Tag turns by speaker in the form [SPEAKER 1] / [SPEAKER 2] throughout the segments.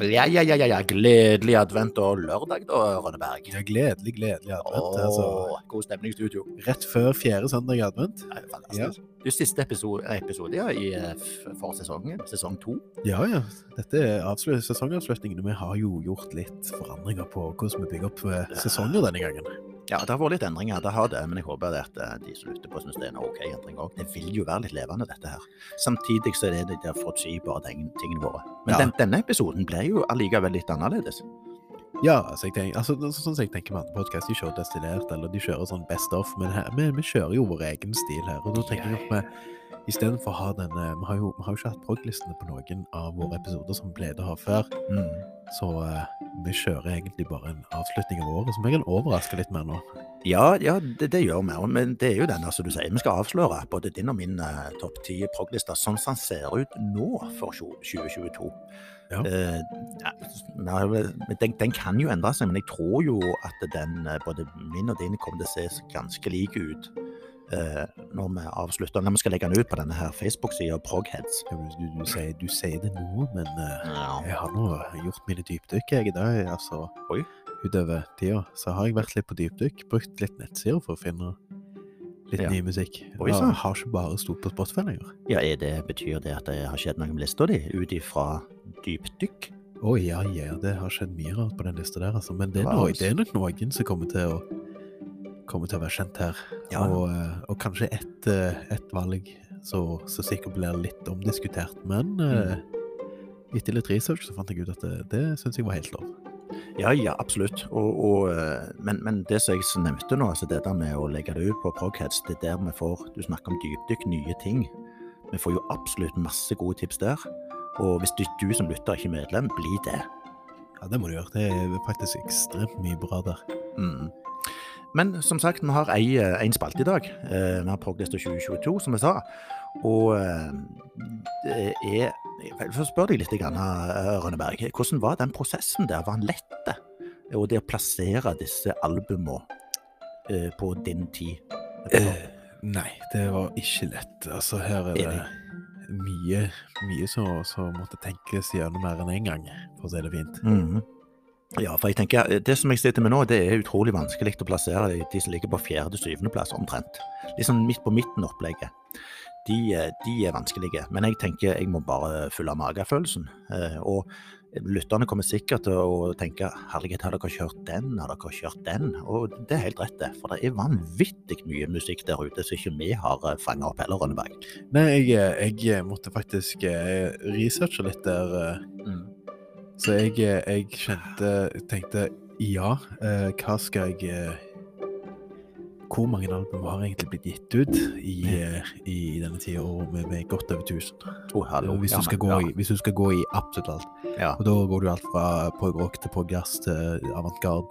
[SPEAKER 1] Ja, ja, ja, ja, ja. Gledelig advent og lørdag, da, Rønneberg.
[SPEAKER 2] Ja, gledelig, gledelig advent. Altså,
[SPEAKER 1] Åh, god stemning i studio.
[SPEAKER 2] rett før fjerde søndag i advent.
[SPEAKER 1] Ja, det er fantastisk. Du, siste episode, episode ja, i eh, f- for sesongen, sesong to.
[SPEAKER 2] Ja, ja. Dette er avslu- sesongavslutningen. og Vi har jo gjort litt forandringer på hvordan vi bygger opp eh, sesonger denne gangen.
[SPEAKER 1] Ja, det har vært litt endringer, det har det, men jeg håper det at eh, de som lytter på synes det er en ok endring òg. Det vil jo være litt levende, dette her. Samtidig så er det de der forutsigbare ting- tingene våre. Men
[SPEAKER 2] Ja.
[SPEAKER 1] den, denne episoden ble jo allikevel litt annerledes.
[SPEAKER 2] Ja, altså, jeg tenker, altså, altså, sånn som jeg tenker med andre podkast, de kjører destillert, eller de kjører sånn best of, men her, vi, vi kjører jo vår egen stil her. Og da tenker jeg at vi istedenfor å ha denne Vi har jo, vi har jo ikke hatt prog-listene på noen av våre episoder som vi pleide å ha før,
[SPEAKER 1] Mm.
[SPEAKER 2] så eh, vi kjører egentlig bare en avslutning av året som jeg kan overraske litt med nå.
[SPEAKER 1] Ja, ja det, det gjør vi. og- Men det er jo denne som du sier. Vi skal avsløre både din og min eh, topp ti proglister sånn som den ser ut nå for tjo- 2022.
[SPEAKER 2] Ja.
[SPEAKER 1] Eh, ja, vi har vel- men den, den kan jo endre seg, men jeg tror jo at den, eh, både min og din kommer til å se ganske like ut eh, når vi avslutter. Når vi skal legge den ut på denne her Facebook-sida, Progheads.
[SPEAKER 2] Du, du, du, sier, du sier det nå, men eh,
[SPEAKER 1] Ja.
[SPEAKER 2] jeg har nå gjort mine dypdykk jeg i dag. altså...
[SPEAKER 1] Oi.
[SPEAKER 2] Utover tida så har jeg vært litt på dypdykk, brukt litt nettsider for å finne litt
[SPEAKER 1] Ja.
[SPEAKER 2] ny musikk.
[SPEAKER 1] Oi,
[SPEAKER 2] Jeg
[SPEAKER 1] sann.
[SPEAKER 2] har ikke bare stått på Spotify lenger.
[SPEAKER 1] ja, er det, betyr det at det har skjedd noe med lista di ut ifra dypdykk?
[SPEAKER 2] Å ja, ja, det har skjedd mye rart på den lista der, altså. Men det er,
[SPEAKER 1] Hva
[SPEAKER 2] nok,
[SPEAKER 1] annet?
[SPEAKER 2] det er nok noen som kommer til å, kommer til å være kjent her.
[SPEAKER 1] Ja.
[SPEAKER 2] Og, eh, og kanskje ett et valg så, så sikkert blir litt omdiskutert. Men eh, etter litt research så fant jeg ut at det, det syns jeg var helt lov.
[SPEAKER 1] Ja, ja, absolutt. Og, og, eh, men, men det som jeg s- nevnte nå, altså det der med å legge det ut på Progheads, det er der vi får Du snakker om dypdykk, nye ting. Vi får jo absolutt masse gode tips der. Og hvis du, du som lytter ikke er medlem, bli det.
[SPEAKER 2] Ja, det må du gjøre. Det er faktisk ekstremt mye bra der.
[SPEAKER 1] Mm. Men som sagt, vi har ei, eh, en spalte i dag. Eh, Vi har Proglista 2022, som jeg sa. Og eh, det er Vel, Først spør jeg litt, grann, eh, Rønneberg. Hvordan var den prosessen der? Var den lett? det? Og det å plassere disse albumene eh, på din tid?
[SPEAKER 2] Eh, Nei, det var ikke lett. Altså, her er det
[SPEAKER 1] Enig.
[SPEAKER 2] mye, mye som, som måtte tenkes gjennom mer enn én gang, for å si det fint.
[SPEAKER 1] Mhm. Ja, for jeg tenker, eh, det som jeg sitter med nå, det er utrolig vanskelig å plassere de- de som ligger på fjerde-syvende plass, omtrent. Litt sånn midt på midten-opplegget. De, eh, de er vanskelige, men jeg tenker jeg må bare følge magefølelsen. Eh, Og lytterne kommer sikkert til å tenke herregud, har dere kjørt den, har dere kjørt den? Og det er helt rett, det. For det er vanvittig mye musikk der ute som ikke vi har fanga opp heller, Rønneberg.
[SPEAKER 2] Nei, jeg, eh, jeg måtte faktisk eh, researche litt der, eh, så jeg, eh, jeg kjente Tenkte ja, eh, hva skal jeg eh, Hvor mange album har egentlig blitt gitt ut i, eh, i denne tida, og med, med godt over 1000?
[SPEAKER 1] Å, hallo.
[SPEAKER 2] Hvis
[SPEAKER 1] Ja,
[SPEAKER 2] du skal
[SPEAKER 1] men-
[SPEAKER 2] gå i, hvis du skal gå i absolutt alt.
[SPEAKER 1] ja, ja.
[SPEAKER 2] Og da går det jo alt fra progrock til progjazz til avantgarde.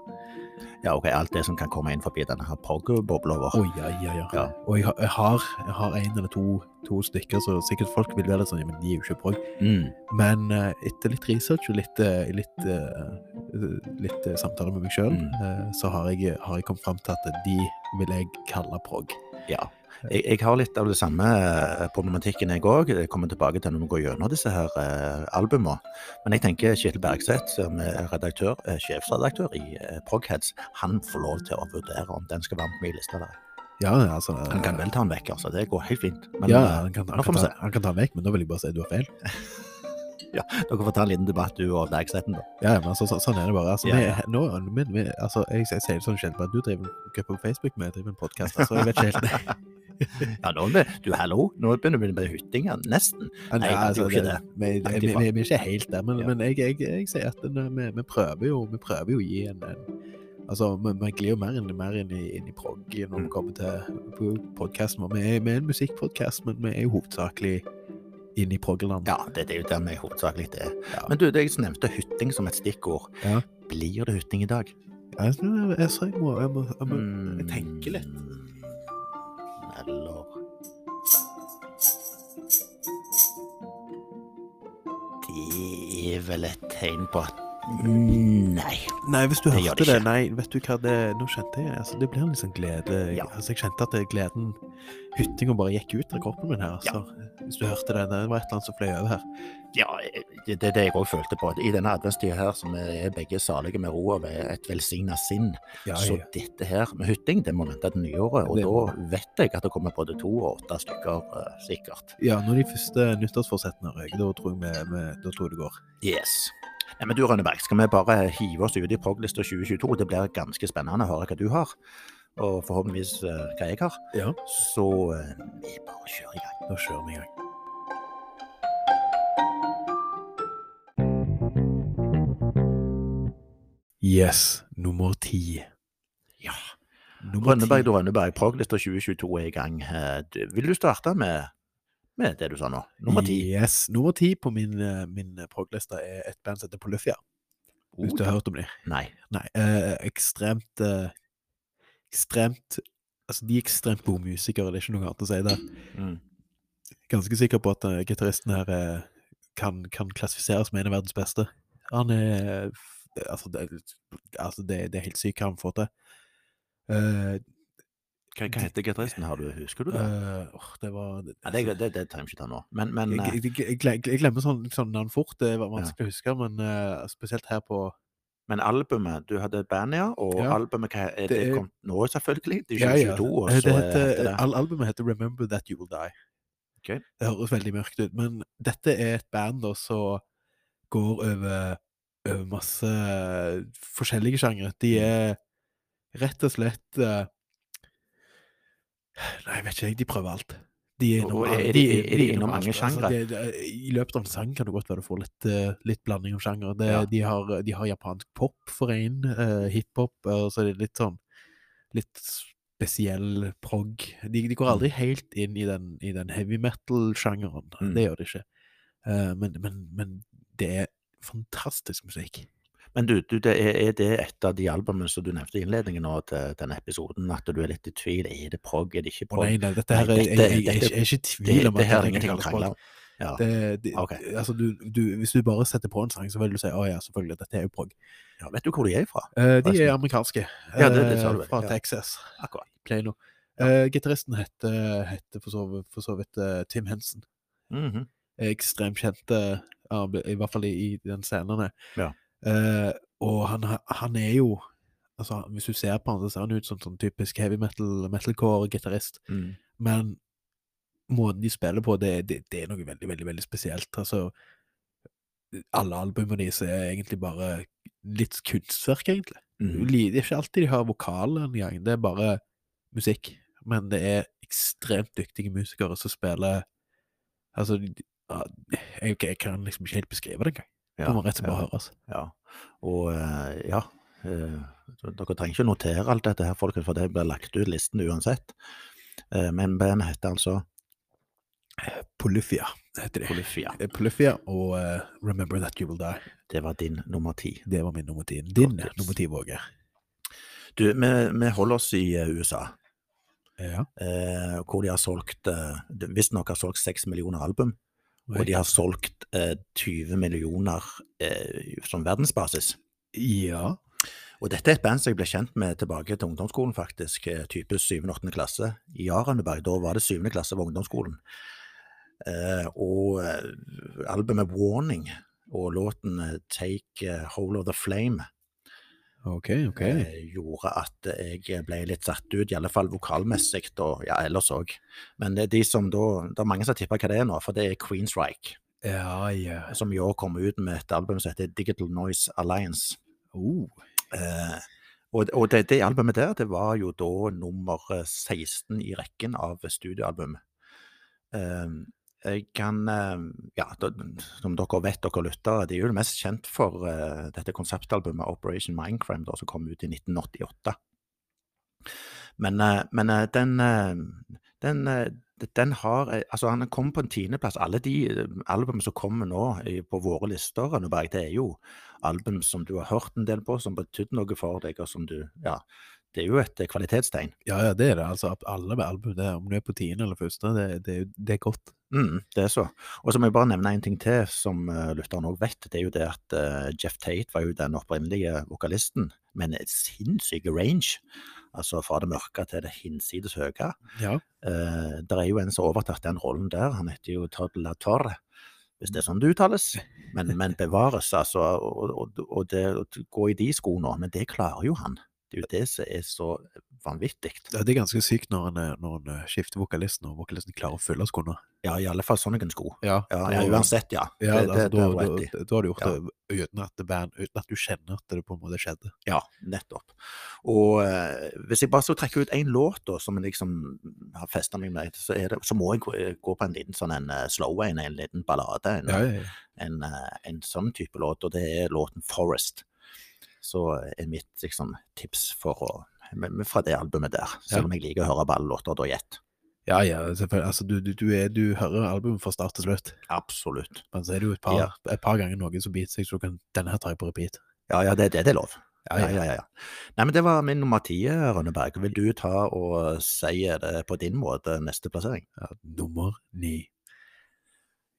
[SPEAKER 1] ja, ok, alt det som kan komme inn forbi denne her prog-bobla vår.
[SPEAKER 2] Å ja, ja, ja.
[SPEAKER 1] Ja.
[SPEAKER 2] Og jeg har, jeg, har, jeg har en eller to, to stykker, så sikkert folk vil være litt sånn, ja, men de er jo ikke prog.
[SPEAKER 1] Mm.
[SPEAKER 2] Men eh, etter litt research og litt, eh, litt, eh, litt eh, samtaler med meg sjøl,
[SPEAKER 1] Mm.
[SPEAKER 2] så har jeg, eh, har jeg kommet fram til at de vil jeg kalle prog.
[SPEAKER 1] Ja. Jeg, jeg har litt av det samme eh, problematikken, jeg òg. Jeg kommer tilbake til når vi går gjennom disse her eh, albumene. Men jeg tenker Kjetil Bergseth, som er redaktør, eh, sjefsredaktør i eh, Progheads, han får lov til å vurdere om den skal være med på min liste. eller ei.
[SPEAKER 2] Ja, ja, altså eh,
[SPEAKER 1] Han kan vel ta den vekk, altså. Det går helt fint. Men
[SPEAKER 2] ja,
[SPEAKER 1] eh,
[SPEAKER 2] han kan,
[SPEAKER 1] nå
[SPEAKER 2] han,
[SPEAKER 1] får
[SPEAKER 2] kan
[SPEAKER 1] vi
[SPEAKER 2] ta, han kan ta den vekk, men da vil jeg bare si at du har feil.
[SPEAKER 1] dere får ta en liten debatt, du og Bergseten, da.
[SPEAKER 2] Ja, ja, men altså, så, sånn er det bare. Altså,
[SPEAKER 1] Ja,
[SPEAKER 2] vi-
[SPEAKER 1] ja.
[SPEAKER 2] nå, men, vi, altså, jeg, jeg sier det sånn sjelden, bare du driver en gruppe på Facebook, vi driver en podkast. Altså, jeg vet ikke helt
[SPEAKER 1] Ja, nå, be- du, hallo, nå begynner vi med hyttinga. Nesten.
[SPEAKER 2] Ja, altså,
[SPEAKER 1] Nei, det er jo ikke det.
[SPEAKER 2] Vi,
[SPEAKER 1] Langt
[SPEAKER 2] vi,
[SPEAKER 1] ifra.
[SPEAKER 2] vi, vi er ikke helt der, men,
[SPEAKER 1] Ja.
[SPEAKER 2] men jeg, jeg, jeg sier at den, eh, vi, vi, prøver jo, vi prøver jo å gi en, en Altså, vi, vi glir jo mer inn, mer inn i, inn i prog når vi
[SPEAKER 1] Mm.
[SPEAKER 2] kommer til podkasten vår. Vi er, vi er en musikkpodkast, men vi er jo hovedsakelig inn i progland.
[SPEAKER 1] Ja, det, det er jo der vi hovedsakelig er.
[SPEAKER 2] Ja.
[SPEAKER 1] Men du, det jeg som nevnte hytting som et stikkord.
[SPEAKER 2] Ja.
[SPEAKER 1] Blir det hytting i dag?
[SPEAKER 2] Jeg, jeg, jeg, så jeg, må, jeg, må, jeg, må,
[SPEAKER 1] Mm.
[SPEAKER 2] jeg tenker litt.
[SPEAKER 1] Eller Det er vel et tegn på at Nei.
[SPEAKER 2] Nei, hvis du
[SPEAKER 1] Det gjør
[SPEAKER 2] hørte
[SPEAKER 1] det
[SPEAKER 2] det,
[SPEAKER 1] ikke.
[SPEAKER 2] Nei, vet du hva det Nå kjente jeg altså, Det ble en liksom glede.
[SPEAKER 1] Ja.
[SPEAKER 2] Altså, jeg kjente at det- gleden Hyttinga bare gikk ut av kroppen min her. Altså. Hvis du hørte det, det var et eller annet som fløy over her.
[SPEAKER 1] Ja, det det er det jeg òg følte på. I denne adventstida her, som vi er begge salige med ro og med et velsigna sinn, så dette her med hytting, det må vente til nyåret. Og
[SPEAKER 2] Det må
[SPEAKER 1] da vet jeg at det kommer både to og åtte stykker, eh, sikkert.
[SPEAKER 2] Ja, når de første nyttårsforsettene røyker, da tror jeg vi- vi- da tror jeg det går.
[SPEAKER 1] Yes. Nei, men du Rønneberg, skal vi bare hive oss ut i proglista 2022? Det blir ganske spennende å høre hva du har, og forhåpentligvis eh, hva jeg har.
[SPEAKER 2] Ja.
[SPEAKER 1] Så eh, vi bare kjører i gang.
[SPEAKER 2] Da kjører vi i gang. Yes, nummer ti.
[SPEAKER 1] Ja.
[SPEAKER 2] Nummer
[SPEAKER 1] Rønneberg, du Rønneberg, proglista 2022 er i gang. Eh, du- Vil du starte med, med det du sa nå? Nummer ti.
[SPEAKER 2] Yes, nummer ti på min, eh, min eh, progliste er et band som heter Polyphia.
[SPEAKER 1] Oh,
[SPEAKER 2] Hvis du har hørt om dem?
[SPEAKER 1] Nei.
[SPEAKER 2] Nei, eh, ekstremt eh, Ekstremt Altså, de er ekstremt gode musikere, det er ikke noe annet å si der.
[SPEAKER 1] Mm.
[SPEAKER 2] ganske sikker på at eh, gitaristen her eh, kan, kan klassifiseres som en av verdens beste. Han er eh, Altså, det, altså det, det er helt sykt hva han får til. Eh,
[SPEAKER 1] Hva, hva heter gitaristen, har du- husker du det?
[SPEAKER 2] eh, åh, det var
[SPEAKER 1] Ja, det, det, det trenger vi ikke ta nå. Men, men eh,
[SPEAKER 2] jeg, jeg, jeg, gle- jeg glemmer sånn, sånn navn fort, det var
[SPEAKER 1] Ja.
[SPEAKER 2] vanskelig å huske, men eh, spesielt her på
[SPEAKER 1] Men albumet, du hadde bandet, ja, og
[SPEAKER 2] Ja.
[SPEAKER 1] albumet hva, er det,
[SPEAKER 2] Det er-
[SPEAKER 1] kommet nå selvfølgelig? Det
[SPEAKER 2] Ja,
[SPEAKER 1] er
[SPEAKER 2] ja.
[SPEAKER 1] 2022, og
[SPEAKER 2] Eh,
[SPEAKER 1] så
[SPEAKER 2] det
[SPEAKER 1] er-
[SPEAKER 2] heter,
[SPEAKER 1] heter det
[SPEAKER 2] al- Albumet heter 'Remember That You Will Die'.
[SPEAKER 1] Ok.
[SPEAKER 2] Det høres veldig mørkt ut, men dette er et band da som går over, over masse eh, forskjellige sjangre.
[SPEAKER 1] Mm.
[SPEAKER 2] De er rett og slett eh, Nei, jeg vet ikke, jeg. De prøver alt. De er
[SPEAKER 1] Og-
[SPEAKER 2] innom,
[SPEAKER 1] og er de-
[SPEAKER 2] alle- de
[SPEAKER 1] er de
[SPEAKER 2] de er
[SPEAKER 1] innom
[SPEAKER 2] alt. altså.
[SPEAKER 1] mange sjangre?
[SPEAKER 2] det- det- I løpet av en sang kan det godt være du får litt, eh, litt blanding av sjangre. Det-
[SPEAKER 1] Ja.
[SPEAKER 2] De, har- de har japansk pop for én, eh, hiphop, og så er det litt sånn litt spesiell prog. De, de går aldri helt inn i den, i den heavy metal-sjangeren.
[SPEAKER 1] Mm.
[SPEAKER 2] Det gjør de ikke. Eh, men, men, men det er fantastisk musikk.
[SPEAKER 1] Men du, du det er, er det et av de albumene som du nevnte i innledningen nå til denne episoden, at du er litt i tvil, er det prog, er det ikke
[SPEAKER 2] Å
[SPEAKER 1] prog?
[SPEAKER 2] nei, nei, dette
[SPEAKER 1] Nei,
[SPEAKER 2] her er-
[SPEAKER 1] dette-
[SPEAKER 2] jeg, jeg, jeg, jeg,
[SPEAKER 1] dette-
[SPEAKER 2] er ikke i
[SPEAKER 1] det,
[SPEAKER 2] tvil om
[SPEAKER 1] det
[SPEAKER 2] at
[SPEAKER 1] her
[SPEAKER 2] dette
[SPEAKER 1] er ingenting
[SPEAKER 2] kan
[SPEAKER 1] å
[SPEAKER 2] kalles
[SPEAKER 1] krangle
[SPEAKER 2] prog.
[SPEAKER 1] om. Ja.
[SPEAKER 2] Det, det,
[SPEAKER 1] Ok.
[SPEAKER 2] altså, du, du, hvis du bare setter på en sang, så vil du si å ja, selvfølgelig, dette er jo prog.
[SPEAKER 1] ja, vet du hvor de er fra?
[SPEAKER 2] Eh, de
[SPEAKER 1] Forresten.
[SPEAKER 2] er amerikanske.
[SPEAKER 1] Ja, det- det sa du
[SPEAKER 2] eh,
[SPEAKER 1] vel,
[SPEAKER 2] Fra
[SPEAKER 1] ja.
[SPEAKER 2] Texas.
[SPEAKER 1] Akkurat.
[SPEAKER 2] Plano. Uh, Gitaristen heter, heter for så vidt, for så vidt eh, Tim Henson.
[SPEAKER 1] Mhm.
[SPEAKER 2] er ekstremt kjente, i hvert fall i, i den scenen.
[SPEAKER 1] Ja.
[SPEAKER 2] Eh, og han, har- han er jo altså, Hvis du ser på han, så ser han ut som sånn typisk heavy metal, metalcore-gitarist.
[SPEAKER 1] Mm.
[SPEAKER 2] Men måten de spiller på, det, det, det er noe veldig, veldig veldig spesielt. Altså, alle albumene deres er egentlig bare litt kunstverk, egentlig.
[SPEAKER 1] Mhm.
[SPEAKER 2] Li- Det er ikke alltid de har vokal engang, det er bare musikk. Men det er ekstremt dyktige musikere som spiller Altså, de- de- ja, jeg, jeg kan liksom ikke helt beskrive det engang.
[SPEAKER 1] Ja,
[SPEAKER 2] Det må rett og slett bare altså.
[SPEAKER 1] ja,
[SPEAKER 2] høres.
[SPEAKER 1] Ja. Og eh, ja, eh, dere trenger ikke notere alt dette her, folkens, for det blir lagt ut listen uansett. Eh, Men bandet heter altså
[SPEAKER 2] Polyphia heter de.
[SPEAKER 1] Polyphia.
[SPEAKER 2] Eh, Polyphia og eh, Remember That You Will Die.
[SPEAKER 1] Det var din nummer ti.
[SPEAKER 2] Det var min nummer ti. Din
[SPEAKER 1] tips.
[SPEAKER 2] nummer ti, Våge.
[SPEAKER 1] Du, vi, vi holder oss i eh, USA,
[SPEAKER 2] Ja.
[SPEAKER 1] eh, hvor de har solgt eh, de- Visstnok har solgt seks millioner album, og
[SPEAKER 2] Oi.
[SPEAKER 1] de har solgt eh, 20 millioner eh, som verdensbasis.
[SPEAKER 2] Ja.
[SPEAKER 1] Og dette er et band som jeg ble kjent med tilbake til ungdomsskolen, faktisk. eh, Type 7.-8. klasse i Arenberg. Da var det 7. klasse på ungdomsskolen. Eh, og eh, albumet Warning og låten eh, Take eh, Hold of the Flame
[SPEAKER 2] Ok, ok.
[SPEAKER 1] eh, gjorde at jeg ble litt satt ut, i alle fall vokalmessig, og ja, ellers òg. Men det er de som da Det er mange som tipper hva det er nå, for det er Queensryche,
[SPEAKER 2] Ja, ja.
[SPEAKER 1] som i år kom ut med et album som heter Digital Noise Alliance.
[SPEAKER 2] Oh.
[SPEAKER 1] Eh, og og det, det albumet der, det var jo da nummer 16 i rekken av studioalbum. Eh, jeg kan eh, Ja, da, som dere vet, dere lyttere, de er jo mest kjent for eh, dette konseptalbumet Operation Mindcrime, da, som kom ut i 1988. Men, eh, men eh, den, eh, den, eh, den har eh, Altså, han kom på en tiendeplass. Alle de eh, album som kommer nå i- på våre lister, Rønneberg, det er jo album som du har hørt en del på, som betydde noe for deg, og som du Ja, det er jo et eh, kvalitetstegn.
[SPEAKER 2] Ja, ja, det er det. Altså, at alle med album, det, er- om du er på tiende eller første, det, det, er jo- det er godt.
[SPEAKER 1] Mm, det er så. Og så må jeg bare nevne en ting eh, til som uh, lytteren òg vet. Det er jo det at eh, Jeff Tate var jo den opprinnelige vokalisten. men sinnssyk range. Altså fra det mørke til det hinsides høye.
[SPEAKER 2] Ja.
[SPEAKER 1] Eh, det er jo en som har overtatt den rollen der. Han heter jo Todd La Torre, hvis
[SPEAKER 2] Mm.
[SPEAKER 1] det er sånn det uttales. Men, men bevares, altså. Og, og, og det, å gå i de skoene, men det klarer jo han. Det er jo det som er så vanvittig.
[SPEAKER 2] Ja, Det er ganske sykt når en, eh, når en eh, skifter vokalisten, og vokalisten klarer å fylle skoene.
[SPEAKER 1] Ja, i alle fall sånne sko. Ja, ja,
[SPEAKER 2] det-
[SPEAKER 1] uansett, ja. det,
[SPEAKER 2] Ja,
[SPEAKER 1] det, det
[SPEAKER 2] altså, da,
[SPEAKER 1] har du
[SPEAKER 2] da,
[SPEAKER 1] rett i.
[SPEAKER 2] da har du gjort det uten at, det band, uten at du kjenner at det på en måte skjedde.
[SPEAKER 1] Ja, nettopp. Og eh, hvis jeg bare skal trekke ut én låt da, som jeg liksom har festa meg med, så, er det, så må jeg gå, gå på en liten sånn en eh, slow en, en liten ballade, en,
[SPEAKER 2] ja, ja.
[SPEAKER 1] en, eh, en sånn type låt, og det er låten 'Forest'. Så er mitt liksom, tips for å, men- men fra det albumet der, selv om jeg liker å høre ballåter da gjett.
[SPEAKER 2] ja, ja selvfølgelig. Altså, du, du, du, er, du hører albumet fra start til slutt,
[SPEAKER 1] Absolutt.
[SPEAKER 2] men så er det jo et par,
[SPEAKER 1] Ja.
[SPEAKER 2] et par ganger noen som biter seg, så du kan denne her tar jeg på repeat.
[SPEAKER 1] Ja, ja, det er det det er lov.
[SPEAKER 2] Ja,
[SPEAKER 1] Ja,
[SPEAKER 2] ja.
[SPEAKER 1] ja, ja. Nei, men det var min nummer ti, Rønneberg. Vil du ta og eh, si det på din måte, neste plassering?
[SPEAKER 2] Ja, nummer ni.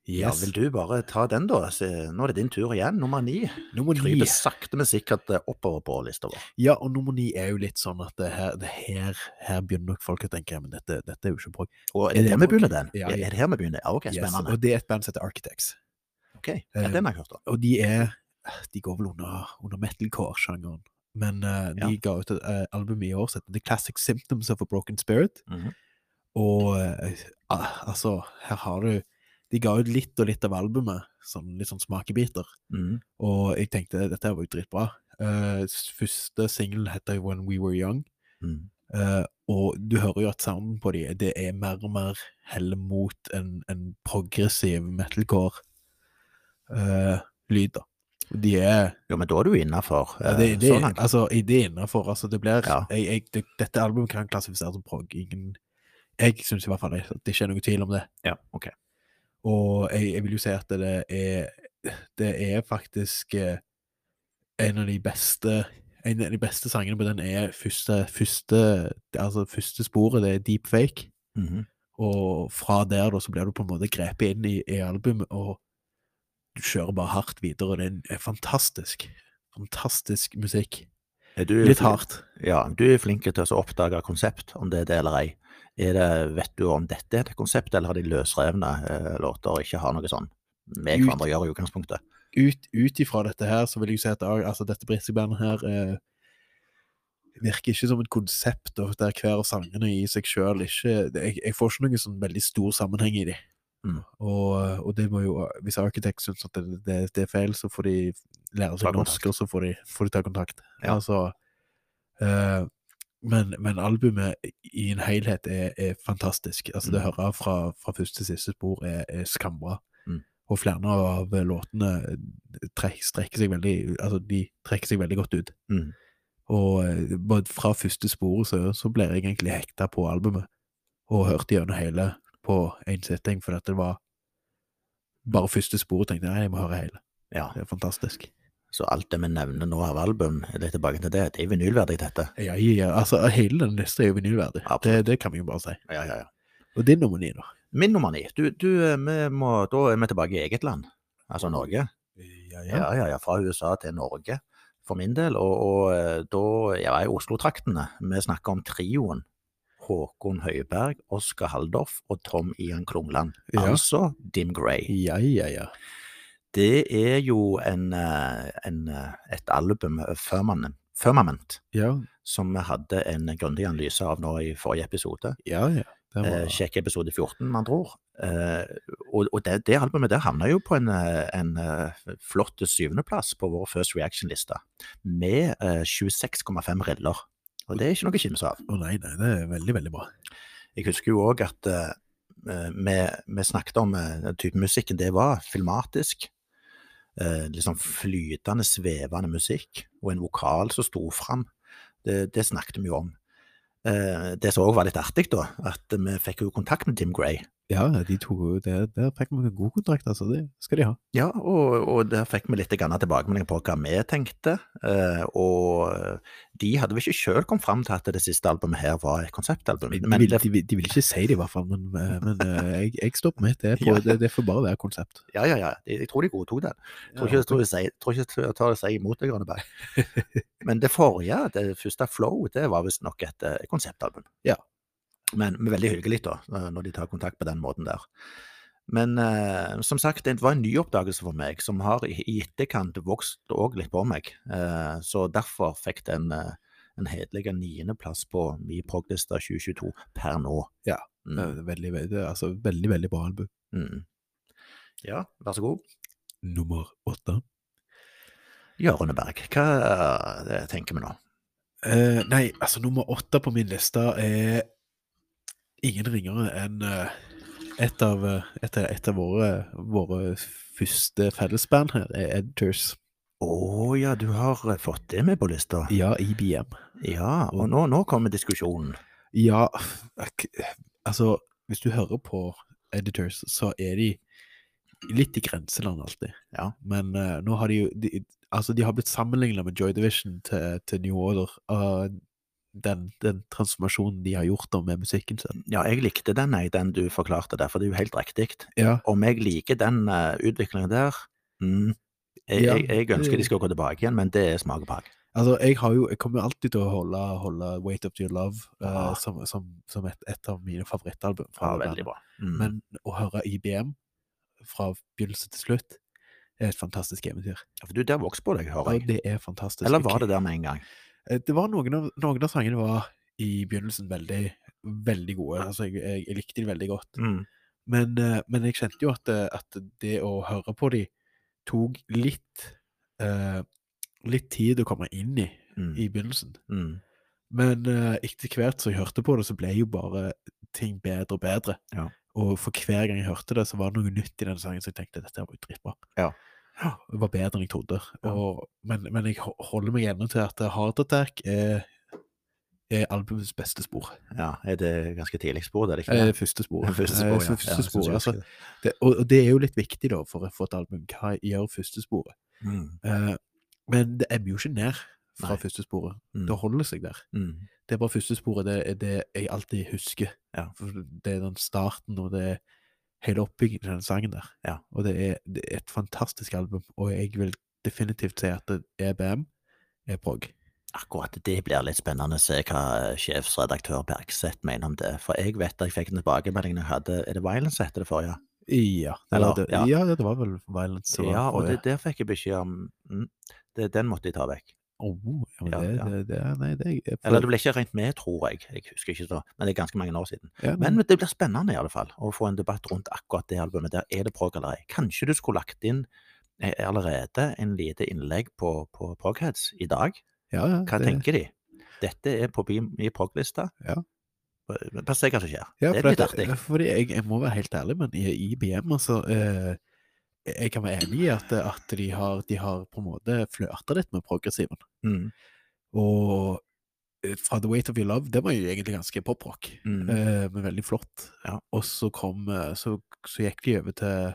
[SPEAKER 1] Ja, vil du bare ta den, da? Se, Nå er det din tur igjen, nummer ni.
[SPEAKER 2] Nummer ni.
[SPEAKER 1] Kryper sakte, men sikkert eh, oppover på lista vår.
[SPEAKER 2] Ja, og nummer ni er jo litt sånn at det her, det her, her begynner nok folk å tenke, men dette, dette er jo ikke prog.
[SPEAKER 1] Og
[SPEAKER 2] Er
[SPEAKER 1] er det
[SPEAKER 2] det
[SPEAKER 1] her vi
[SPEAKER 2] på-
[SPEAKER 1] begynner, den?
[SPEAKER 2] Ja,
[SPEAKER 1] Ja,
[SPEAKER 2] ja.
[SPEAKER 1] Er det her vi begynner? Ja, ok,
[SPEAKER 2] Yes,
[SPEAKER 1] spennende.
[SPEAKER 2] Og eh, det er et band som heter Architects.
[SPEAKER 1] Ok, ja, Den har jeg hørt om.
[SPEAKER 2] Og de er De går vel under, under metalcore-sjangeren. Men eh, de
[SPEAKER 1] Ja.
[SPEAKER 2] ga ut et eh, album i år som heter The Classic Symptoms of a Broken Spirit.
[SPEAKER 1] Mhm.
[SPEAKER 2] Og eh, ah, altså, her har du De ga ut litt og litt av albumet, sånn, litt sånn smakebiter.
[SPEAKER 1] Mhm.
[SPEAKER 2] Og jeg tenkte dette her var jo dritbra. Eh, s- første singelen heter jo When We Were Young.
[SPEAKER 1] Mhm.
[SPEAKER 2] eh, og du hører jo at sounden på de det er mer og mer heller mot en, en progressiv metalcore-lyd, da. Og De er
[SPEAKER 1] Jo, men da er du innafor. eh,
[SPEAKER 2] ja, det, det,
[SPEAKER 1] så langt.
[SPEAKER 2] altså, i det innenfor, altså, det blir
[SPEAKER 1] sånn, Ja.
[SPEAKER 2] jeg, jeg, det, Dette albumet kan klassifiseres som prog. Ingen, jeg syns i hvert fall at det ikke er noen tvil om det.
[SPEAKER 1] Ja, ok.
[SPEAKER 2] Og jeg, jeg vil jo si at det er Det er faktisk eh, en av de beste en av de beste sangene på den er første, første, altså første sporet, det er deep fake.
[SPEAKER 1] Mhm.
[SPEAKER 2] Og fra der da, så blir du på en måte grepet inn i, i albumet, og du kjører bare hardt videre. og Det er en- er fantastisk, fantastisk musikk.
[SPEAKER 1] Er du,
[SPEAKER 2] Litt hardt.
[SPEAKER 1] Ja, du er flink til å oppdage konsept, om det er det eller ei. Er det, vet du om dette er et konsept, eller har de løsrevne eh, låter og ikke har noe sånn med
[SPEAKER 2] Ut-
[SPEAKER 1] hverandre å gjøre i utgangspunktet?
[SPEAKER 2] Ut, ut ifra dette her, så vil jeg si at ah, altså, dette britiske bandet her eh, virker ikke som et konsept, og der hver av sangene i seg sjøl ikke det- jeg, jeg får ikke noen sånn veldig stor sammenheng i de.
[SPEAKER 1] Mm.
[SPEAKER 2] Og, og det må jo, hvis Architect syns at det, det, det er feil, så får de
[SPEAKER 1] Ta
[SPEAKER 2] lære seg norsk,
[SPEAKER 1] kontakt.
[SPEAKER 2] og så får de, får de ta kontakt.
[SPEAKER 1] Ja.
[SPEAKER 2] Altså, eh, men, men albumet i en helhet er, er fantastisk. Altså, Det
[SPEAKER 1] Mm.
[SPEAKER 2] å høre fra, fra første til siste spor er, er skambra.
[SPEAKER 1] Mm.
[SPEAKER 2] Og flere av låtene trek, strekker seg veldig altså de trekker seg veldig godt ut.
[SPEAKER 1] Mhm.
[SPEAKER 2] Og eh, bare fra første sporet så, så ble jeg egentlig hekta på albumet, og hørte gjennom hele på én sitting, for at det var bare første sporet. tenkte jeg, nei, jeg må høre hele.
[SPEAKER 1] Ja.
[SPEAKER 2] Det er fantastisk.
[SPEAKER 1] Så alt det vi nevner nå av album, er det tilbake til det, det er vinylverdig, dette.
[SPEAKER 2] Ja, ja, altså, hele den lista er jo vinylverdig. Det,
[SPEAKER 1] Absolutt.
[SPEAKER 2] det kan vi jo bare si.
[SPEAKER 1] Ja, ja, ja.
[SPEAKER 2] Og din nummer ni, da?
[SPEAKER 1] Min nummer ni. Du, du, eh, vi må, da er vi tilbake i eget land, altså Norge. Ja, ja, ja. Fra USA til Norge, for min del. Og, og eh, da ja, er jeg i Oslo-traktene. Vi snakker om trioen. Håkon Høiberg, Oskar Haldorf og Tom Ian Klungland.
[SPEAKER 2] Ja.
[SPEAKER 1] Altså Dim Grey.
[SPEAKER 2] Ja, ja, ja.
[SPEAKER 1] Det er jo en, eh, en, eh, et album, eh, Firmament, Firmament,
[SPEAKER 2] Ja,
[SPEAKER 1] som vi hadde en grundig analyse av nå i forrige episode.
[SPEAKER 2] ja. ja. Det var-
[SPEAKER 1] Eh, sjekk episode 14, man tror. Eh, og og det, det albumet der havna jo på en, eh, en eh, flott syvendeplass på vår First Reaction-liste, med eh, 26,5 riller. Og det er ikke noe å kimse av.
[SPEAKER 2] Å nei, nei, det er veldig, veldig bra.
[SPEAKER 1] Jeg husker jo òg at eh, eh, vi, vi snakket om eh, den typen musikken det var, filmatisk. Eh, liksom flytende, svevende musikk, og en vokal som sto fram. Det, det snakket vi jo om. Eh, det som òg var litt artig, da, at vi fikk jo kontakt med Jim Gray
[SPEAKER 2] Ja, de tok jo Der, der fikk vi en god kontrakt, altså. Det skal de ha.
[SPEAKER 1] Ja, og, og der fikk vi litt grann tilbakemelding på hva vi tenkte. eh, Og de hadde vel ikke sjøl kommet fram til at det siste albumet her var et konseptalbum.
[SPEAKER 2] De,
[SPEAKER 1] Men
[SPEAKER 2] vil,
[SPEAKER 1] det,
[SPEAKER 2] de, vil- de vil ikke si det, i hvert fall, men, eh, men eh, jeg, jeg står på mitt. Det, er på,
[SPEAKER 1] Ja.
[SPEAKER 2] det, det får bare være konsept.
[SPEAKER 1] ja, ja, ja, jeg jeg tror de godtok det. Jeg tror
[SPEAKER 2] Ja,
[SPEAKER 1] ikke, jeg tror jeg, sier- tror ikke jeg tar det seg imot det, Grønneberg. Men det forrige, det første Flow, det var visstnok et eh, konseptalbum.
[SPEAKER 2] Ja.
[SPEAKER 1] Men, men veldig hyggelig, da, eh, når de tar kontakt på den måten der. Men eh, som sagt, det var en ny oppdagelse for meg, som har i i etterkant vokst òg litt på meg. Eh, så derfor fikk den eh, en hederlig niendeplass på min progliste 2022 per nå.
[SPEAKER 2] Ja.
[SPEAKER 1] Mm,
[SPEAKER 2] Eh, Veldig, veldig, altså, veldig, veldig bra album.
[SPEAKER 1] mm. Ja, vær så god.
[SPEAKER 2] Nummer åtte.
[SPEAKER 1] Jørgen Berg, hva eh, tenker vi nå?
[SPEAKER 2] Eh, nei, altså nummer åtte på min liste er ingen ringere enn eh, et, av, eh, et, av- et av våre, våre første fellesband her, er Editors.
[SPEAKER 1] Å ja, du har eh, fått det med på lista.
[SPEAKER 2] Ja, IBM.
[SPEAKER 1] Ja, og nå, nå kommer diskusjonen.
[SPEAKER 2] Ja, ak- altså Hvis du hører på Editors, så er de litt i grenseland alltid.
[SPEAKER 1] Ja.
[SPEAKER 2] Men eh, nå har de jo de, Altså, de har blitt sammenligna med Joy Division til, til New Order. og den, den transformasjonen de har gjort da med musikken sin.
[SPEAKER 1] Ja, jeg likte den, jeg, den du forklarte der, for det er jo helt riktig.
[SPEAKER 2] Ja.
[SPEAKER 1] Om jeg liker den eh, utviklingen der mm, jeg,
[SPEAKER 2] Ja,
[SPEAKER 1] jeg, jeg ønsker
[SPEAKER 2] det-
[SPEAKER 1] de skal gå tilbake igjen, men det er smak og behag.
[SPEAKER 2] Altså, jeg, har jo, jeg kommer jo alltid til å holde, holde Wait Up To Your Love eh,
[SPEAKER 1] Ja.
[SPEAKER 2] som, som, som et, et av mine favorittalbum.
[SPEAKER 1] Ja,
[SPEAKER 2] det
[SPEAKER 1] veldig
[SPEAKER 2] bandet.
[SPEAKER 1] bra. Mm.
[SPEAKER 2] Men å høre IBM fra begynnelse til slutt er et fantastisk eventyr.
[SPEAKER 1] Ja, for du, der vokste på deg, hører
[SPEAKER 2] Og
[SPEAKER 1] jeg.
[SPEAKER 2] det er fantastisk.
[SPEAKER 1] Eller var det der med en gang?
[SPEAKER 2] Eh, Det var noen av, noen av sangene var i begynnelsen veldig, veldig gode. Altså, jeg, jeg, jeg likte de veldig godt.
[SPEAKER 1] Mm.
[SPEAKER 2] Men, eh, men jeg kjente jo at, eh, at det å høre på de tok litt, eh, litt tid å komme inn i
[SPEAKER 1] Mm.
[SPEAKER 2] i begynnelsen.
[SPEAKER 1] Mm.
[SPEAKER 2] Men eh, etter hvert som jeg hørte på det, så ble jo bare ting bedre og bedre.
[SPEAKER 1] Ja.
[SPEAKER 2] Og for hver gang jeg hørte det, så var det noe nytt i den sangen, så jeg tenkte dette her var jo dritbra.
[SPEAKER 1] Ja.
[SPEAKER 2] Det var bedre enn jeg trodde.
[SPEAKER 1] Ja.
[SPEAKER 2] Og, men, men jeg ho- holder meg ennå til at eh, Heart Attack er, er albumets beste spor.
[SPEAKER 1] ja, er det ganske tidlig spor, det er det ikke?
[SPEAKER 2] Eh,
[SPEAKER 1] det?
[SPEAKER 2] første spor.
[SPEAKER 1] Første spor,
[SPEAKER 2] Eh,
[SPEAKER 1] ja. Ja,
[SPEAKER 2] så første
[SPEAKER 1] jeg synes
[SPEAKER 2] spor
[SPEAKER 1] jeg husker
[SPEAKER 2] altså,
[SPEAKER 1] det.
[SPEAKER 2] det, og, og det er jo litt viktig da, for å få et album. Hva gjør første sporet?
[SPEAKER 1] Mm.
[SPEAKER 2] Eh, men det ebber jo ikke ned fra
[SPEAKER 1] Nei.
[SPEAKER 2] første sporet.
[SPEAKER 1] Mm.
[SPEAKER 2] Det holder seg der.
[SPEAKER 1] Mm.
[SPEAKER 2] Det er bare første sporet. Det er det jeg alltid husker.
[SPEAKER 1] Ja.
[SPEAKER 2] For det er den starten, og det er hele oppbyggingen av den sangen der.
[SPEAKER 1] Ja.
[SPEAKER 2] Og det er, det er et fantastisk album, og jeg vil definitivt si at det- EBM er prog.
[SPEAKER 1] Akkurat det blir litt spennende å se hva eh, sjefsredaktør Bergseth mener om det. For jeg vet at jeg fikk en tilbakemelding jeg hadde Er det Violence hette det forrige?
[SPEAKER 2] Ja.
[SPEAKER 1] Eller,
[SPEAKER 2] Eller, det,
[SPEAKER 1] ja.
[SPEAKER 2] ja. ja, det var vel Violence. som var E
[SPEAKER 1] ja, og
[SPEAKER 2] forrige.
[SPEAKER 1] det, der fikk jeg beskjed om mm, det, Den måtte de ta vekk.
[SPEAKER 2] Åh, ja, men
[SPEAKER 1] Ja,
[SPEAKER 2] det,
[SPEAKER 1] ja.
[SPEAKER 2] Det, det, er- nei, det er
[SPEAKER 1] Eller det ble ikke regnet med, tror jeg. Jeg husker ikke så, men det er ganske mange år siden.
[SPEAKER 2] ja,
[SPEAKER 1] Men det blir spennende i alle fall å få en debatt rundt akkurat det albumet. Der er det prog eller ei. Kanskje du skulle lagt inn eh, allerede en lite innlegg på, på Progheads i dag?
[SPEAKER 2] ja, ja,
[SPEAKER 1] Hva
[SPEAKER 2] det-
[SPEAKER 1] tenker de? Dette er på min min proglista.
[SPEAKER 2] Ja.
[SPEAKER 1] Bare se hva som skjer.
[SPEAKER 2] Ja,
[SPEAKER 1] det
[SPEAKER 2] for
[SPEAKER 1] blir litt
[SPEAKER 2] at-
[SPEAKER 1] artig.
[SPEAKER 2] Fordi jeg, jeg må være helt ærlig, men i, i BM, altså eh, Jeg kan være enig i at, at de, har, de har på en måte flørta litt med progressiven.
[SPEAKER 1] Mm,
[SPEAKER 2] Og eh, fra The Weight of Your Love, det var jo egentlig ganske poprock,
[SPEAKER 1] mm.
[SPEAKER 2] eh, men veldig flott.
[SPEAKER 1] Ja.
[SPEAKER 2] Og så kom eh, så, så gikk de over til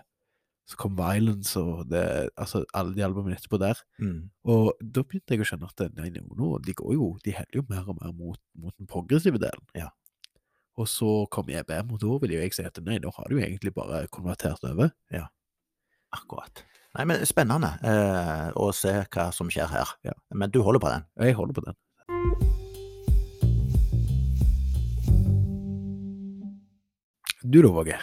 [SPEAKER 2] Så kom Violence og det, altså alle de albumene etterpå der.
[SPEAKER 1] Mm.
[SPEAKER 2] Og da begynte jeg å skjønne at nei, nei, nå, de går jo De heller jo mer og mer mot, mot den progressive delen.
[SPEAKER 1] Ja.
[SPEAKER 2] Og så kom EBM, og da ville jo jeg si at nei, da har du jo egentlig bare konvertert over.
[SPEAKER 1] Akkurat. Nei, men Spennende eh, å se hva som skjer her.
[SPEAKER 2] Ja.
[SPEAKER 1] Men du holder på den?
[SPEAKER 2] Jeg holder på den. Du da, Våge?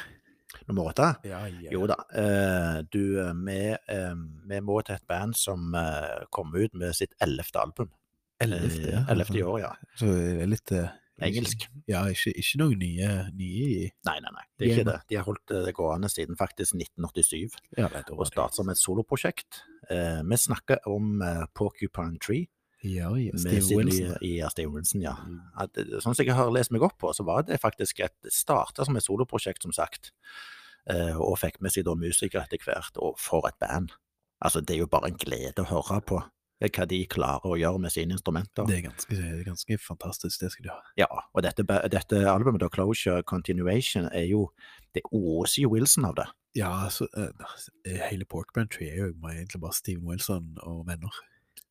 [SPEAKER 1] Nummer åtte?
[SPEAKER 2] Ja, ja.
[SPEAKER 1] Jo da. Eh, du, eh, vi, eh, vi må til et band som eh, kom ut med sitt ellevte album.
[SPEAKER 2] Ellevte,
[SPEAKER 1] Eh,
[SPEAKER 2] ja.
[SPEAKER 1] Ellevte i år, ja.
[SPEAKER 2] Så det er litt eh,
[SPEAKER 1] Engelsk.
[SPEAKER 2] Ja, ikke, ikke noen nye, nye i
[SPEAKER 1] Nei, nei, nei. Det er
[SPEAKER 2] Gamer.
[SPEAKER 1] ikke det. De har holdt eh, det gående siden faktisk 1987.
[SPEAKER 2] Ja, det
[SPEAKER 1] Og startet som et soloprosjekt. Eh, vi snakker om eh, Porcupine Tree.
[SPEAKER 2] Ja, ja.
[SPEAKER 1] med
[SPEAKER 2] Steve
[SPEAKER 1] Sidney-
[SPEAKER 2] Wilson.
[SPEAKER 1] Ja, Steve Wilson, ja. at, det- sånn som jeg har lest meg opp på, så var det faktisk et starta som et soloprosjekt, som sagt. Eh, og fikk med seg da musikere etter hvert, og for et band. Altså, det er jo bare en glede å høre på. eh, hva de klarer å gjøre med sine instrumenter.
[SPEAKER 2] Det er ganske, det er ganske fantastisk, det skal du ha.
[SPEAKER 1] Ja, og dette, ba- dette albumet, da, Closure Continuation, er jo Det åser jo Wilson av det.
[SPEAKER 2] Ja, altså, eh, eh, hele Pork Bantry er jo egentlig bare Steven Wilson og venner.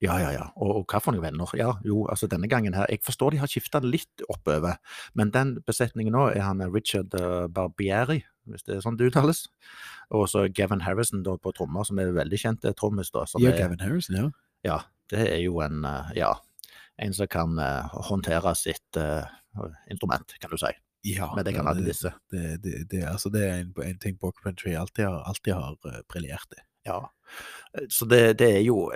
[SPEAKER 1] Ja, ja, ja. Og, og hva for noen venner? Ja, jo, altså denne gangen her Jeg forstår de har skifta litt oppover, men den besetningen nå er han eh, Richard eh, Barbieri, hvis det er sånn det uttales. Og så Gavin Harrison da på trommer, som er veldig kjent eh, trommis, da. Som
[SPEAKER 2] Ja,
[SPEAKER 1] er,
[SPEAKER 2] Gavin Harrison, ja.
[SPEAKER 1] ja, det er jo en eh, Ja, en som kan eh, håndtere sitt eh, instrument, kan du si.
[SPEAKER 2] Ja,
[SPEAKER 1] Men det kan alle disse.
[SPEAKER 2] Det, det, det, altså, det er en, en ting Pork Bantry alltid har, alltid har eh, briljert i.
[SPEAKER 1] Ja. Eh, Så det, det er jo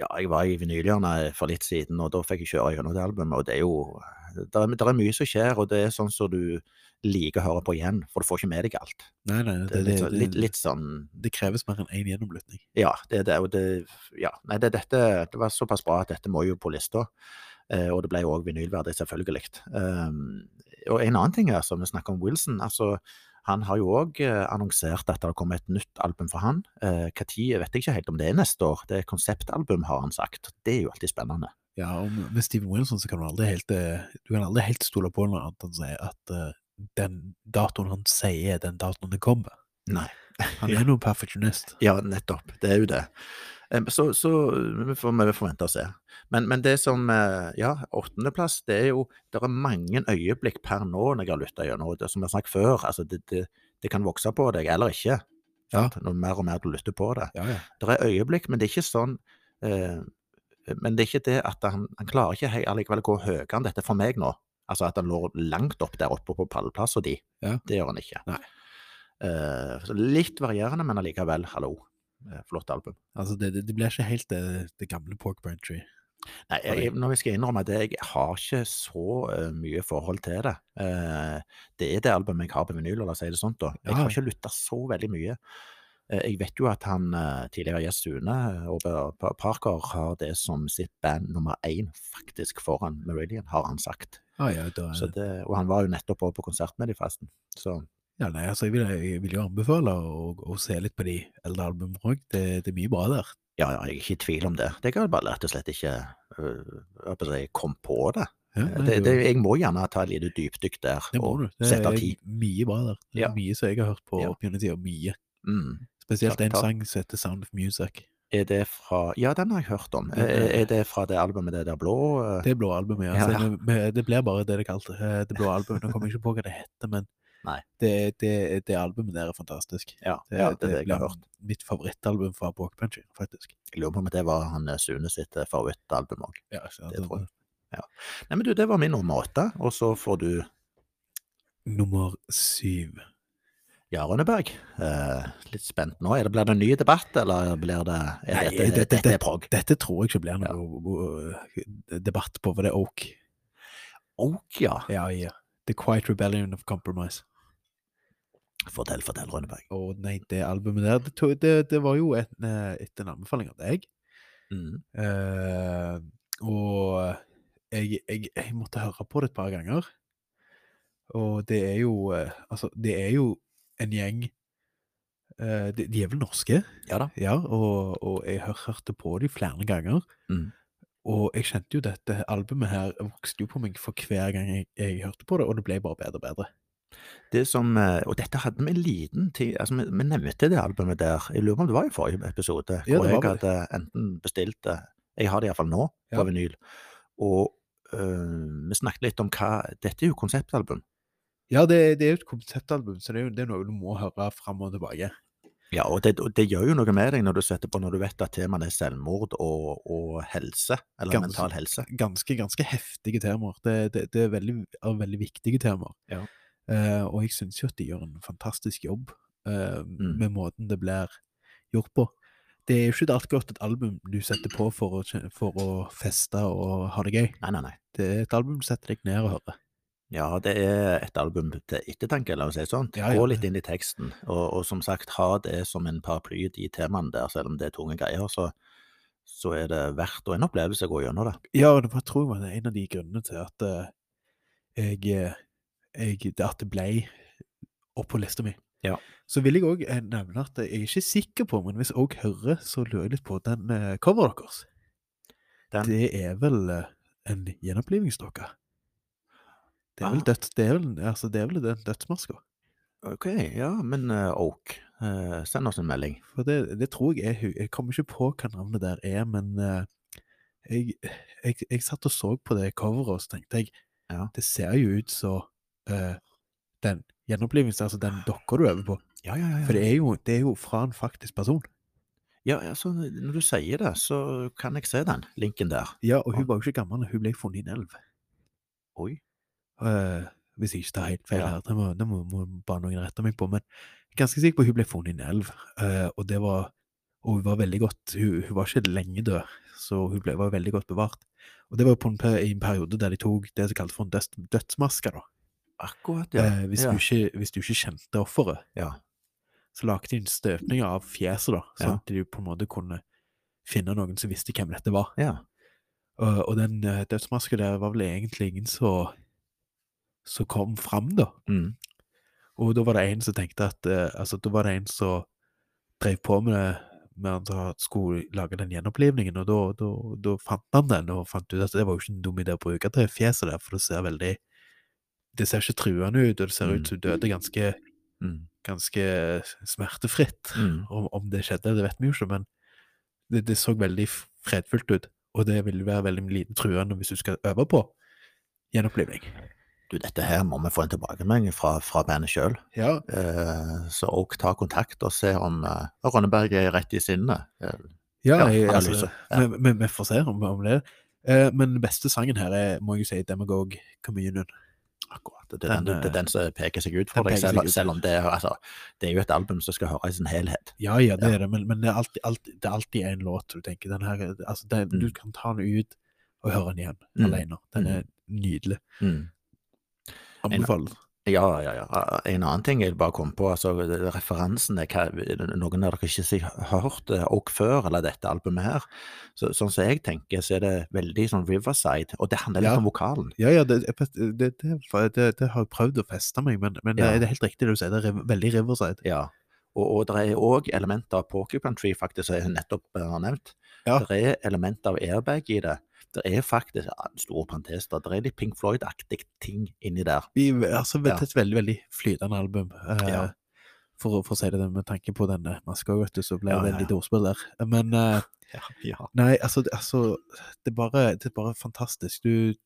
[SPEAKER 1] Ja, jeg var i vinylhjørnet for litt siden, og da fikk jeg kjøre gjennom det albumet, og det er jo Det er, der er mye som skjer, og det er sånn som du liker å høre på igjen, for du får ikke med deg alt.
[SPEAKER 2] Nei, nei,
[SPEAKER 1] Det er litt, sånn- litt, litt sånn
[SPEAKER 2] det kreves mer enn én gjennomlytning.
[SPEAKER 1] Ja, det er det, og det Ja. Nei, det, dette det var såpass bra at dette må jo på lista. Eh, og det ble jo òg vinylverdig, selvfølgelig. Um, og en annen ting her, som vi snakker om Wilson. altså han har jo òg annonsert at det kommer et nytt album for han. Når, vet jeg ikke helt om det er neste år. Det er konseptalbum, har han sagt. Det er jo alltid spennende.
[SPEAKER 2] Ja, og med med Steven Wilson så kan du aldri helt, eh, du kan aldri helt stole på noe annet enn å si at eh, den datoen han sier, er den datoen det kommer.
[SPEAKER 1] Nei.
[SPEAKER 2] Han er noen perfeksjonist.
[SPEAKER 1] Ja, nettopp. Det er jo det. Em, Så, så vi får vi forvente å se. Men, men det som eh, Ja, åttendeplass, det er jo Det er mange øyeblikk per nå når jeg har lytta gjennom. og det Som jeg har sagt før, altså det, det, det kan vokse på deg eller ikke.
[SPEAKER 2] Ja.
[SPEAKER 1] sant? Når mer og mer du lytter på det.
[SPEAKER 2] Ja, ja.
[SPEAKER 1] Det er øyeblikk, men det er ikke sånn eh, Men det er ikke det at han, han klarer ikke hei, allikevel å gå høyere enn dette for meg nå. Altså at han lå langt opp der oppe på pallplasser, de.
[SPEAKER 2] Ja.
[SPEAKER 1] Det gjør han ikke.
[SPEAKER 2] Nei.
[SPEAKER 1] Eh, så litt varierende, men allikevel, hallo. Eh, Flott album.
[SPEAKER 2] Altså, det, det, det blir ikke helt det, det gamle Pork Bantry.
[SPEAKER 1] Nei, jeg, jeg- når jeg skal innrømme det, jeg har ikke så eh, mye forhold til det. Eh, det er det albumet jeg har på vinyl, la oss si det sånn da. Jeg
[SPEAKER 2] Ja.
[SPEAKER 1] har ikke lytta så veldig mye. Eh, jeg vet jo at han eh, tidligere gjest Sune eh, Aabe Pa- Parker har det som sitt band nummer én faktisk foran Meridian, har han sagt.
[SPEAKER 2] Ah, ja, da,
[SPEAKER 1] Så det, og han var jo nettopp også på konsert med de forresten. Så
[SPEAKER 2] ja, nei, altså, jeg, vil, jeg vil jo anbefale å, å se litt på de eldre albumene òg. Det, det er mye bra der.
[SPEAKER 1] ja, ja, jeg er ikke i tvil om det. Det kan jeg bare rett og slett ikke øh, hva skal jeg si, komme på det.
[SPEAKER 2] Ja,
[SPEAKER 1] Eh,
[SPEAKER 2] nei,
[SPEAKER 1] det,
[SPEAKER 2] jo,
[SPEAKER 1] det. Jeg må gjerne ta et lite dypdykk der.
[SPEAKER 2] det må
[SPEAKER 1] og
[SPEAKER 2] du. Det
[SPEAKER 1] sette av
[SPEAKER 2] er
[SPEAKER 1] tid.
[SPEAKER 2] mye bra der. Det er
[SPEAKER 1] Ja.
[SPEAKER 2] Mye som jeg har hørt på
[SPEAKER 1] Ja.
[SPEAKER 2] opp gjennom tida. Mye.
[SPEAKER 1] Mm.
[SPEAKER 2] Spesielt
[SPEAKER 1] Ta-
[SPEAKER 2] en
[SPEAKER 1] ta-
[SPEAKER 2] sang som heter Sound of Music.
[SPEAKER 1] Er det fra Ja, den har jeg hørt om. Er, er det fra det albumet det der blå? eh?
[SPEAKER 2] Det blå albumet, ja.
[SPEAKER 1] Ja,
[SPEAKER 2] Så
[SPEAKER 1] ja.
[SPEAKER 2] det- men Det blir bare det det kalte. eh, Det blå albumet. Nå kommer jeg ikke på hva det heter, men
[SPEAKER 1] Nei.
[SPEAKER 2] det, det, det albumet der er fantastisk.
[SPEAKER 1] Ja, ja, det er det jeg har
[SPEAKER 2] blir
[SPEAKER 1] hørt.
[SPEAKER 2] Mitt favorittalbum fra Walkbenchen, faktisk.
[SPEAKER 1] Jeg lurer på om det var han eh, Sune sitt eh, favorittalbum òg.
[SPEAKER 2] Ja, så
[SPEAKER 1] Det
[SPEAKER 2] altså,
[SPEAKER 1] tror jeg. Nei, men du, det var min nummer åtte. Og så får du
[SPEAKER 2] Nummer syv.
[SPEAKER 1] Ja, Rønneberg. Eh, litt spent nå. Er det, blir det en ny debatt, eller blir det er
[SPEAKER 2] Nei,
[SPEAKER 1] dette,
[SPEAKER 2] det- det-
[SPEAKER 1] dette er prog.
[SPEAKER 2] Dette tror jeg ikke blir
[SPEAKER 1] Ja.
[SPEAKER 2] noe eh, debatt på, for det er Oak.
[SPEAKER 1] Ok, ja.
[SPEAKER 2] Ja, ja. The Quiet Rebellion of Compromise.
[SPEAKER 1] Fortell, fortell, Rønneberg.
[SPEAKER 2] Å nei, det albumet der, det, to- det, det var jo et, eh, etter en anbefaling av deg.
[SPEAKER 1] Mm.
[SPEAKER 2] Eh, og jeg, jeg, jeg måtte høre på det et par ganger. Og det er jo eh, Altså, det er jo en gjeng eh, de, de er vel norske,
[SPEAKER 1] Ja da.
[SPEAKER 2] ja, og, og jeg hør, hørte på dem flere ganger.
[SPEAKER 1] Mm.
[SPEAKER 2] Og jeg kjente jo dette albumet her vokste jo på meg for hver gang jeg, jeg hørte på det, og det ble bare bedre og bedre.
[SPEAKER 1] Det som, eh, og dette hadde vi en liten tid altså vi, vi nevnte det albumet der. Jeg lurer på om det var i forrige episode.
[SPEAKER 2] Ja,
[SPEAKER 1] hvor
[SPEAKER 2] det var
[SPEAKER 1] jeg
[SPEAKER 2] vel
[SPEAKER 1] hadde enten bestilt det Jeg har det iallfall nå, på
[SPEAKER 2] Ja.
[SPEAKER 1] vinyl. Og eh, vi snakket litt om hva Dette er jo konseptalbum.
[SPEAKER 2] Ja, det, det er jo et konseptalbum, så det er jo det er noe du må høre fram og tilbake.
[SPEAKER 1] Ja, og det, og det gjør jo noe med deg når du setter på når du vet at temaene er selvmord og, og helse. Eller
[SPEAKER 2] Ganske-
[SPEAKER 1] mental helse.
[SPEAKER 2] ganske, ganske heftige temaer. Det, det, det er veldig, er veldig viktige temaer.
[SPEAKER 1] Ja.
[SPEAKER 2] Eh, og jeg syns jo at de gjør en fantastisk jobb eh,
[SPEAKER 1] Mm.
[SPEAKER 2] med måten det blir gjort på. Det er jo ikke alltid godt et album du setter på for å, kje- for å feste og ha det gøy.
[SPEAKER 1] Nei, nei, nei.
[SPEAKER 2] Det er et album du setter deg ned og hører.
[SPEAKER 1] Ja, det er et album til ettertanke, la oss si det sånn.
[SPEAKER 2] Ja, ja.
[SPEAKER 1] Gå litt inn i teksten, og, og som sagt, ha det som en paraply, de temaene der, selv om det er tunge greier, så, så er det verdt og en opplevelse å gå gjennom det.
[SPEAKER 2] Ja, og det var, tror jeg var en av de grunnene til at eh, jeg, eh, jeg det At det ble opp på lista mi.
[SPEAKER 1] Ja.
[SPEAKER 2] Så vil jeg òg nevne at jeg er ikke sikker på, men hvis jeg òg hører, så lurer jeg litt på den eh, coveret eh, deres.
[SPEAKER 1] Den-
[SPEAKER 2] Det er vel eh, en gjenopplivningsdokke. Det er vel,
[SPEAKER 1] Ah.
[SPEAKER 2] død, det er vel, altså, det er vel den dødsmaska.
[SPEAKER 1] Ok, ja, men eh, Oak, eh, send oss en melding.
[SPEAKER 2] For det, det tror jeg er hun. Jeg kommer ikke på hva navnet der er, men eh, jeg, jeg, jeg satt og så på det coveret, og så tenkte jeg
[SPEAKER 1] Ja.
[SPEAKER 2] det ser jo ut som eh, den gjenopplivelse, altså den dokka du øver på.
[SPEAKER 1] Ja, ja, ja.
[SPEAKER 2] For det er, jo, det er jo fra en faktisk person.
[SPEAKER 1] ja altså, når du sier det, så kan jeg se den linken der.
[SPEAKER 2] Ja, og
[SPEAKER 1] Ja.
[SPEAKER 2] hun var jo ikke gammel, hun ble funnet i en elv.
[SPEAKER 1] Oi.
[SPEAKER 2] Eh, hvis jeg ikke tar helt feil
[SPEAKER 1] Ja.
[SPEAKER 2] her, det må, det må, må bare noen rette meg på, men jeg er ganske sikker på at hun ble funnet i en elv, eh, og det var og hun var veldig godt, hun, hun var ikke lenge død, så hun ble, var veldig godt bevart. Og det var på en, pe- i en periode der de tok det som kaltes for en døds, dødsmaske, da.
[SPEAKER 1] Akkurat, ja.
[SPEAKER 2] Eh, hvis,
[SPEAKER 1] ja.
[SPEAKER 2] du ikke, hvis du ikke kjente offeret,
[SPEAKER 1] Ja.
[SPEAKER 2] så lagde de en støpning av fjeset, da,
[SPEAKER 1] Ja.
[SPEAKER 2] sånn at de på en måte kunne finne noen som visste hvem dette var.
[SPEAKER 1] ja.
[SPEAKER 2] Og, og den eh, dødsmasken der var vel egentlig ingen som som kom fram, da.
[SPEAKER 1] Mm.
[SPEAKER 2] Og da var det en som tenkte at eh, Altså, da var det en som drev på med det med at han skulle lage den gjenopplivningen, og da, da, da fant han den, og fant ut at det var jo ikke en dum idé å bruke det fjeset der, for det ser veldig Det ser ikke truende ut, og det ser
[SPEAKER 1] Mm.
[SPEAKER 2] ut som hun døde ganske,
[SPEAKER 1] Mm.
[SPEAKER 2] ganske smertefritt.
[SPEAKER 1] Mm.
[SPEAKER 2] Om, om det skjedde, det vet vi jo ikke, men det, det så veldig fredfullt ut, og det vil være veldig lite truende hvis du skal øve på gjenopplivning.
[SPEAKER 1] Du, dette her må vi få en tilbakemelding fra, fra bandet sjøl.
[SPEAKER 2] Ja,
[SPEAKER 1] Eh, så òg ta kontakt og se om eh, Rønneberg er rett i sinnet. Eh,
[SPEAKER 2] Ja,
[SPEAKER 1] Ja,
[SPEAKER 2] jeg, altså,
[SPEAKER 1] analyse, ja.
[SPEAKER 2] vi- vi- vi får se om, om det. Eh, men den beste sangen her er, må jeg jo si, Demagog Communion.
[SPEAKER 1] Akkurat. Det er den,
[SPEAKER 2] Den, eh,
[SPEAKER 1] det er den som peker seg ut for
[SPEAKER 2] den
[SPEAKER 1] deg,
[SPEAKER 2] peker
[SPEAKER 1] selv,
[SPEAKER 2] seg ut.
[SPEAKER 1] selv om det, er- altså, det er jo et album som skal høres i sin helhet.
[SPEAKER 2] Ja, ja, det
[SPEAKER 1] Ja.
[SPEAKER 2] er det, men, men det, er alltid, alltid, det er alltid en låt du tenker den her, er- altså, det, Du
[SPEAKER 1] Mm.
[SPEAKER 2] kan ta den ut og høre den igjen
[SPEAKER 1] Mm.
[SPEAKER 2] alene. Den er nydelig.
[SPEAKER 1] Mm.
[SPEAKER 2] Anbefales.
[SPEAKER 1] Ja, ja, ja. En annen ting jeg bare kom på, altså referansene hva, Noen av dere ikke si- hørt eh, Oak før, eller dette albumet her. Så, sånn som jeg tenker, så er det veldig sånn Riverside, og det handler litt
[SPEAKER 2] Ja.
[SPEAKER 1] om vokalen.
[SPEAKER 2] Ja, ja, det, det, det, det, det, det har jeg prøvd å feste meg, men, men
[SPEAKER 1] Ja.
[SPEAKER 2] det er helt riktig det du sier. Det er riv- veldig Riverside.
[SPEAKER 1] Ja. Og, og det er òg elementer av Porcupine Tree, faktisk, som jeg nettopp eh, har nevnt.
[SPEAKER 2] Ja.
[SPEAKER 1] Det er elementer av airbag i det. Det er faktisk ja, en stor parentes, da. Det er litt Pink Floyd-aktig ting inni der.
[SPEAKER 2] Vi, altså,
[SPEAKER 1] Ja.
[SPEAKER 2] Det er et veldig, veldig flytende album. eh,
[SPEAKER 1] Ja.
[SPEAKER 2] For, å- for å si det med tanke på denne maska, vet du, så ble
[SPEAKER 1] Ja,
[SPEAKER 2] det
[SPEAKER 1] ja,
[SPEAKER 2] et lite ordspill der. Men eh,
[SPEAKER 1] Ja, ja.
[SPEAKER 2] Nei, altså, det- altså det, er bare, det er bare fantastisk. Du,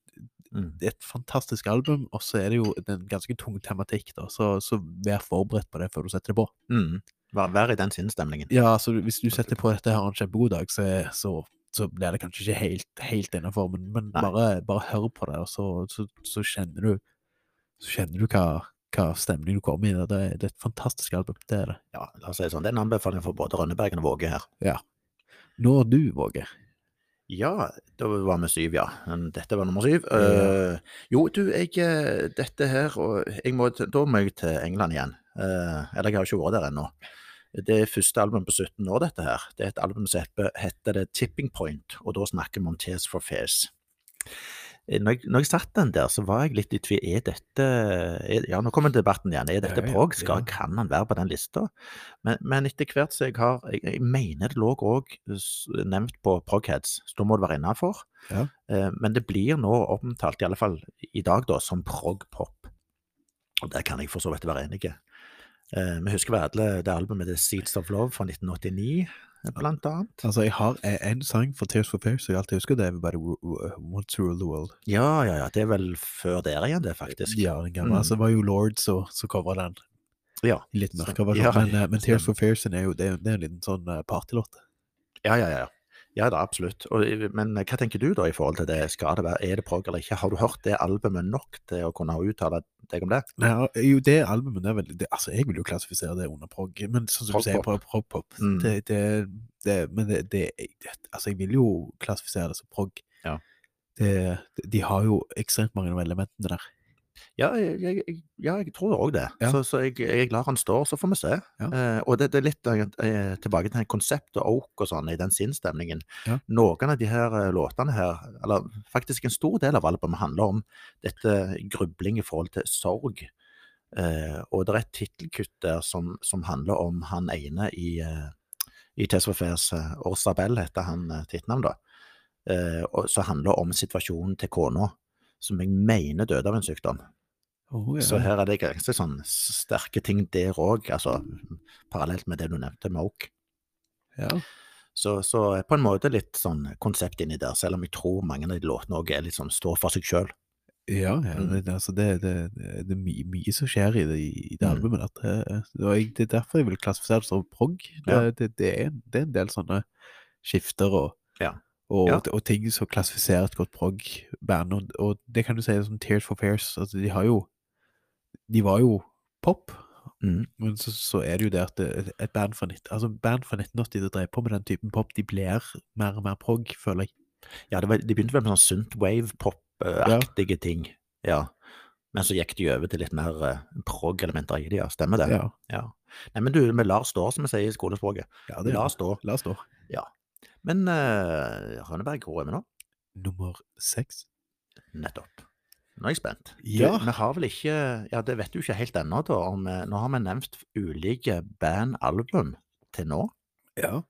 [SPEAKER 1] Mm.
[SPEAKER 2] det er et fantastisk album, og så er det jo det er en ganske tung tematikk, da, så, så vær forberedt på det før du setter det på.
[SPEAKER 1] Mm. Vær, vær i den sinnsstemningen.
[SPEAKER 2] Ja, altså, du- hvis du setter på dette her og har en kjempegod dag, så, så, så blir det kanskje ikke helt, helt innenfor, men, men
[SPEAKER 1] Nei.
[SPEAKER 2] bare, bare hør på det, og så, så, så kjenner du så kjenner du hva, hva stemning du kommer i. og Det, er- det er et fantastisk album, det er det.
[SPEAKER 1] Ja, la oss si det sånn. Det er en anbefaling for både Rønnebergen og Våge her.
[SPEAKER 2] Når du våger.
[SPEAKER 1] Ja, da var vi syv, ja. Men Dette var nummer syv.
[SPEAKER 2] Ja.
[SPEAKER 1] Eh, jo, du, jeg eh, Dette her og jeg må, til- Da må jeg til England igjen. Eh, eller jeg har ikke vært der ennå. Det er første album på 17 år, dette her. Det er et album som heter- heter det Tipping Point, og da snakker vi om Tears for Fairs. Eh, Når jeg, når jeg satt den der, så var jeg litt i tvil. Er dette er, Ja, nå kommer debatten igjen. Er dette
[SPEAKER 2] Ja, ja,
[SPEAKER 1] prog? Skal,
[SPEAKER 2] ja.
[SPEAKER 1] Kan han være på den lista? Men, men etter hvert som jeg har Jeg, jeg mener det lå òg nevnt på Progheads, så da må det være innafor.
[SPEAKER 2] Ja.
[SPEAKER 1] Men det blir nå omtalt, i alle fall i dag, da, som prog-pop. Og der kan jeg for så vidt være enig. Eh, Vi husker vel alle det albumet The Seeds of Love fra 1989, blant annet.
[SPEAKER 2] Altså, jeg har en- en sang for Tears for Fears som jeg alltid husker, det er bare Wo- Wo- Want to Rule the World.
[SPEAKER 1] Ja, ja, ja. Det er vel før der igjen, det, faktisk.
[SPEAKER 2] Ja, den gamle.
[SPEAKER 1] Mm.
[SPEAKER 2] Altså, det var jo Lord som som covra den.
[SPEAKER 1] Ja.
[SPEAKER 2] I litt mørkere
[SPEAKER 1] Så-
[SPEAKER 2] versjon.
[SPEAKER 1] ja,
[SPEAKER 2] men, eh, men Tears
[SPEAKER 1] stemmer.
[SPEAKER 2] for Fears den er jo det er, det er en liten sånn eh, partylåt.
[SPEAKER 1] Ja, ja, ja. Ja da, absolutt. Og, eh, men hva tenker du da i forhold til det? Skal det være, Er det prog eller ikke? Har du hørt det albumet nok til å kunne uttale deg om det?
[SPEAKER 2] Nei, ja, jo, det albumet det er veldig det, Altså, jeg vil jo klassifisere det under prog, men sånn som du sier,
[SPEAKER 1] Prog-pop.
[SPEAKER 2] prog-pop
[SPEAKER 1] Mm.
[SPEAKER 2] det, det, det, Men det, det Altså, jeg vil jo klassifisere det som prog.
[SPEAKER 1] Ja.
[SPEAKER 2] Det, de har jo ekstremt mange av elementene der.
[SPEAKER 1] Ja, jeg, jeg- jeg, ja, jeg tror òg det.
[SPEAKER 2] Ja.
[SPEAKER 1] Så, så jeg, jeg lar han stå, så får vi se.
[SPEAKER 2] Ja.
[SPEAKER 1] Eh, og det, det er litt eh, tilbake til konseptet Oak og sånn, i den sinnsstemningen.
[SPEAKER 2] Ja.
[SPEAKER 1] Noen av de her eh, låtene her, eller faktisk en stor del av albumet, handler om dette grubling i forhold til sorg. Eh, og det er et tittelkutt der som, som handler om han ene i, eh, i TSVFs Årsabell, heter han eh, tittelnavn, eh, da. eh, og- som handler om situasjonen til kona, som jeg mener døde av en sykdom.
[SPEAKER 2] Oh,
[SPEAKER 1] Så her er det ganske sånn sterke ting der òg, altså parallelt med det du nevnte med Oak.
[SPEAKER 2] ja.
[SPEAKER 1] Så, så på en måte litt sånn konsept inni der, selv om jeg tror mange av de låtene òg er litt sånn står for seg sjøl.
[SPEAKER 2] Ja, ja
[SPEAKER 1] Mm.
[SPEAKER 2] det, altså det, det, det er mye, mye som skjer i det, i det
[SPEAKER 1] Mm.
[SPEAKER 2] albumet. At det, og jeg, det er derfor jeg vil klassifisere det som prog. Det,
[SPEAKER 1] Ja.
[SPEAKER 2] det, det, er, det er en del sånne skifter og,
[SPEAKER 1] Ja.
[SPEAKER 2] og,
[SPEAKER 1] Ja.
[SPEAKER 2] og ting som klassifiserer et godt prog-band. Og, og det kan du si er som Tears for Fears. Altså, de har jo De var jo pop,
[SPEAKER 1] Mm.
[SPEAKER 2] men så, så er det jo det at det, et band fra, nitt- altså band fra 1980 som drev på med den typen pop, de blir mer og mer prog, føler jeg.
[SPEAKER 1] Ja, det var, de begynte vel med sånn synthwave-pop-aktige ting. Ja. Men så gikk de over til litt mer eh, prog-elementer i det, ja. Stemmer det?
[SPEAKER 2] Ja,
[SPEAKER 1] Ja. Nei, men du, vi lar stå, som vi sier i skolespråket.
[SPEAKER 2] ja
[SPEAKER 1] Vi
[SPEAKER 2] det
[SPEAKER 1] lar
[SPEAKER 2] er,
[SPEAKER 1] stå.
[SPEAKER 2] la oss stå.
[SPEAKER 1] Men uh, Rønneberg, hvor er vi nå?
[SPEAKER 2] Nummer seks.
[SPEAKER 1] Nettopp. Nå er jeg spent. Du,
[SPEAKER 2] Ja.
[SPEAKER 1] Vi har vel ikke Ja, det vet du ikke helt ennå, da. Om, eh, nå har vi nevnt ulike bandalbum til nå.
[SPEAKER 2] Ja.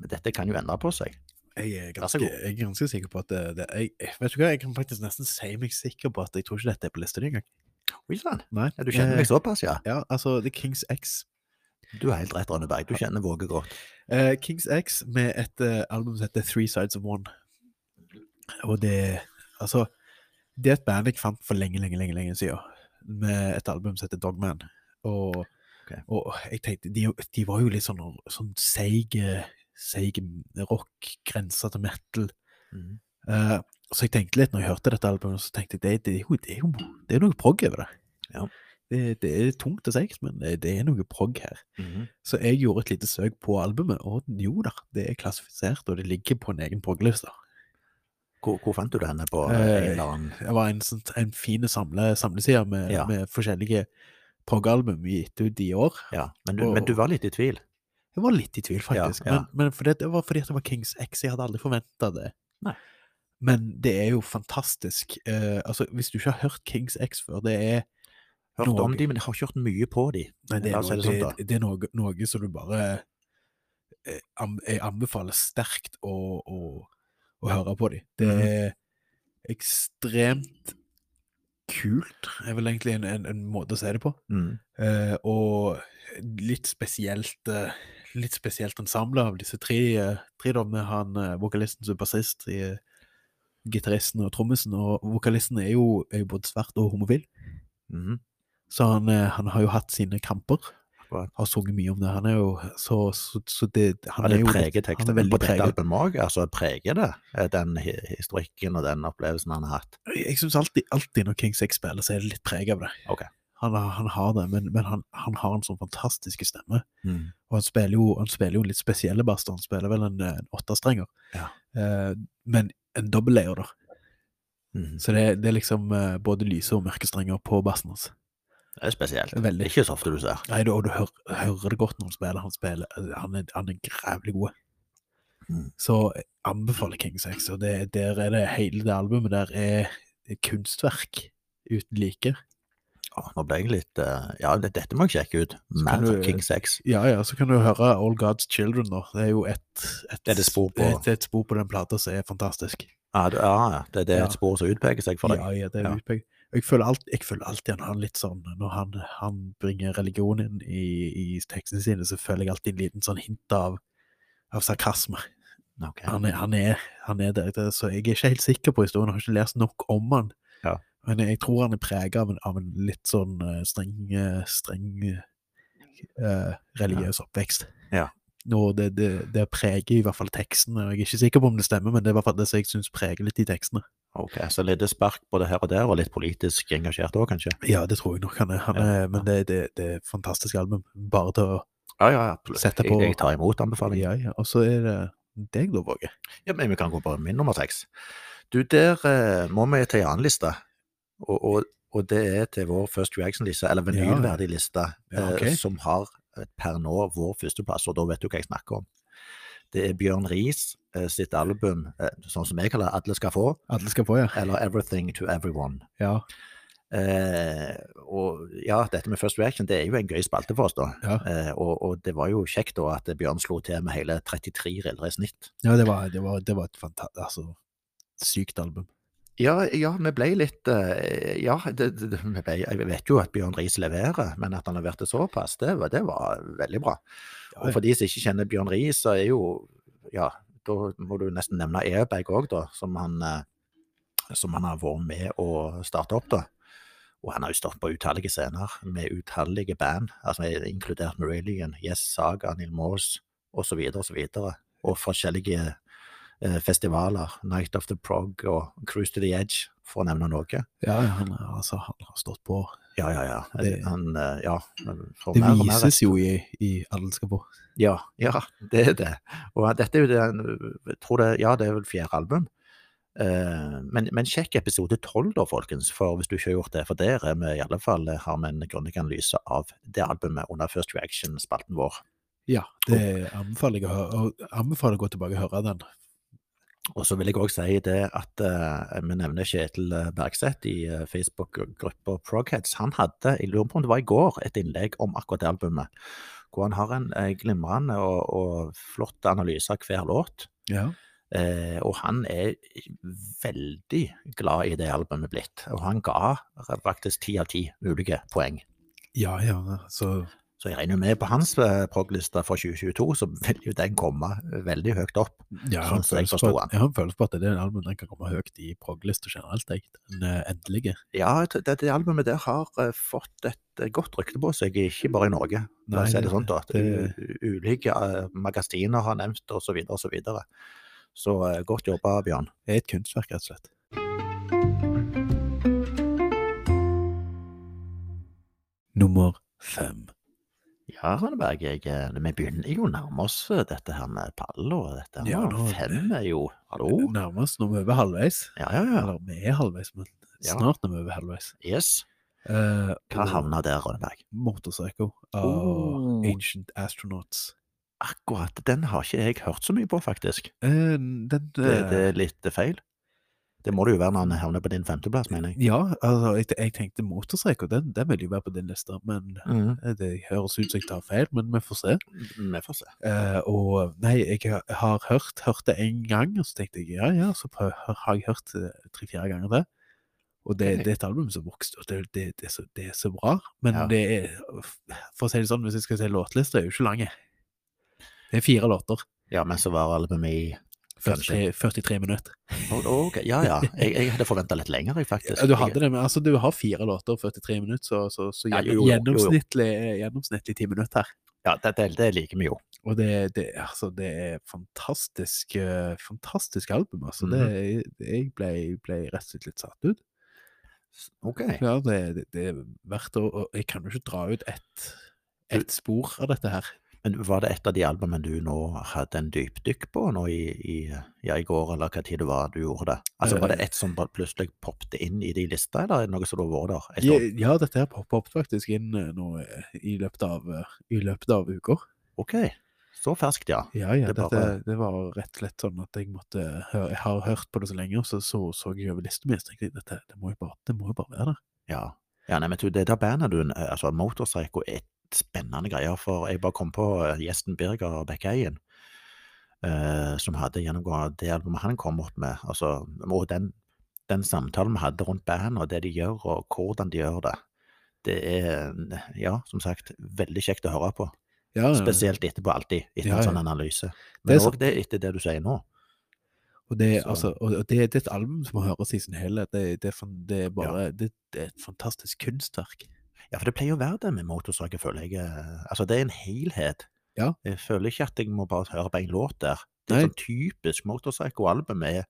[SPEAKER 1] Men dette kan jo endre på seg.
[SPEAKER 2] Jeg er,
[SPEAKER 1] Vær så
[SPEAKER 2] ganske,
[SPEAKER 1] god.
[SPEAKER 2] jeg er ganske sikker på at det, det jeg, jeg- Vet du hva, jeg kan faktisk nesten si meg sikker på at jeg tror ikke dette er på lista di engang.
[SPEAKER 1] Wilson,
[SPEAKER 2] Nei. eh,
[SPEAKER 1] ja, du kjenner meg såpass, ja?
[SPEAKER 2] Ja, altså The Kings X.
[SPEAKER 1] Du er helt rett, Rønneberg. Du kjenner Våge godt.
[SPEAKER 2] Eh, Kings X med et eh, album som heter Three Sides of One. Og det Altså, det er et band jeg fant for lenge, lenge, lenge lenge siden. Med et album som heter Dogman. Og,
[SPEAKER 1] Ok.
[SPEAKER 2] og jeg tenkte de, de var jo litt sånn, sånn seig seig rock, grensa til metal.
[SPEAKER 1] Mhm.
[SPEAKER 2] Eh, så jeg tenkte litt når jeg hørte dette albumet, så tenkte jeg det, det, er jo- det, er, jo, det er noe prog over det.
[SPEAKER 1] Ja.
[SPEAKER 2] Det, det er tungt og seigt, men det, det er noe prog her.
[SPEAKER 1] Mm.
[SPEAKER 2] Så jeg gjorde et lite søk på albumet, og jo da, det er klassifisert, og det ligger på en egen prog-liste.
[SPEAKER 1] hvor, hvor fant du det henne på eh,
[SPEAKER 2] Eh,
[SPEAKER 1] en eller annen
[SPEAKER 2] Det var en, sånn- en fin samle, samleside med,
[SPEAKER 1] Ja.
[SPEAKER 2] med forskjellige prog-album gitt ut i år.
[SPEAKER 1] Ja, men du, men du
[SPEAKER 2] Og-
[SPEAKER 1] var litt i tvil.
[SPEAKER 2] Jeg var litt i tvil, faktisk.
[SPEAKER 1] Ja, ja.
[SPEAKER 2] Men, men fordi det var fordi at det var Kings X. Jeg hadde aldri forventa det.
[SPEAKER 1] Nei.
[SPEAKER 2] Men det er jo fantastisk. Eh, altså, hvis du ikke har hørt Kings X før, det er
[SPEAKER 1] Hørt
[SPEAKER 2] Norge.
[SPEAKER 1] om de, men jeg har ikke hørt mye på de.
[SPEAKER 2] Nei, det
[SPEAKER 1] La
[SPEAKER 2] er,
[SPEAKER 1] oss si
[SPEAKER 2] noe,
[SPEAKER 1] det
[SPEAKER 2] det,
[SPEAKER 1] sånn, da.
[SPEAKER 2] det er noe, noe som du bare eh, am- Jeg anbefaler sterkt å, å, å høre på dem. Det
[SPEAKER 1] Mhm.
[SPEAKER 2] er ekstremt kult, er vel egentlig en, en, en måte å si det på.
[SPEAKER 1] Mm.
[SPEAKER 2] Eh, og litt spesielt eh, Litt spesielt ensemble av disse tre. eh, tre da, med han eh, vokalisten som er bassist, i- gitaristen og trommisen. Og vokalisten er jo, er jo både svart og homofil,
[SPEAKER 1] Mhm.
[SPEAKER 2] så han, eh, han har jo hatt sine kamper.
[SPEAKER 1] Akkurat.
[SPEAKER 2] Har sunget mye om det. Han er jo så, så, så det,
[SPEAKER 1] Ja,
[SPEAKER 2] han
[SPEAKER 1] det
[SPEAKER 2] er jo
[SPEAKER 1] preger
[SPEAKER 2] litt-
[SPEAKER 1] teksten
[SPEAKER 2] Han er
[SPEAKER 1] på
[SPEAKER 2] veldig
[SPEAKER 1] dette
[SPEAKER 2] preget.
[SPEAKER 1] albumet òg. Altså, preger det eh, den hi- historikken og den opplevelsen han har hatt?
[SPEAKER 2] Jeg syns alltid, alltid når Kings X spiller, så er det litt preg av det.
[SPEAKER 1] Ok.
[SPEAKER 2] Han, har- han har det, men, men han, han har en sånn fantastisk stemme. Og han spiller jo, han spiller jo litt spesielle bass, han spiller vel en, eh, en åtterstrenger.
[SPEAKER 1] Ja.
[SPEAKER 2] Eh, men en dobbel-layer, da.
[SPEAKER 1] Mhm.
[SPEAKER 2] Så det, det er liksom eh, både lyse og mørke strenger på bassen hans.
[SPEAKER 1] Det er spesielt. Det er
[SPEAKER 2] Veldig.
[SPEAKER 1] ikke så ofte du ser.
[SPEAKER 2] Nei, da, og du hør, hører det godt når han spiller. Han, spiller, eh, han, er, han er grævlig god.
[SPEAKER 1] Mm.
[SPEAKER 2] Så jeg anbefaler King Sex, og det, der er det hele det albumet der er et kunstverk uten like.
[SPEAKER 1] Å, nå ble jeg litt eh, Ja, det, dette må jeg sjekke ut. Mer
[SPEAKER 2] kan du-
[SPEAKER 1] King 6.
[SPEAKER 2] Ja, ja, så kan du høre All God's Children, da. Det er jo et, et,
[SPEAKER 1] Det er det spor på.
[SPEAKER 2] et, et spor på den plata som er fantastisk.
[SPEAKER 1] Ja, det, ja, det, det er
[SPEAKER 2] Ja.
[SPEAKER 1] et spor som utpeker seg for deg.
[SPEAKER 2] Ja, ja, det er
[SPEAKER 1] Ja.
[SPEAKER 2] utpekt. Og Jeg føler, alt, jeg føler alltid han har litt sånn Når han, han bringer religion inn i, i tekstene sine, så føler jeg alltid en liten sånn hint av, av sarkasme.
[SPEAKER 1] Ok.
[SPEAKER 2] Han er, han er, han er der, det- så jeg er ikke helt sikker på historien. Jeg har ikke lest nok om han.
[SPEAKER 1] Ja.
[SPEAKER 2] Men jeg tror han er prega av, en- av en litt sånn eh, streng, eh, streng eh, religiøs oppvekst.
[SPEAKER 1] Ja.
[SPEAKER 2] Og det, det, det preger i hvert fall tekstene. og Jeg er ikke sikker på om det stemmer, men det er i hvert fall det som jeg syns preger litt de tekstene.
[SPEAKER 1] ok, Så litt spark både her og der, og litt politisk engasjert òg, kanskje?
[SPEAKER 2] Ja, det tror jeg nok han er. Han
[SPEAKER 1] Ja.
[SPEAKER 2] er Men det, det, det er et fantastisk album. Bare til å
[SPEAKER 1] Ja, ja, ja.
[SPEAKER 2] Sette
[SPEAKER 1] Jeg,
[SPEAKER 2] på-
[SPEAKER 1] jeg tar imot anbefalingen.
[SPEAKER 2] Ja, ja. Og så er det deg, da, Våge.
[SPEAKER 1] Ja, men vi kan gå på min nummer seks. Du, der eh, må vi til en annen liste. Og, og, og det er til vår First Reaction-liste, eller vinylverdig liste,
[SPEAKER 2] Ja, ok.
[SPEAKER 1] eh, som har eh, per nå vår førsteplass, og da vet du hva jeg snakker om. Det er Bjørn Riis eh, sitt album, eh, sånn som jeg kaller 'Alle skal få',
[SPEAKER 2] Alle skal på, ja.
[SPEAKER 1] eller 'Everything to Everyone'.
[SPEAKER 2] Ja,
[SPEAKER 1] Eh, og ja, dette med First Reaction, det er jo en gøy spalte for oss, da.
[SPEAKER 2] ja.
[SPEAKER 1] Eh, og, og det var jo kjekt da at Bjørn slo til med hele 33 riller i snitt.
[SPEAKER 2] ja det, var, det, var, det var et fantastisk altså, Sykt album.
[SPEAKER 1] Ja, ja, vi ble litt eh, Ja, det, det, det- vi ble, jeg vet jo at Bjørn Riis leverer, men at han leverte såpass, det, var- det var veldig bra. Og for de som ikke kjenner Bjørn Riis, så er jo Ja, da må du nesten nevne Eberg òg, da, som han, eh, som han har vært med å starte opp, da. Og han har jo stått på utallige scener med utallige band, altså inkludert Marillion, Yes Saga, Neil Morse osv. videre og forskjellige eh, festivaler. Night of the Prog og Cruise to the Edge, for å nevne noe.
[SPEAKER 2] Ja, ja, han, har- altså, han har stått på.
[SPEAKER 1] Ja, ja, ja.
[SPEAKER 2] Det-
[SPEAKER 1] Han, eh, ja men får
[SPEAKER 2] Det
[SPEAKER 1] mer og mer
[SPEAKER 2] vises jo i, i Alle skal på.
[SPEAKER 1] Ja, ja, det er det. Og dette er jo det jeg tror det, Ja, det er vel fjerde album. Eh, men, men sjekk episode tolv, da, folkens, for hvis du ikke har gjort det. For der er vi i alle fall har vi en grundig analyse av det albumet under First Reaction-spalten vår.
[SPEAKER 2] Ja, det anbefaler jeg å, hø- og anbefaler å gå tilbake og høre den.
[SPEAKER 1] Og så vil jeg òg si det at eh, vi nevner Kjetil Bergseth i eh, Facebook-gruppa Progheads. Han hadde, jeg lurer på om det var i går, et innlegg om akkurat det albumet. Hvor han har en eh, glimrende og, og flott analyse av hver låt.
[SPEAKER 2] Ja.
[SPEAKER 1] Eh, og han er veldig glad i det albumet blitt. Og han ga faktisk ti av ti mulige poeng.
[SPEAKER 2] Ja, ja, så
[SPEAKER 1] Så jeg regner jo med på hans eh, progliste for 2022, så vil jo den komme veldig høyt opp.
[SPEAKER 2] ja,
[SPEAKER 1] Sånn
[SPEAKER 2] han
[SPEAKER 1] som jeg
[SPEAKER 2] føles på
[SPEAKER 1] forstod
[SPEAKER 2] at, jeg har en følelse på at det er en album den kan komme høyt i proglista generelt, jeg. Den eh, endelige.
[SPEAKER 1] Ja, jeg tror det, det albumet der har eh, fått et eh, godt rykte på seg, ikke bare i Norge. Nei,
[SPEAKER 2] Nei,
[SPEAKER 1] si det
[SPEAKER 2] det-
[SPEAKER 1] sånn, da. at
[SPEAKER 2] det-
[SPEAKER 1] u- Ulike eh, magasiner har nevnt det, osv., osv. Så, videre. så eh, godt jobba, Bjørn.
[SPEAKER 2] Det er et kunstverk, rett og slett. Nummer fem.
[SPEAKER 1] Ja, Rønneberg, jeg, eh, vi begynner jo å nærme oss eh, dette her med pall og dette her
[SPEAKER 2] Ja,
[SPEAKER 1] med
[SPEAKER 2] nå-
[SPEAKER 1] fem er jo Hallo?
[SPEAKER 2] Oh. Nærmest når vi er over halvveis.
[SPEAKER 1] Ja, ja, ja.
[SPEAKER 2] Eller vi er halvveis, men
[SPEAKER 1] Ja.
[SPEAKER 2] snart når vi er over halvveis.
[SPEAKER 1] Yes.
[SPEAKER 2] Uh,
[SPEAKER 1] Hva havna der, Rønneberg?
[SPEAKER 2] Motorpsycho av
[SPEAKER 1] Oh.
[SPEAKER 2] Ancient Astronauts.
[SPEAKER 1] Akkurat den har ikke jeg hørt så mye på, faktisk.
[SPEAKER 2] Eh, den
[SPEAKER 1] Det,
[SPEAKER 2] eh,
[SPEAKER 1] det er litt feil. Det må det jo være når han havner på din femteplass, mener jeg.
[SPEAKER 2] Ja, altså, jeg, jeg tenkte Motorpsycho, den, den vil jo være på din liste, men
[SPEAKER 1] Mhm.
[SPEAKER 2] eh, det høres ut som jeg tar feil, men vi får se.
[SPEAKER 1] Vi får se.
[SPEAKER 2] Eh, og nei, jeg har- har hørt, hørt det en gang, og så tenkte jeg ja, ja, så prøv, har har jeg hørt eh, tre-fire ganger det. Og det,
[SPEAKER 1] Ok.
[SPEAKER 2] det er et album som vokste, og det, det, det, er, så, det er så bra. Men
[SPEAKER 1] Ja.
[SPEAKER 2] det er, for å si det sånn, hvis jeg skal si låtlista, er jo ikke lang. Det er fire låter.
[SPEAKER 1] Ja, men så var albumet i
[SPEAKER 2] 43, 43 minutter.
[SPEAKER 1] Å, Ok, ja ja. Jeg, jeg hadde forventa litt lenger, jeg, faktisk.
[SPEAKER 2] Ja, Du hadde det, men altså, du har fire låter og 43 minutter, så, så, så
[SPEAKER 1] Ja,
[SPEAKER 2] gjennom,
[SPEAKER 1] jo, jo, jo, jo.
[SPEAKER 2] gjennomsnittlig, eh, gjennomsnittlig ti minutter her.
[SPEAKER 1] Ja, det, det, det liker vi jo.
[SPEAKER 2] Og det, det, altså, det er fantastisk, eh, fantastisk album. Altså.
[SPEAKER 1] Mhm.
[SPEAKER 2] Det- det, jeg ble, ble rett og slett litt satt ut.
[SPEAKER 1] Ok.
[SPEAKER 2] Ja, det, det, det er verdt å og Jeg kan jo ikke dra ut ett et spor av dette her.
[SPEAKER 1] Men var det et av de albumene du nå hadde en dypdykk på nå i, i, ja, i går, eller hva tid det var du gjorde det? Altså,
[SPEAKER 2] Eh.
[SPEAKER 1] Var det ett som bare plutselig poppet inn i de lista, eller er det noe som har vært der? en
[SPEAKER 2] Ja,
[SPEAKER 1] stund?
[SPEAKER 2] ja, dette her popper opp faktisk inn eh, nå eh, i løpet av, eh, i løpet av uker.
[SPEAKER 1] Ok, så ferskt, ja.
[SPEAKER 2] Ja, ja,
[SPEAKER 1] Det
[SPEAKER 2] det,
[SPEAKER 1] er
[SPEAKER 2] dette,
[SPEAKER 1] bare-
[SPEAKER 2] det var rett og slett sånn at jeg måtte høre, Jeg har hørt på det så lenge, og så så, så jeg over lista mi, og så tenkte jeg dette, det må jo bare, det må jo bare være der.
[SPEAKER 1] Ja, ja nei, men du, det der bandet du, altså Motorpsycho er et spennende greier, for jeg bare kom på eh, gjesten Birger Bekkeien, eh, som hadde gjennomgått det albumet han kom opp med, altså, og den, den samtalen vi hadde rundt bandet, og det de gjør, og hvordan de gjør det, det er, eh, ja, som sagt, veldig kjekt å høre på,
[SPEAKER 2] Ja, ja.
[SPEAKER 1] spesielt etterpå alltid, etter
[SPEAKER 2] Ja, ja.
[SPEAKER 1] en sånn analyse.
[SPEAKER 2] Det er
[SPEAKER 1] Men også det etter det du sier nå.
[SPEAKER 2] Og det, er
[SPEAKER 1] Så-
[SPEAKER 2] altså, og og det, det er et album som må høres i sin helhet. Det, det, er fan- det er bare det, det er et fantastisk kunstverk.
[SPEAKER 1] Ja, for det pleier å være det med motorsaker, føler jeg. eh, Altså, det er en helhet.
[SPEAKER 2] Ja.
[SPEAKER 1] Jeg føler ikke at jeg må bare høre på en låt der. Det
[SPEAKER 2] Nei.
[SPEAKER 1] er sånn typisk motorpsycho-album er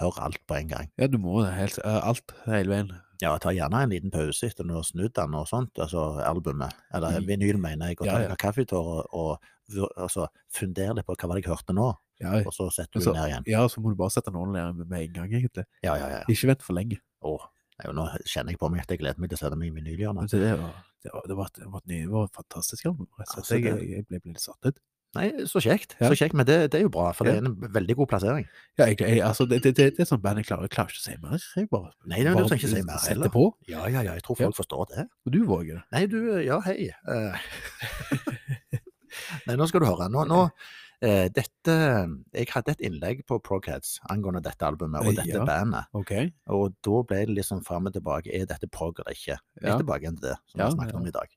[SPEAKER 1] hør alt på en gang.
[SPEAKER 2] Ja, du må det helt, eh, alt hele veien.
[SPEAKER 1] Ja, ta gjerne en liten pause etter når du har snudd den og sånt, altså albumet. Eller
[SPEAKER 2] Mm.
[SPEAKER 1] vinyl, mener jeg, og
[SPEAKER 2] Ja,
[SPEAKER 1] ta
[SPEAKER 2] ja.
[SPEAKER 1] en kaffetår og, og vur- altså, fundere litt på hva var det jeg hørte nå,
[SPEAKER 2] Ja,
[SPEAKER 1] og så setter du
[SPEAKER 2] altså,
[SPEAKER 1] den ned igjen.
[SPEAKER 2] ja så må du bare sette den ordentlig ned med- med en gang, egentlig.
[SPEAKER 1] Ja, ja, ja.
[SPEAKER 2] Ikke vent for lenge.
[SPEAKER 1] Åh, jo, nå kjenner jeg på meg at jeg gleder meg til å sette meg i vinylhjørnet.
[SPEAKER 2] Altså, det, var, det, var, det, var et, det, var et ny, det var et fantastisk album. rett og slett.
[SPEAKER 1] Altså, det-
[SPEAKER 2] jeg, jeg ble, ble litt satt ut.
[SPEAKER 1] Nei, så kjekt.
[SPEAKER 2] Ja.
[SPEAKER 1] Så kjekt, men det, det er jo bra, for
[SPEAKER 2] Ja.
[SPEAKER 1] det er en veldig god plassering.
[SPEAKER 2] Ja, jeg, jeg, altså, det, det, det, det er sånn band jeg klarer, jeg klarer ikke å si mer. Jeg bare,
[SPEAKER 1] Nei, nei, du
[SPEAKER 2] bare
[SPEAKER 1] trenger ikke si mer
[SPEAKER 2] setter
[SPEAKER 1] heller.
[SPEAKER 2] på.
[SPEAKER 1] Ja, ja, ja, jeg tror
[SPEAKER 2] Ja.
[SPEAKER 1] folk forstår det.
[SPEAKER 2] Og du våger det.
[SPEAKER 1] Nei, du, ja, hei. Eh, Nei, nå skal du høre. Nå, nå, Eh, dette, jeg hadde et innlegg på Progheads angående dette albumet og
[SPEAKER 2] Eh,
[SPEAKER 1] dette
[SPEAKER 2] ja.
[SPEAKER 1] bandet.
[SPEAKER 2] OK.
[SPEAKER 1] Og da ble det liksom fram og tilbake. Er dette prog eller ikke? Litt
[SPEAKER 2] Ja.
[SPEAKER 1] tilbake igjen til det som vi
[SPEAKER 2] Ja,
[SPEAKER 1] har snakket om i dag.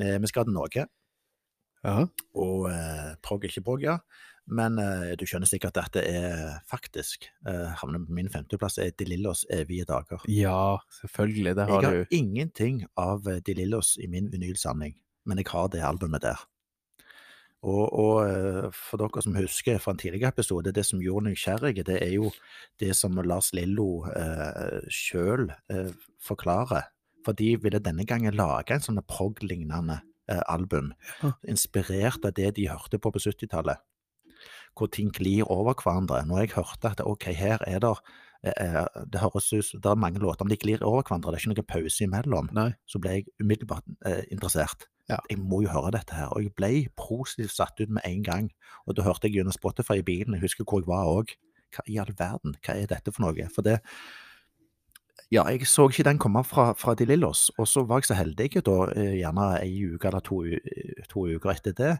[SPEAKER 1] Eh, vi skal til Norge,
[SPEAKER 2] Ja.
[SPEAKER 1] og eh, prog ikke prog, ja. Men eh, du skjønner sikkert at det er faktisk eh, Havner på min femteplass er De Lillos evige dager.
[SPEAKER 2] ja, selvfølgelig. Der
[SPEAKER 1] Jeg
[SPEAKER 2] har
[SPEAKER 1] har
[SPEAKER 2] du
[SPEAKER 1] ingenting av eh, De Lillos i min vinylsamling, men jeg har det albumet der. Og, og eh, for dere som husker fra en tidligere episode, det som gjorde meg nysgjerrig, det er jo det som Lars Lillo eh, sjøl eh, forklarer. For de ville denne gangen lage en sånn prog-lignende eh, album,
[SPEAKER 2] Ja.
[SPEAKER 1] inspirert av det de hørte på på 70-tallet. Hvor ting glir over hverandre. Når jeg hørte at ok, her er det eh, det høres ut som det er mange låter, men de glir over hverandre. Det er ikke noen pause imellom.
[SPEAKER 2] Nei.
[SPEAKER 1] Så ble jeg umiddelbart eh, interessert.
[SPEAKER 2] Ja.
[SPEAKER 1] Jeg må jo høre dette her. Og jeg ble positivt satt ut med en gang. Og da hørte jeg gjennom Spotify i bilen, jeg husker hvor jeg var òg. Hva i all verden, hva er dette for noe? For det Ja, jeg så ikke den komme fra, fra De Lillos. Og så var jeg så heldig, da, eh, gjerne ei uke eller to, u- to uker etter det,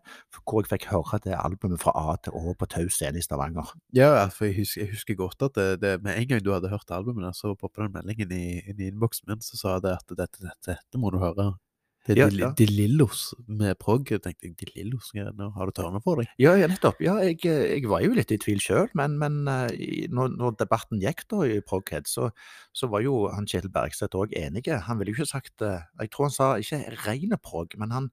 [SPEAKER 1] hvor jeg fikk høre det albumet fra A til Å på Tau scene i Stavanger.
[SPEAKER 2] Ja, for jeg husker, jeg husker godt at det, det, med en gang du hadde hørt albumene, så poppa den meldingen i, inn i innboksen min, så sa det at dette, dette, dette må du høre. Det er
[SPEAKER 1] Ja,
[SPEAKER 2] de,
[SPEAKER 1] ja.
[SPEAKER 2] de Lillos med prog. Jeg tenkte De Lillos, ja, nå har du tørna for deg?
[SPEAKER 1] Ja, ja nettopp. Ja, jeg, eh, jeg var jo litt i tvil sjøl, men, men eh, i- når, når debatten gikk da i Proghead, så, så var jo han Kjetil Bergseth òg enig. Han ville jo ikke sagt eh, Jeg tror han sa ikke rene prog, men, han,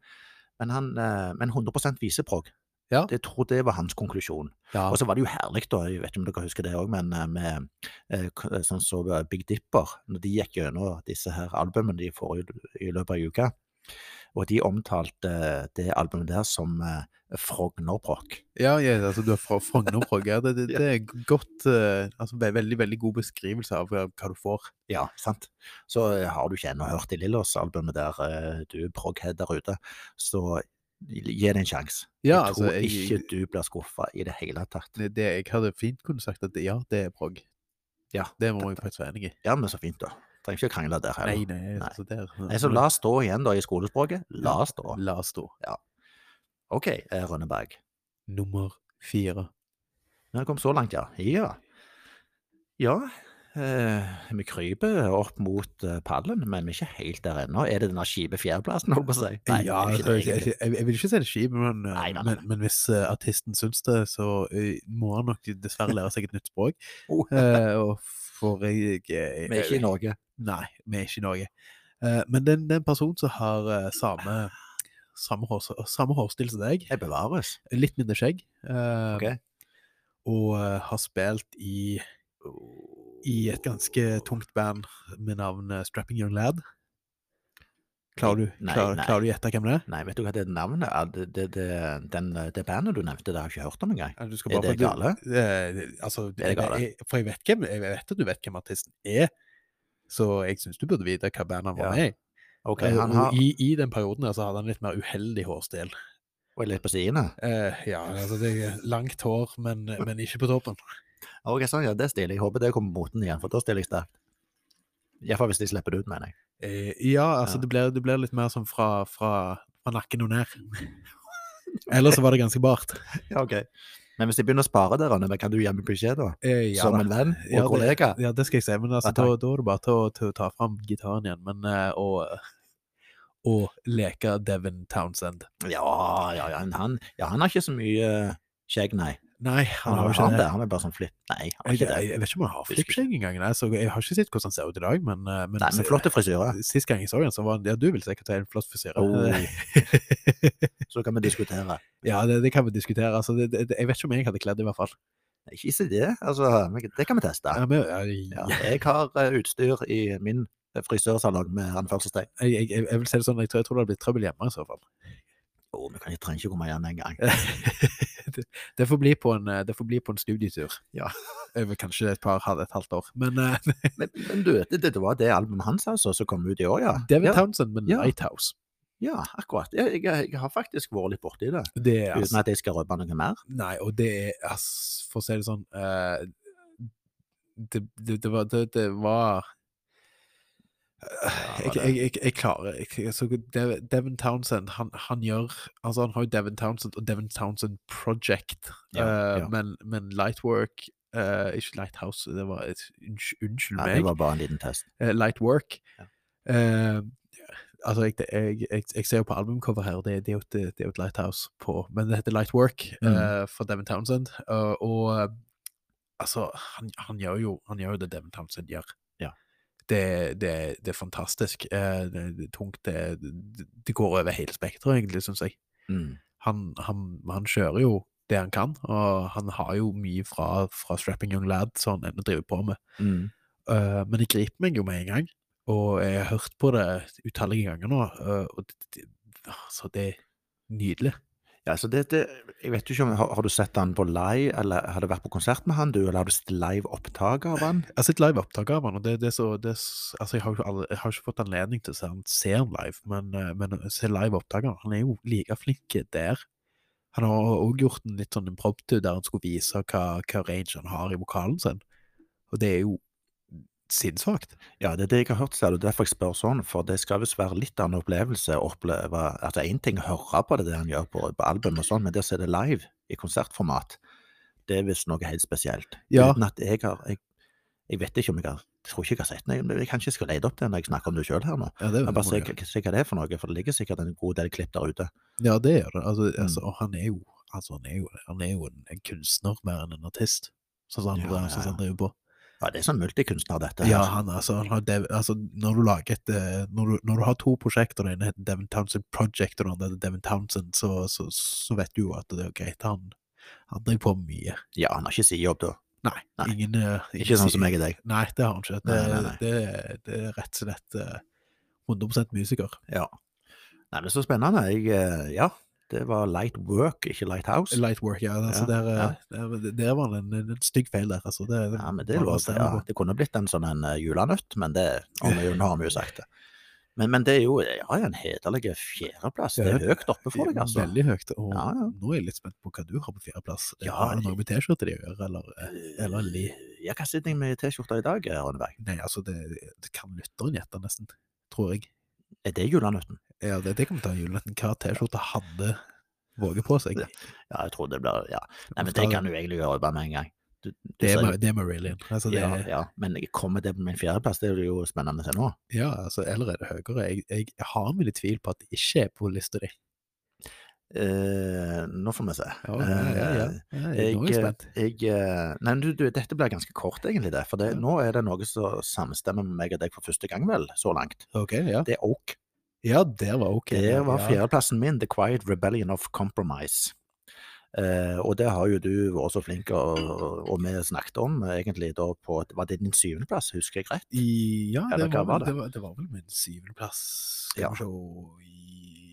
[SPEAKER 1] men, han, eh, men 100 viseprog.
[SPEAKER 2] Ja.
[SPEAKER 1] Jeg tror det var hans konklusjon.
[SPEAKER 2] Ja.
[SPEAKER 1] Og så var det jo herlig, da, jeg vet ikke om dere husker det òg, men eh, med eh, k- eh, sånn som eh, Big Dipper, når de gikk gjennom disse her albumene de får i, i løpet av uka, og de omtalte eh, det albumet der som eh, Frognerprock.
[SPEAKER 2] ja, ja, altså du er fra Frogner-prog. Ja, det, det,
[SPEAKER 1] Ja.
[SPEAKER 2] det er godt eh, altså, ve- Veldig, veldig god beskrivelse av eh, hva du får.
[SPEAKER 1] Ja, sant. Så eh, har du ikke ennå hørt de Lillos-albumet der, eh, du proghead der ute, så gi det en sjanse.
[SPEAKER 2] Ja,
[SPEAKER 1] jeg
[SPEAKER 2] altså
[SPEAKER 1] tror
[SPEAKER 2] jeg,
[SPEAKER 1] ikke du blir skuffa i det hele tatt.
[SPEAKER 2] det, det, jeg hadde fint kunne sagt at ja, det er prog.
[SPEAKER 1] Ja.
[SPEAKER 2] Det må jeg faktisk være enig i.
[SPEAKER 1] Ja, men så fint, da. Trenger ikke å krangle der
[SPEAKER 2] Nei,
[SPEAKER 1] heller.
[SPEAKER 2] nei, altså der
[SPEAKER 1] Nei, så la stå igjen, da, i skolespråket. La stå.
[SPEAKER 2] La oss stå.
[SPEAKER 1] OK, eh, Rønneberg.
[SPEAKER 2] Nummer fire.
[SPEAKER 1] Når jeg kom så langt, ja. Ja. ja. eh, vi kryper opp mot eh, pallen, men vi er ikke helt der ennå. Er det den der kjipe fjerdeplassen, holdt på å si? Nei,
[SPEAKER 2] ja,
[SPEAKER 1] det er
[SPEAKER 2] altså,
[SPEAKER 1] ikke det,
[SPEAKER 2] jeg,
[SPEAKER 1] egentlig.
[SPEAKER 2] jeg, jeg vil ikke si det er kjipt, men, eh,
[SPEAKER 1] Nei, nei, nei.
[SPEAKER 2] men, men hvis eh, artisten syns det, så eh, må han nok dessverre lære seg et nytt språk.
[SPEAKER 1] Oh.
[SPEAKER 2] Eh, og for jeg, jeg,
[SPEAKER 1] Vi er ikke i Norge.
[SPEAKER 2] Nei, vi er ikke i Norge. Eh, men det er en- det er en person som har eh, samme, samme, hår, samme hårstil som deg,
[SPEAKER 1] Jeg bevares.
[SPEAKER 2] litt mindre skjegg, eh,
[SPEAKER 1] Ok.
[SPEAKER 2] og eh, har spilt i, i et ganske tungt band med navnet Strapping Young Lad. Klarer du,
[SPEAKER 1] Nei,
[SPEAKER 2] klarer,
[SPEAKER 1] nei.
[SPEAKER 2] klarer du å gjette hvem det er?
[SPEAKER 1] Nei, vet du hva det navnet er? Det, det, det, den, det bandet du nevnte, det har jeg ikke hørt om engang.
[SPEAKER 2] Ja, Du
[SPEAKER 1] Er
[SPEAKER 2] skal bare
[SPEAKER 1] det
[SPEAKER 2] få-
[SPEAKER 1] gale?
[SPEAKER 2] du- eh, altså,
[SPEAKER 1] Er det gale?
[SPEAKER 2] Jeg, for jeg vet, hvem, jeg vet at du vet hvem artisten er, så jeg syns du burde vite hva bandet han var
[SPEAKER 1] Ja,
[SPEAKER 2] med i.
[SPEAKER 1] Ok,
[SPEAKER 2] Eh,
[SPEAKER 1] han
[SPEAKER 2] og
[SPEAKER 1] har
[SPEAKER 2] I, I den perioden her så hadde han litt mer uheldig hårstil.
[SPEAKER 1] Og er litt på sidene.
[SPEAKER 2] Eh, ja, altså det er langt hår, men, men ikke på toppen.
[SPEAKER 1] Ok, sånn, ja, det stiller jeg. Håper det kommer på moten igjen, for da stiller jeg sterkt. Iallfall hvis de slipper det ut, mener jeg.
[SPEAKER 2] Eh, ja, altså
[SPEAKER 1] Ja.
[SPEAKER 2] Det, blir, det blir litt mer sånn fra, fra, fra nakken og ned. Ellers så var det ganske bart.
[SPEAKER 1] Ja, ok. Men hvis de begynner å spare der, Rønneberg, kan du gi meg beskjed, da?
[SPEAKER 2] Eh, ja,
[SPEAKER 1] Som
[SPEAKER 2] da.
[SPEAKER 1] en venn og
[SPEAKER 2] Ja, det-
[SPEAKER 1] kollega?
[SPEAKER 2] Ja, det skal jeg si, men altså,
[SPEAKER 1] Ja,
[SPEAKER 2] da,
[SPEAKER 1] takk.
[SPEAKER 2] da er det bare til å, til å ta fram gitaren igjen men, eh, og, og leke Devin Townsend.
[SPEAKER 1] Ja, ja, ja. men Han, ja, han har ikke så mye eh, skjegg, nei.
[SPEAKER 2] Nei,
[SPEAKER 1] Han
[SPEAKER 2] han
[SPEAKER 1] har
[SPEAKER 2] har jo
[SPEAKER 1] han
[SPEAKER 2] ikke
[SPEAKER 1] det.
[SPEAKER 2] det.
[SPEAKER 1] Han er bare sånn flipp. Nei, han har
[SPEAKER 2] Jeg,
[SPEAKER 1] ikke det.
[SPEAKER 2] jeg, jeg vet ikke om han har
[SPEAKER 1] Husker ikke.
[SPEAKER 2] flippskjegg engang, nei, så jeg har ikke sett hvordan han ser ut i dag, men, eh, men,
[SPEAKER 1] Nei, men flotte frisyre.
[SPEAKER 2] sist gang jeg så han, så var han Ja, du vil sikkert ha en flott frisyre.
[SPEAKER 1] Oh. Så kan vi diskutere.
[SPEAKER 2] ja, det, det kan vi diskutere. Altså, det, det, jeg vet ikke om jeg hadde kledd det, i hvert fall.
[SPEAKER 1] Ikke si det. Altså, men det kan vi teste.
[SPEAKER 2] Ja, men, ja,
[SPEAKER 1] Ja, jeg har eh, utstyr i min eh, frisørsalong med anførselstegn.
[SPEAKER 2] jeg, jeg, jeg, jeg vil si det sånn, jeg tror, jeg tror det hadde blitt trøbbel hjemme i så fall.
[SPEAKER 1] Å, vi kan- jeg trenger ikke komme igjen en gang.
[SPEAKER 2] det, det, får bli på en, eh, det får bli på en studietur.
[SPEAKER 1] Ja.
[SPEAKER 2] Over kanskje et par, halv- et halvt år. Men eh,
[SPEAKER 1] Men, men du, det, det var det albumet hans altså, som kom ut i år, ja.
[SPEAKER 2] David
[SPEAKER 1] Ja,
[SPEAKER 2] Townsend med
[SPEAKER 1] Ja.
[SPEAKER 2] Lighthouse.
[SPEAKER 1] ja akkurat. Jeg, jeg, jeg har faktisk vært litt borti det,
[SPEAKER 2] Det er
[SPEAKER 1] uten
[SPEAKER 2] altså,
[SPEAKER 1] at jeg skal røpe noe mer.
[SPEAKER 2] Nei, og det er ass, For å si det sånn eh, det, det, det, var, det, det var Jeg, jeg, jeg, jeg klarer jeg, altså, Dev- Devin Townsend han, han gjør Altså, han har jo Devin Townsend og Devin Townsend Project,
[SPEAKER 1] Ja,
[SPEAKER 2] eh,
[SPEAKER 1] ja.
[SPEAKER 2] Men, men Lightwork eh, Ikke Lighthouse, det var et, unnskyld, unnskyld
[SPEAKER 1] Nei,
[SPEAKER 2] meg.
[SPEAKER 1] det var bare en liten test.
[SPEAKER 2] eh, Light Work.
[SPEAKER 1] Ja.
[SPEAKER 2] Eh, altså, jeg, jeg, jeg, jeg ser jo på albumcover her, og det, det, er jo et, det er jo et Lighthouse på Men det heter Light Work
[SPEAKER 1] Mm.
[SPEAKER 2] eh, for Devin Townsend. eh, og eh, altså, han, han, gjør jo, han gjør jo det Devin Townsend gjør.
[SPEAKER 1] Ja.
[SPEAKER 2] Det, det, det er fantastisk. eh, det, det er tungt. Det, det, det går over hele spekteret, egentlig, syns jeg
[SPEAKER 1] Mm.
[SPEAKER 2] han, han, han kjører jo det han kan, og han har jo mye fra, fra Strapping Young Lad som han ennå driver på med.
[SPEAKER 1] Mm.
[SPEAKER 2] Eh, men det griper meg jo med en gang, og jeg har hørt på det utallige ganger nå, eh, og det, det, altså, det er nydelig.
[SPEAKER 1] Ja, altså det, det, jeg vet jo ikke om, har, har du sett han på live, eller har du vært på konsert med han, du, eller har du sett live opptak av han?
[SPEAKER 2] Jeg har sett live opptak av han, og det, det er så det, er s- Altså, jeg har, jo aldri, jeg har ikke fått anledning til å se han, se han live, men, eh, men å se live opptak av han, han er jo like flink der. Han har òg gjort en litt sånn impromptu der han skulle vise hva, hva range han har i vokalen sin, og det er jo sinnssvakt.
[SPEAKER 1] Ja, det er det jeg har hørt, ser du, derfor jeg spør sånn, for det skal visst være litt av en opplevelse å oppleve at det er en ting å høre på det, det han gjør på, på album og sånn, men det å se det live i konsertformat, det er visst noe helt spesielt.
[SPEAKER 2] Ja.
[SPEAKER 1] Uten at jeg har, jeg, jeg vet ikke om jeg har, jeg tror ikke jeg har sett den, jeg, jeg kanskje jeg skal lede opp det når jeg snakker om det selv her nå.
[SPEAKER 2] Ja, det,
[SPEAKER 1] Jeg
[SPEAKER 2] må
[SPEAKER 1] bare se
[SPEAKER 2] du gjøre.
[SPEAKER 1] hva- se hva det er for noe, for det ligger sikkert en god del klipp der ute.
[SPEAKER 2] ja, det gjør det. Altså,
[SPEAKER 1] Mm.
[SPEAKER 2] altså, og han er jo, altså, han er jo, han er jo en, en kunstner mer enn en artist, sånn som han,
[SPEAKER 1] Ja, ja,
[SPEAKER 2] sånn som
[SPEAKER 1] ja.
[SPEAKER 2] han driver på.
[SPEAKER 1] Ja, det er sånn multikunstner dette. her.
[SPEAKER 2] Ja, han, altså, han har Dev, altså, når du lager et eh, når du, når du har to prosjekter, og det ene heter Devin Townsend Project, og det andre heter Devin Townsend, så, så, så vet du jo at det er greit. Han, han driver på med mye.
[SPEAKER 1] Ja, han har ikke sidejobb da.
[SPEAKER 2] Nei,
[SPEAKER 1] Nei.
[SPEAKER 2] ingen eh,
[SPEAKER 1] Ikke
[SPEAKER 2] ingen
[SPEAKER 1] sånn
[SPEAKER 2] sier-
[SPEAKER 1] som jeg og deg.
[SPEAKER 2] Nei, det har han ikke. Det,
[SPEAKER 1] Nei, nei, nei.
[SPEAKER 2] Det, det er rett og slett eh, 100 musiker.
[SPEAKER 1] Ja. Nei, men så spennende. Jeg, eh, ja, det var Light Work, ikke Lighthouse.
[SPEAKER 2] Lightwork, ja. Altså,
[SPEAKER 1] Ja,
[SPEAKER 2] der, eh, der, der var det en, en, en stygg feil der, altså. Det,
[SPEAKER 1] Ja, men det, er
[SPEAKER 2] må
[SPEAKER 1] lov,
[SPEAKER 2] man stemme
[SPEAKER 1] ja,
[SPEAKER 2] på.
[SPEAKER 1] det kunne blitt en sånn en eh, julenøtt, men det har vi jo, nå har vi jo sagt det. Men, men det er jo eh, ja, en hederlig fjerdeplass. Det
[SPEAKER 2] Ja,
[SPEAKER 1] er høyt oppe for deg, altså.
[SPEAKER 2] Veldig høyt. Og
[SPEAKER 1] Ja, ja.
[SPEAKER 2] nå er jeg litt spent på hva du har på fjerdeplass. Eh,
[SPEAKER 1] Ja,
[SPEAKER 2] har det noe med T-skjorte de gjør, eller? eh? eller li-
[SPEAKER 1] Eh, Ja, hva sitter jeg med i T-skjorta i dag, eh, Rønneberg?
[SPEAKER 2] Nei, altså, det, det kan lytteren gjette, nesten. Tror jeg.
[SPEAKER 1] Er det julenøtten?
[SPEAKER 2] Ja, det, det kan vi ta i julaften. Hva T-skjorte hadde våget på seg?
[SPEAKER 1] Ja, Ja, jeg tror det blir Ja. Nei, men det kan du egentlig gjøre bare med en gang. Du, du
[SPEAKER 2] Det
[SPEAKER 1] ser
[SPEAKER 2] er
[SPEAKER 1] jo-
[SPEAKER 2] med- det er Marillion. Altså, det,
[SPEAKER 1] ja,
[SPEAKER 2] ja,
[SPEAKER 1] ja. Men kommer det på min fjerdeplass, det er jo spennende å se nå.
[SPEAKER 2] altså, eller er det høyere? Jeg, jeg har mine tvil på at det ikke er på lista di.
[SPEAKER 1] Eh, nå får vi se.
[SPEAKER 2] Ja, ja, ja, ja. ja, jeg, nå er jeg
[SPEAKER 1] Eh, jeg,
[SPEAKER 2] spent.
[SPEAKER 1] jeg, eh, nei, men du, du, dette blir ganske kort, egentlig. det, For det,
[SPEAKER 2] Ja.
[SPEAKER 1] nå er det noe som samstemmer med meg og deg for første gang, vel, så langt.
[SPEAKER 2] Ok, ja.
[SPEAKER 1] Det er Oak.
[SPEAKER 2] Ja, der var ok.
[SPEAKER 1] Det var
[SPEAKER 2] ja.
[SPEAKER 1] fjerdeplassen min, The Quiet Rebellion of Compromise. Eh, og det har jo du vært så flink, og, og vi snakket om egentlig da på Var det din syvendeplass, husker jeg rett?
[SPEAKER 2] I- Ja,
[SPEAKER 1] Eller
[SPEAKER 2] det
[SPEAKER 1] hva
[SPEAKER 2] var,
[SPEAKER 1] var
[SPEAKER 2] vel,
[SPEAKER 1] det?
[SPEAKER 2] det, var, det var vel min syvendeplass.
[SPEAKER 1] Ja.
[SPEAKER 2] Skal vi se i-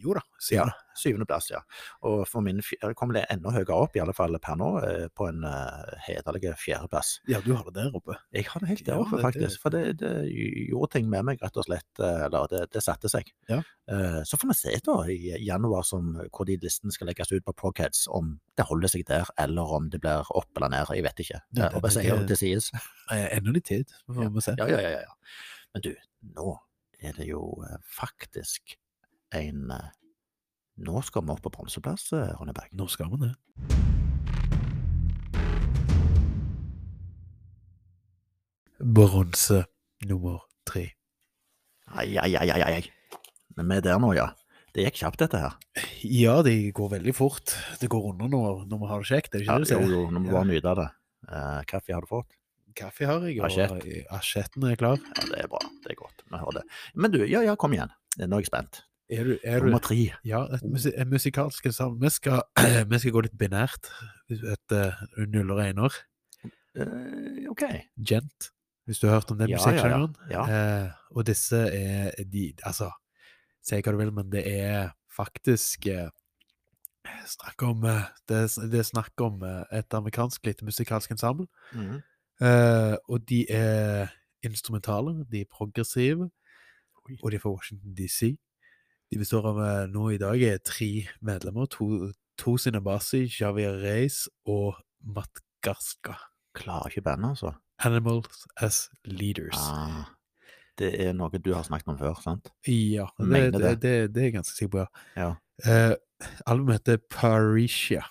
[SPEAKER 2] Jo da, syvende.
[SPEAKER 1] Syvendeplass, ja. Og for min fjerde kom det enda høyere opp, i alle fall per nå, eh, på en eh, hederlig fjerdeplass.
[SPEAKER 2] Ja. du har det der oppe.
[SPEAKER 1] Jeg har det helt der
[SPEAKER 2] Ja,
[SPEAKER 1] oppe,
[SPEAKER 2] det- det-
[SPEAKER 1] faktisk. For det, det gjorde ting med meg, rett og slett. eh, Eller det, det satte seg.
[SPEAKER 2] Ja.
[SPEAKER 1] Eh, Så får vi se da i januar som, hvor de listene skal legges ut på Progheads, om det holder seg der, eller om det blir opp eller ned. Jeg vet ikke.
[SPEAKER 2] Det-
[SPEAKER 1] Eh,
[SPEAKER 2] det-
[SPEAKER 1] Og det,
[SPEAKER 2] det-
[SPEAKER 1] sier, det sies.
[SPEAKER 2] Eh, Ennå litt tid, så får vi se.
[SPEAKER 1] Ja, ja, ja, ja, ja. Men du, nå er det jo eh, faktisk en eh, Nå skal vi opp på bronseplass, eh, Ronneberg.
[SPEAKER 2] Nå skal vi det. Bronse nummer tre.
[SPEAKER 1] Ai, ai, ai, ai, ai. Men vi er der nå, ja. Det gikk kjapt, dette her.
[SPEAKER 2] Ja, det går veldig fort. Det går unna når, når vi har det kjekt. er det
[SPEAKER 1] Ja,
[SPEAKER 2] ikke det du
[SPEAKER 1] jo,
[SPEAKER 2] sier?
[SPEAKER 1] jo, nå må vi bare nyte av det. Eh, Kaffe har du fått?
[SPEAKER 2] Kaffe har jeg, og
[SPEAKER 1] Asjett.
[SPEAKER 2] asjetten er klar.
[SPEAKER 1] Ja, det er bra. Det er godt. Vi hører det. Men du, ja, ja, kom igjen. Nå er jeg spent.
[SPEAKER 2] Er du, er du
[SPEAKER 1] Nummer tre.
[SPEAKER 2] Ja, et musi en musikalsk sammen. Vi skal, vi skal gå litt binært. Et eh, null og einer.
[SPEAKER 1] Eh, ok.
[SPEAKER 2] Gent, hvis du har hørt om den
[SPEAKER 1] Ja, ja, ja.
[SPEAKER 2] musikksjangeren.
[SPEAKER 1] Ja.
[SPEAKER 2] Eh, og disse er de Altså, si hva du vil, men det er faktisk eh, Snakk om eh, Det, er s- det er snakk om eh, et amerikansk lite musikalsk ensemble.
[SPEAKER 1] Mhm.
[SPEAKER 2] Eh, og de er instrumentale, de er progressive,
[SPEAKER 1] Oi.
[SPEAKER 2] og de er fra Washington DC. De består av eh, nå i dag er tre medlemmer. To, to Sinabasi, Javier Reis og Matt Garska.
[SPEAKER 1] Klarer ikke bandet, altså.
[SPEAKER 2] Animals as Leaders.
[SPEAKER 1] Ah, Det er noe du har snakket om før, sant?
[SPEAKER 2] Ja, det,
[SPEAKER 1] Mener
[SPEAKER 2] det,
[SPEAKER 1] det.
[SPEAKER 2] det, det er jeg ganske sikker på, ja.
[SPEAKER 1] Ja.
[SPEAKER 2] Eh, albumet heter Parisia.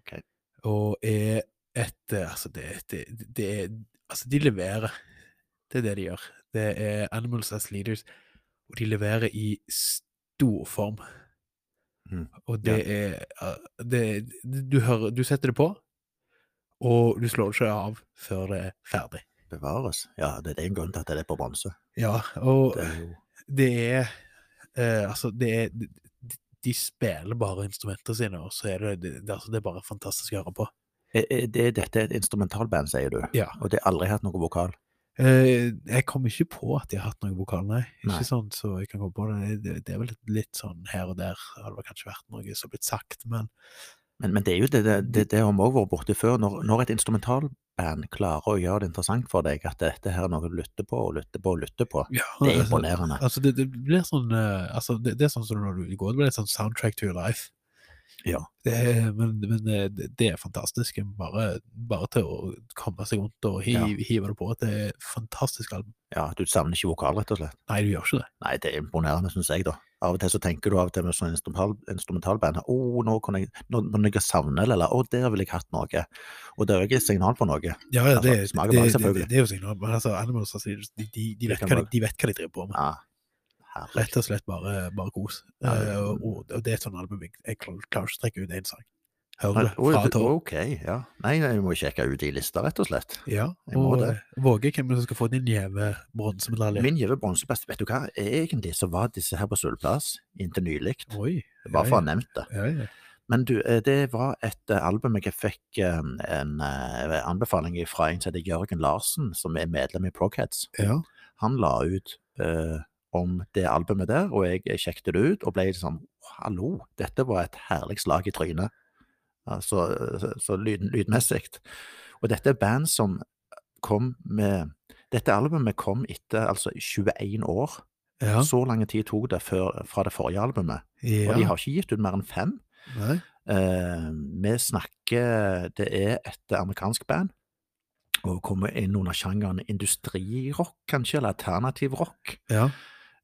[SPEAKER 1] Ok.
[SPEAKER 2] Og er et eh, Altså, det, det, det er Altså, de leverer. Det er det de gjør. Det er Animals as Leaders, og de leverer i stor form.
[SPEAKER 1] Mhm.
[SPEAKER 2] Og det er eh, det, det- du, hører, du setter det på, og du slår det ikke av før det er ferdig.
[SPEAKER 1] Bevares. Ja, det er en grunn til at det er på bronse.
[SPEAKER 2] Ja, og
[SPEAKER 1] Det er jo
[SPEAKER 2] det er eh, Altså, det er de, de spiller bare instrumentene sine, og så er det, det, det, altså, det er bare fantastisk å høre på.
[SPEAKER 1] Er- er Eh, det, Dette er et instrumentalband, sier du?
[SPEAKER 2] Ja.
[SPEAKER 1] Og det har aldri hatt noe vokal?
[SPEAKER 2] Eh, jeg kom ikke på at jeg har hatt noen vokal, nei. Ikke
[SPEAKER 1] Nei.
[SPEAKER 2] sånn så jeg kan komme på det. Det, det er vel litt, litt sånn her og der. Det hadde vel kanskje vært noe som blitt sagt, men
[SPEAKER 1] Men, men det er jo det, det, det, det har vi også vært borti før. Når, når et instrumentalband klarer å gjøre det interessant for deg, at dette her er noe du lytter på og lytter på og lytter på,
[SPEAKER 2] ja,
[SPEAKER 1] det er
[SPEAKER 2] altså,
[SPEAKER 1] imponerende.
[SPEAKER 2] altså, det, det blir sånn eh, altså, det, det er sånn som når du går, det blir litt sånn soundtrack to your life.
[SPEAKER 1] Ja.
[SPEAKER 2] Det er, men men eh, det, det er fantastisk. Bare, bare til å komme seg rundt og hi,
[SPEAKER 1] Ja.
[SPEAKER 2] hive det på. Det er et fantastisk album.
[SPEAKER 1] Ja, Du savner ikke vokal, rett og slett?
[SPEAKER 2] Nei, du gjør ikke det.
[SPEAKER 1] Nei, det er imponerende, syns jeg, da. Av og til så tenker du av og til med sånn instrumental, instrumentalband Å, nå kan jeg nå, nå kan jeg savne det, eller Å, der ville jeg hatt noe. Og det er jo ikke et signal på noe.
[SPEAKER 2] Ja, ja,
[SPEAKER 1] Altså,
[SPEAKER 2] det, det,
[SPEAKER 1] smaker
[SPEAKER 2] det,
[SPEAKER 1] bare,
[SPEAKER 2] det,
[SPEAKER 1] selvfølgelig.
[SPEAKER 2] det er jo signal, men altså, Animals altså, de, de, de, vet
[SPEAKER 1] kan
[SPEAKER 2] hva de,
[SPEAKER 1] bare-
[SPEAKER 2] de vet hva de driver på med.
[SPEAKER 1] Ja, herregud.
[SPEAKER 2] Rett og slett bare, bare kos.
[SPEAKER 1] Ja, det-
[SPEAKER 2] Eh, og, og- og det er et sånt album jeg, jeg klarer klarer ikke å trekke ut én sang.
[SPEAKER 1] Nei,
[SPEAKER 2] Hører det
[SPEAKER 1] å,
[SPEAKER 2] fra
[SPEAKER 1] du-
[SPEAKER 2] tå.
[SPEAKER 1] Ok, ja. Nei, nei, vi må sjekke ut de lista, rett og slett.
[SPEAKER 2] Ja,
[SPEAKER 1] jeg må
[SPEAKER 2] og
[SPEAKER 1] det.
[SPEAKER 2] eh, våge hvem som skal få din gjeve bronsemedalje.
[SPEAKER 1] Min gjeve bronseplass, vet du hva, egentlig så var disse her på sølvplass inntil nylig.
[SPEAKER 2] Oi.
[SPEAKER 1] Bare for å ha nevnt det.
[SPEAKER 2] Ja, ja.
[SPEAKER 1] Men du, eh, det var et eh, album jeg fikk eh, en eh, anbefaling fra en som heter Jørgen Larsen, som er medlem i Progheads.
[SPEAKER 2] ja.
[SPEAKER 1] han la ut eh, om det albumet der, og jeg sjekket det ut og ble sånn Hallo, dette var et herlig slag i trynet. Altså, så, så lyd, lydmessig. Og dette er band som kom med Dette albumet kom etter altså 21 år.
[SPEAKER 2] ja.
[SPEAKER 1] Så lang tid tok det før, fra det forrige albumet.
[SPEAKER 2] ja.
[SPEAKER 1] Og de har ikke gitt ut mer enn fem.
[SPEAKER 2] Nei.
[SPEAKER 1] Eh, vi snakker Det er et amerikansk band. Og kommer inn under sjangeren industrirock, kanskje, eller alternativ rock.
[SPEAKER 2] Ja.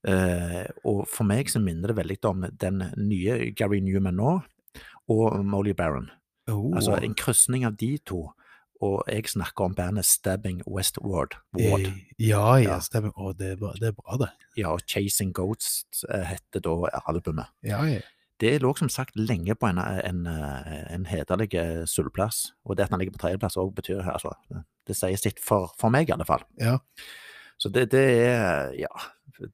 [SPEAKER 1] Eh, og for meg så minner det veldig om den nye Gary Newman nå, og Molly Barron.
[SPEAKER 2] Oh.
[SPEAKER 1] Altså en krysning av de to. Og jeg snakker om bandet Stabbing Westward. Ward.
[SPEAKER 2] Eh, Ja, ja,
[SPEAKER 1] Ja.
[SPEAKER 2] stemmer. Å, det, er bra, det er bra, det.
[SPEAKER 1] Ja, og Chasing Ghosts eh, heter da albumet.
[SPEAKER 2] Ja, ja.
[SPEAKER 1] Det lå som sagt lenge på en, en, eh, en hederlig eh, sølvplass, og det at han ligger på tredjeplass òg betyr altså, Det sier sitt for, for meg, i alle fall.
[SPEAKER 2] Ja.
[SPEAKER 1] Så det, det er Ja,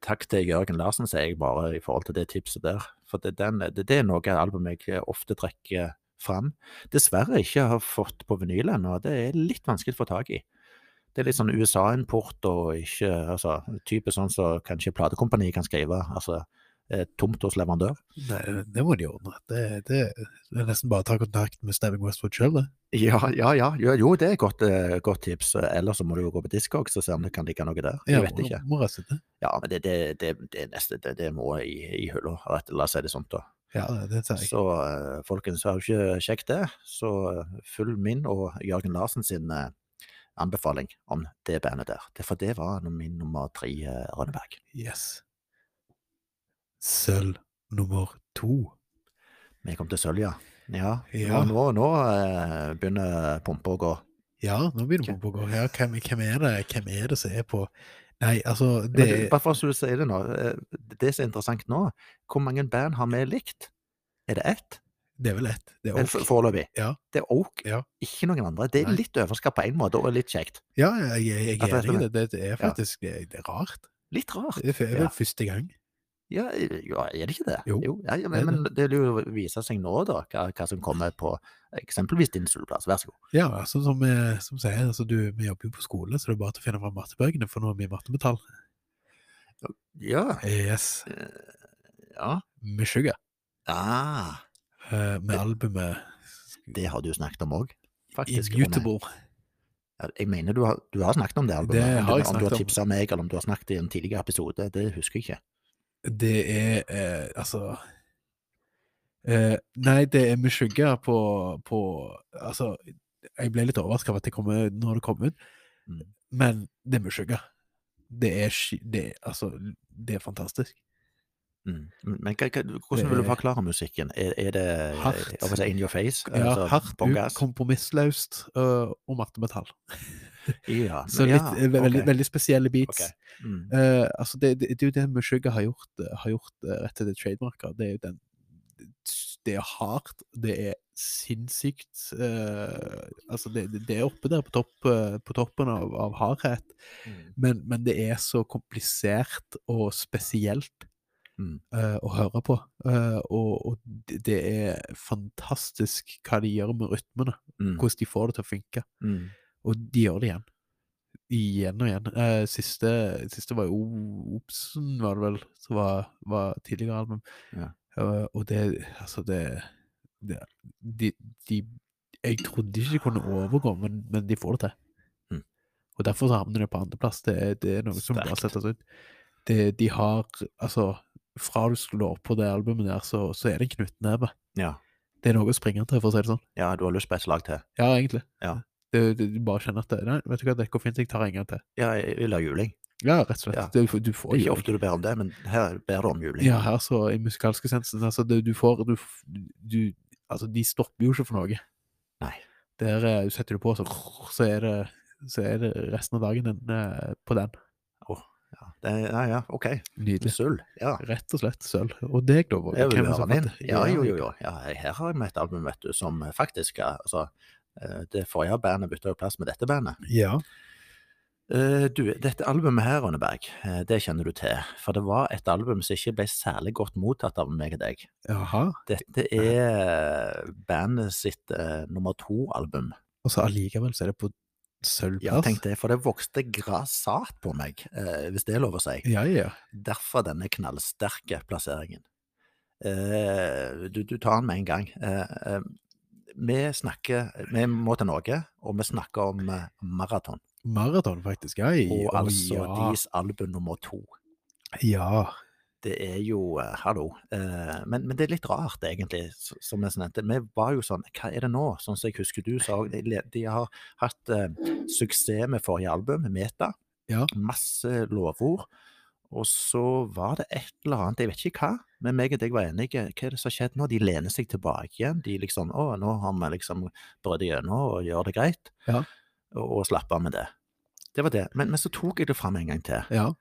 [SPEAKER 1] takk til Jørgen Larsen, sier jeg bare, i forhold til det tipset der. For det, den, det, det er noe album jeg ofte trekker fram. Dessverre ikke har fått på vinyl ennå, det er litt vanskelig å få tak i. Det er litt sånn USA-import og ikke altså, Typisk sånn som kanskje platekompaniet kan skrive. Altså eh, tomt hos leverandør.
[SPEAKER 2] Nei, det må de ordne. Det, det, det er nesten bare å ta kontakt med Stabbing Westwood sjøl, det.
[SPEAKER 1] Ja, ja, ja. Jo, jo det er et godt, eh, godt tips. Ellers så må du jo gå på Discogs og se om det kan ligge noe der. Jeg vet
[SPEAKER 2] må-
[SPEAKER 1] ikke.
[SPEAKER 2] Må rette det.
[SPEAKER 1] Ja, men det, det, det, det er neste. Det, det må i, i hylla, rett- la oss si det sånn, da.
[SPEAKER 2] Ja, det- det sier jeg.
[SPEAKER 1] Så eh, folkens, har du ikke sjekket det, så eh, følg min og Jørgen Larsen sin eh, anbefaling om det bandet der. Det- For det var min nummer tre, eh, Rønneberg.
[SPEAKER 2] Yes. Sølv nummer to.
[SPEAKER 1] Vi kom til Sølja. Ja,
[SPEAKER 2] Ja.
[SPEAKER 1] nå, nå, nå eh, begynner pumpa å gå.
[SPEAKER 2] Ja, nå begynner vi på å gå her. Hvem, hvem, er det, hvem er det som er på Nei, altså
[SPEAKER 1] Men
[SPEAKER 2] det
[SPEAKER 1] du, bare for at du sier det nå, eh, det som er interessant nå, hvor mange band har vi likt? Er det ett?
[SPEAKER 2] Det er vel ett. Det er
[SPEAKER 1] Men
[SPEAKER 2] Oak.
[SPEAKER 1] for- Foreløpig.
[SPEAKER 2] Ja.
[SPEAKER 1] Det er Oak,
[SPEAKER 2] Ja.
[SPEAKER 1] ikke noen andre. Det er
[SPEAKER 2] Nei.
[SPEAKER 1] litt overskap på en måte, og litt kjekt.
[SPEAKER 2] Ja, jeg, jeg, jeg
[SPEAKER 1] At
[SPEAKER 2] er
[SPEAKER 1] det er sånn
[SPEAKER 2] enig i det. Det- Det er
[SPEAKER 1] Ja.
[SPEAKER 2] faktisk det, det er rart.
[SPEAKER 1] Litt rart.
[SPEAKER 2] Det er f- er vel
[SPEAKER 1] Ja.
[SPEAKER 2] første gang.
[SPEAKER 1] Ja, ja, er det ikke det?
[SPEAKER 2] Jo,
[SPEAKER 1] ja, ja,
[SPEAKER 2] det
[SPEAKER 1] men,
[SPEAKER 2] er
[SPEAKER 1] men det vil jo vise seg nå, da, hva, hva som kommer på eksempelvis din sølvplass. Vær så god.
[SPEAKER 2] Ja, altså som, eh, som sier, altså, du, vi jobber jo på skole, så det er bare til å finne fram mattebøkene, for nå er vi i mattemetall.
[SPEAKER 1] Ja.
[SPEAKER 2] Yes.
[SPEAKER 1] ja.
[SPEAKER 2] Med sugar.
[SPEAKER 1] Eh, Ah,
[SPEAKER 2] Eh, Med albumet
[SPEAKER 1] det har du snakket om òg, faktisk. Rune.
[SPEAKER 2] Immutable.
[SPEAKER 1] Ja, Jeg mener du har, du har snakket om det albumet.
[SPEAKER 2] Det
[SPEAKER 1] Om
[SPEAKER 2] har jeg
[SPEAKER 1] du, om du
[SPEAKER 2] snakket
[SPEAKER 1] har
[SPEAKER 2] om.
[SPEAKER 1] tipsa meg, eller om du har snakket i en tidligere episode, det husker jeg ikke.
[SPEAKER 2] Det er eh, altså eh, Nei, det er med skygge på, på Altså, jeg ble litt overrasket av at det kommer når det kom ut,
[SPEAKER 1] Mm.
[SPEAKER 2] men det er med skygge. det er, ski- det, er- altså, det er fantastisk.
[SPEAKER 1] Mm. Men hva, hva, hvordan vil du
[SPEAKER 2] Det-
[SPEAKER 1] forklare musikken? Er, er det
[SPEAKER 2] Hardt.
[SPEAKER 1] jeg håper å si in your face?
[SPEAKER 2] Ja,
[SPEAKER 1] altså
[SPEAKER 2] hardt
[SPEAKER 1] bong
[SPEAKER 2] ut,
[SPEAKER 1] gas?
[SPEAKER 2] kompromissløst øh, og matte metall.
[SPEAKER 1] Ja,
[SPEAKER 2] Så
[SPEAKER 1] men
[SPEAKER 2] litt,
[SPEAKER 1] Ah, ja,
[SPEAKER 2] eh, ve- veldig,
[SPEAKER 1] ok.
[SPEAKER 2] veldig spesielle beats.
[SPEAKER 1] Ok. Mm.
[SPEAKER 2] Eh, altså det, det, det er jo det Meshuggah har gjort, eh, har gjort eh, rett til det trademarket. Det er jo den Det er hardt, det er sinnssykt eh, Altså, det, det- det er oppe der på, topp, eh, på toppen av, av hardhet,
[SPEAKER 1] Mm.
[SPEAKER 2] men, men det er så komplisert og spesielt
[SPEAKER 1] Mm.
[SPEAKER 2] eh, å høre på. Eh, og og det, det er fantastisk hva de gjør med rytmene,
[SPEAKER 1] Mm.
[SPEAKER 2] hvordan de får det til å funke.
[SPEAKER 1] Mm.
[SPEAKER 2] Og de gjør det igjen. Igjen og igjen. Eh, siste, siste var jo Obsen, var det vel, som var, var tidligere album.
[SPEAKER 1] Ja.
[SPEAKER 2] Eh, og det Altså, det, det de, de Jeg trodde ikke de kunne overgå, men, men de får det til.
[SPEAKER 1] Mm.
[SPEAKER 2] Og derfor så havner det på andreplass. Det, er- det er noe som bare
[SPEAKER 1] Sterkt.
[SPEAKER 2] settes ut. Det, de har Altså, fra du slår på det albumet der, så, så er det en knyttneve.
[SPEAKER 1] Ja.
[SPEAKER 2] Det er noe å springe til, for å si det sånn.
[SPEAKER 1] ja, du har lyst på et slag til?
[SPEAKER 2] Ja, egentlig.
[SPEAKER 1] Ja.
[SPEAKER 2] Du, du, du bare kjenner at det, Nei, vet du hva, det går fint, jeg tar en gang til.
[SPEAKER 1] Ja, jeg vil ha juling.
[SPEAKER 2] Ja, rett og slett.
[SPEAKER 1] Ja.
[SPEAKER 2] Du, du
[SPEAKER 1] Det
[SPEAKER 2] får
[SPEAKER 1] er ikke
[SPEAKER 2] jo
[SPEAKER 1] ofte du ber om det, men her ber du om juling.
[SPEAKER 2] Ja, her så i musikalske sensen altså, det, Du får du, f- du, Altså, de stopper jo ikke for noe.
[SPEAKER 1] Nei.
[SPEAKER 2] Der eh, setter du på, så, så, er det, så er det resten av dagen din eh, på den.
[SPEAKER 1] Ja, det, ja, ja, ok.
[SPEAKER 2] Nydelig.
[SPEAKER 1] Sølv. Ja.
[SPEAKER 2] Rett og slett sølv. Og deg, da? Våge,
[SPEAKER 1] Jeg vil
[SPEAKER 2] hvem er det
[SPEAKER 1] høre
[SPEAKER 2] som
[SPEAKER 1] den inn.
[SPEAKER 2] fant det?
[SPEAKER 1] Ja, jo, jo, jo. Ja, her har jeg med et album, vet du, som faktisk er altså, eh, Det forrige bandet bytta jo plass med dette bandet.
[SPEAKER 2] Ja.
[SPEAKER 1] Eh, Du, dette albumet her, Rønneberg, eh, det kjenner du til. For det var et album som ikke ble særlig godt mottatt av meg og deg.
[SPEAKER 2] Jaha.
[SPEAKER 1] Dette er bandet sitt eh, nummer to-album.
[SPEAKER 2] Og så allikevel så er det på
[SPEAKER 1] Ja,
[SPEAKER 2] sølvplass?
[SPEAKER 1] tenk det, for det vokste grassat på meg, eh, hvis det er lov å si.
[SPEAKER 2] ja, ja.
[SPEAKER 1] Derfor denne knallsterke plasseringen. Eh, du, du tar den med en gang. Eh, eh, vi snakker Vi må til Norge, og vi snakker om eh, maraton.
[SPEAKER 2] Maraton, faktisk. Ai,
[SPEAKER 1] Og
[SPEAKER 2] å,
[SPEAKER 1] altså
[SPEAKER 2] ja.
[SPEAKER 1] deres album nummer to.
[SPEAKER 2] ja.
[SPEAKER 1] Det er jo eh, Hallo. Eh, men, men det er litt rart, egentlig, s- som jeg nevnte. Vi var jo sånn Hva er det nå? Sånn som jeg husker du sa. De, le- de har hatt eh, suksess med forrige album, Meta.
[SPEAKER 2] Ja.
[SPEAKER 1] Masse lovord. Og så var det et eller annet, jeg vet ikke hva, men meg og deg var enige. Hva er det som har skjedd nå? De lener seg tilbake igjen. De liksom Å, nå har vi liksom brødd igjennom og gjør det greit.
[SPEAKER 2] Ja.
[SPEAKER 1] Og, og slapper av med det. Det var det. Men, men så tok jeg det fram en gang til.
[SPEAKER 2] ja.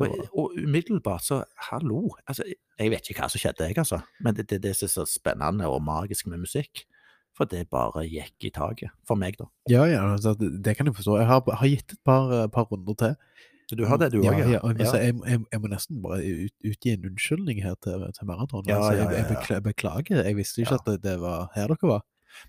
[SPEAKER 2] Det
[SPEAKER 1] Og,
[SPEAKER 2] var-
[SPEAKER 1] og umiddelbart så Hallo! Altså, jeg vet ikke hva som skjedde, jeg, altså. Men det, det, det som er så spennende og magisk med musikk, for det bare gikk i taket. For meg, da.
[SPEAKER 2] Ja, ja, altså, det det kan jeg forstå. Jeg har, har gitt et par, eh, par runder til.
[SPEAKER 1] Du har det, du
[SPEAKER 2] Mm, ja,
[SPEAKER 1] òg?
[SPEAKER 2] ja. men så Jeg, jeg, jeg må nesten bare ut, utgi en unnskyldning her til, til Marathon.
[SPEAKER 1] Ja, ja,
[SPEAKER 2] altså, jeg,
[SPEAKER 1] ja,
[SPEAKER 2] jeg
[SPEAKER 1] ja.
[SPEAKER 2] bekla- beklager, jeg visste ikke
[SPEAKER 1] Ja.
[SPEAKER 2] at det, det var her dere var.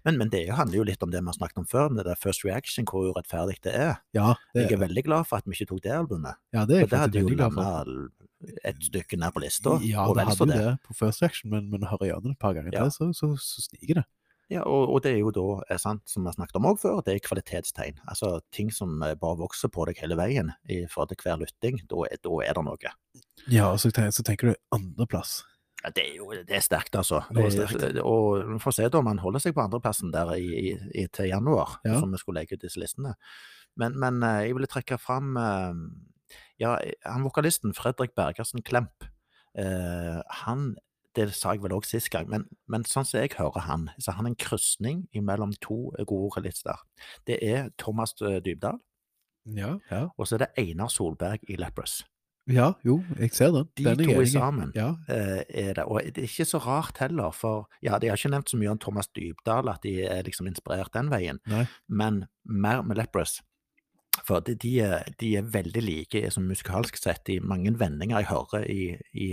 [SPEAKER 1] Men, men det handler jo litt om det vi har snakket om før, med det der First Reaction, hvor urettferdig det er.
[SPEAKER 2] Ja, det,
[SPEAKER 1] Jeg er veldig glad for at vi ikke tok det albumet.
[SPEAKER 2] ja, det
[SPEAKER 1] For
[SPEAKER 2] er jeg
[SPEAKER 1] det
[SPEAKER 2] faktisk
[SPEAKER 1] hadde jo
[SPEAKER 2] veldig glad
[SPEAKER 1] landa
[SPEAKER 2] for.
[SPEAKER 1] et stykke ned på lista.
[SPEAKER 2] Ja,
[SPEAKER 1] og
[SPEAKER 2] det
[SPEAKER 1] vel så
[SPEAKER 2] hadde jo
[SPEAKER 1] det.
[SPEAKER 2] det på First Action, men, men hører jeg den et par ganger
[SPEAKER 1] Ja.
[SPEAKER 2] til, så, så, så sniker det.
[SPEAKER 1] Ja, og, og det er jo da, eh, sant, som vi har snakket om òg før, det er kvalitetstegn. Altså ting som eh, bare vokser på deg hele veien i forhold til hver lytting. Da, er- da er det noe.
[SPEAKER 2] Ja, og så tenker, så tenker du andreplass.
[SPEAKER 1] Ja, det er jo det er sterkt, altså.
[SPEAKER 2] Det er sterkt.
[SPEAKER 1] Eh, Og vi får se da om han holder seg på andreplassen der i, i, i, til januar,
[SPEAKER 2] Ja.
[SPEAKER 1] som vi skulle legge ut disse listene. Men, men eh, jeg ville trekke fram eh, ja, han vokalisten Fredrik Bergersen Klemp. eh, Han det sa jeg vel òg sist gang, men, men sånn som jeg hører han, så er han en krysning mellom to gode vokalister. Det er Thomas eh, Dybdahl,
[SPEAKER 2] Ja. ja.
[SPEAKER 1] og så er det Einar Solberg i Lepros.
[SPEAKER 2] Ja, jo, jeg ser den.
[SPEAKER 1] De
[SPEAKER 2] den er jeg
[SPEAKER 1] to er
[SPEAKER 2] enig i.
[SPEAKER 1] sammen.
[SPEAKER 2] Ja,
[SPEAKER 1] eh, er det. Og det er ikke så rart heller, for ja, de har ikke nevnt så mye om Thomas Dybdahl, at de er liksom inspirert den veien,
[SPEAKER 2] Nei.
[SPEAKER 1] men mer med Lepros. For de, de, er, de er veldig like som musikalsk sett i mange vendinger jeg hører i, i,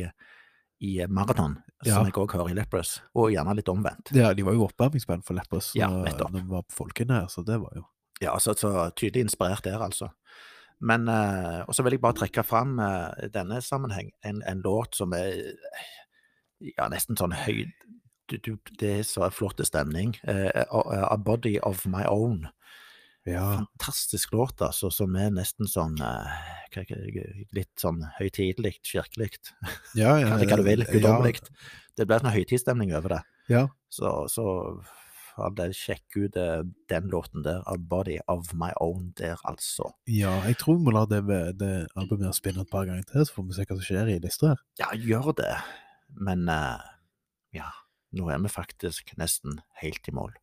[SPEAKER 1] i Marathon,
[SPEAKER 2] Ja.
[SPEAKER 1] som jeg òg hører i Lepros, og gjerne litt omvendt.
[SPEAKER 2] ja, de var jo oppvarmingsband for Lepperøs
[SPEAKER 1] Ja,
[SPEAKER 2] når,
[SPEAKER 1] nettopp.
[SPEAKER 2] når vi var på Folken her, så det var jo
[SPEAKER 1] Ja, så, så tydelig inspirert der, altså. Men, eh, og så vil jeg bare trekke fram eh, i denne sammenheng en, en låt som er eh, ja, nesten sånn høy du, du, Det er så flott stemning. Eh, og- eh, A Body Of My Own.
[SPEAKER 2] Ja.
[SPEAKER 1] Fantastisk låt, altså, som er nesten sånn eh, hva- hva- Litt sånn høytidelig, kirkelig.
[SPEAKER 2] Ja, Eh, ja,
[SPEAKER 1] Kall det hva du vil.
[SPEAKER 2] ja,
[SPEAKER 1] Guddommelig. Det blir sånn høytidsstemning over det.
[SPEAKER 2] Ja.
[SPEAKER 1] Så, så all det. Sjekk ut eh, den låten der, A Body of My Own, der altså.
[SPEAKER 2] Ja, jeg tror vi må la det, det albumet spinne et par ganger til, så får vi se hva som skjer i lista her.
[SPEAKER 1] Ja, gjør det. Men eh, ja, nå er vi faktisk nesten helt i mål.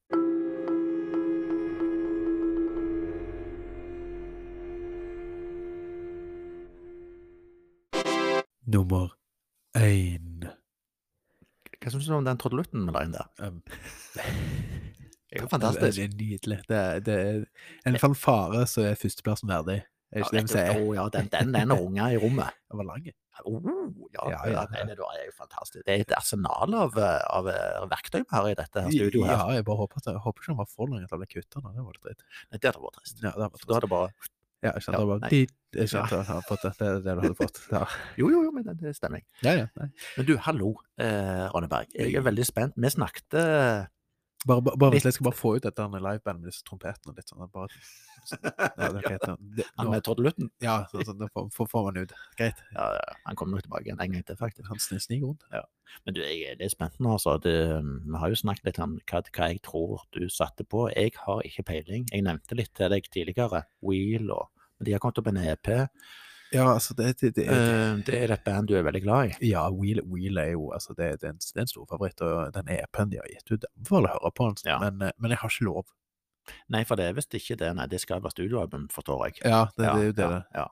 [SPEAKER 2] Nummer én.
[SPEAKER 1] Hva syns du om den trudelutten med deg der? Det
[SPEAKER 2] Um,
[SPEAKER 1] er jo fantastisk.
[SPEAKER 2] Det er nydelig. Det er, det er en fanfare som er førsteplassen verdig. Er ikke det vi
[SPEAKER 1] vet du-
[SPEAKER 2] sier?
[SPEAKER 1] Å, ja, den, den, den runga i rommet.
[SPEAKER 2] Den var lang.
[SPEAKER 1] Oh, ja, ja,
[SPEAKER 2] Ja, ja, ja.
[SPEAKER 1] Den er, da- er jo fantastisk. Det er et arsenal av, eh, av eh, verktøy vi har i dette her studioet. her.
[SPEAKER 2] Ja, jeg bare håper, at, jeg håper ikke den var for lang at alle kutta den. Det var litt dritt.
[SPEAKER 1] Nei, Det hadde vært trist.
[SPEAKER 2] Ja, det var
[SPEAKER 1] Da hadde det bare
[SPEAKER 2] Ja, ikke sant.
[SPEAKER 1] Ja,
[SPEAKER 2] det var
[SPEAKER 1] nei.
[SPEAKER 2] dit, ikke sant? Jeg har fått det. Det er det du hadde fått. Ja,
[SPEAKER 1] Jo, jo, jo, men det det er stemning.
[SPEAKER 2] ja. ja nei.
[SPEAKER 1] Men du, hallo, eh, Ronneberg. Jeg er veldig spent. Vi snakket eh,
[SPEAKER 2] Bare, bare, bare, vent litt, jeg
[SPEAKER 1] Litt.
[SPEAKER 2] skal bare få ut dette her med livebandet med disse trompetene og litt sånn. Bare, ja, det er greit. ja. Det,
[SPEAKER 1] han
[SPEAKER 2] nå,
[SPEAKER 1] med trudelutten.
[SPEAKER 2] ja, sånn, sånn, det får, får- får man ut. Greit.
[SPEAKER 1] Ja, ja, han kommer nok tilbake igjen en gang til, faktisk.
[SPEAKER 2] Han sn- sniker rundt.
[SPEAKER 1] Men du, jeg er litt spent nå, altså. Det, vi har jo snakket litt om hva, hva jeg tror du satte på. Jeg har ikke peiling. Jeg nevnte litt til deg tidligere. Wheel og Men de har kommet opp med en E EP.
[SPEAKER 2] Ja, altså, det, det, det, det
[SPEAKER 1] Eh, det er et band du er veldig glad i.
[SPEAKER 2] Ja, Wheel, Wheel er jo altså det, det, er en, det er en stor favoritt, og den EP-en de har gitt ut, den får alle høre på, altså.
[SPEAKER 1] Ja.
[SPEAKER 2] men, eh, men jeg har ikke lov.
[SPEAKER 1] Nei, for det er visst ikke det. Nei, det skal være studioalbum, forstår jeg.
[SPEAKER 2] Ja, det, det er jo det.
[SPEAKER 1] ja,
[SPEAKER 2] det.
[SPEAKER 1] ja.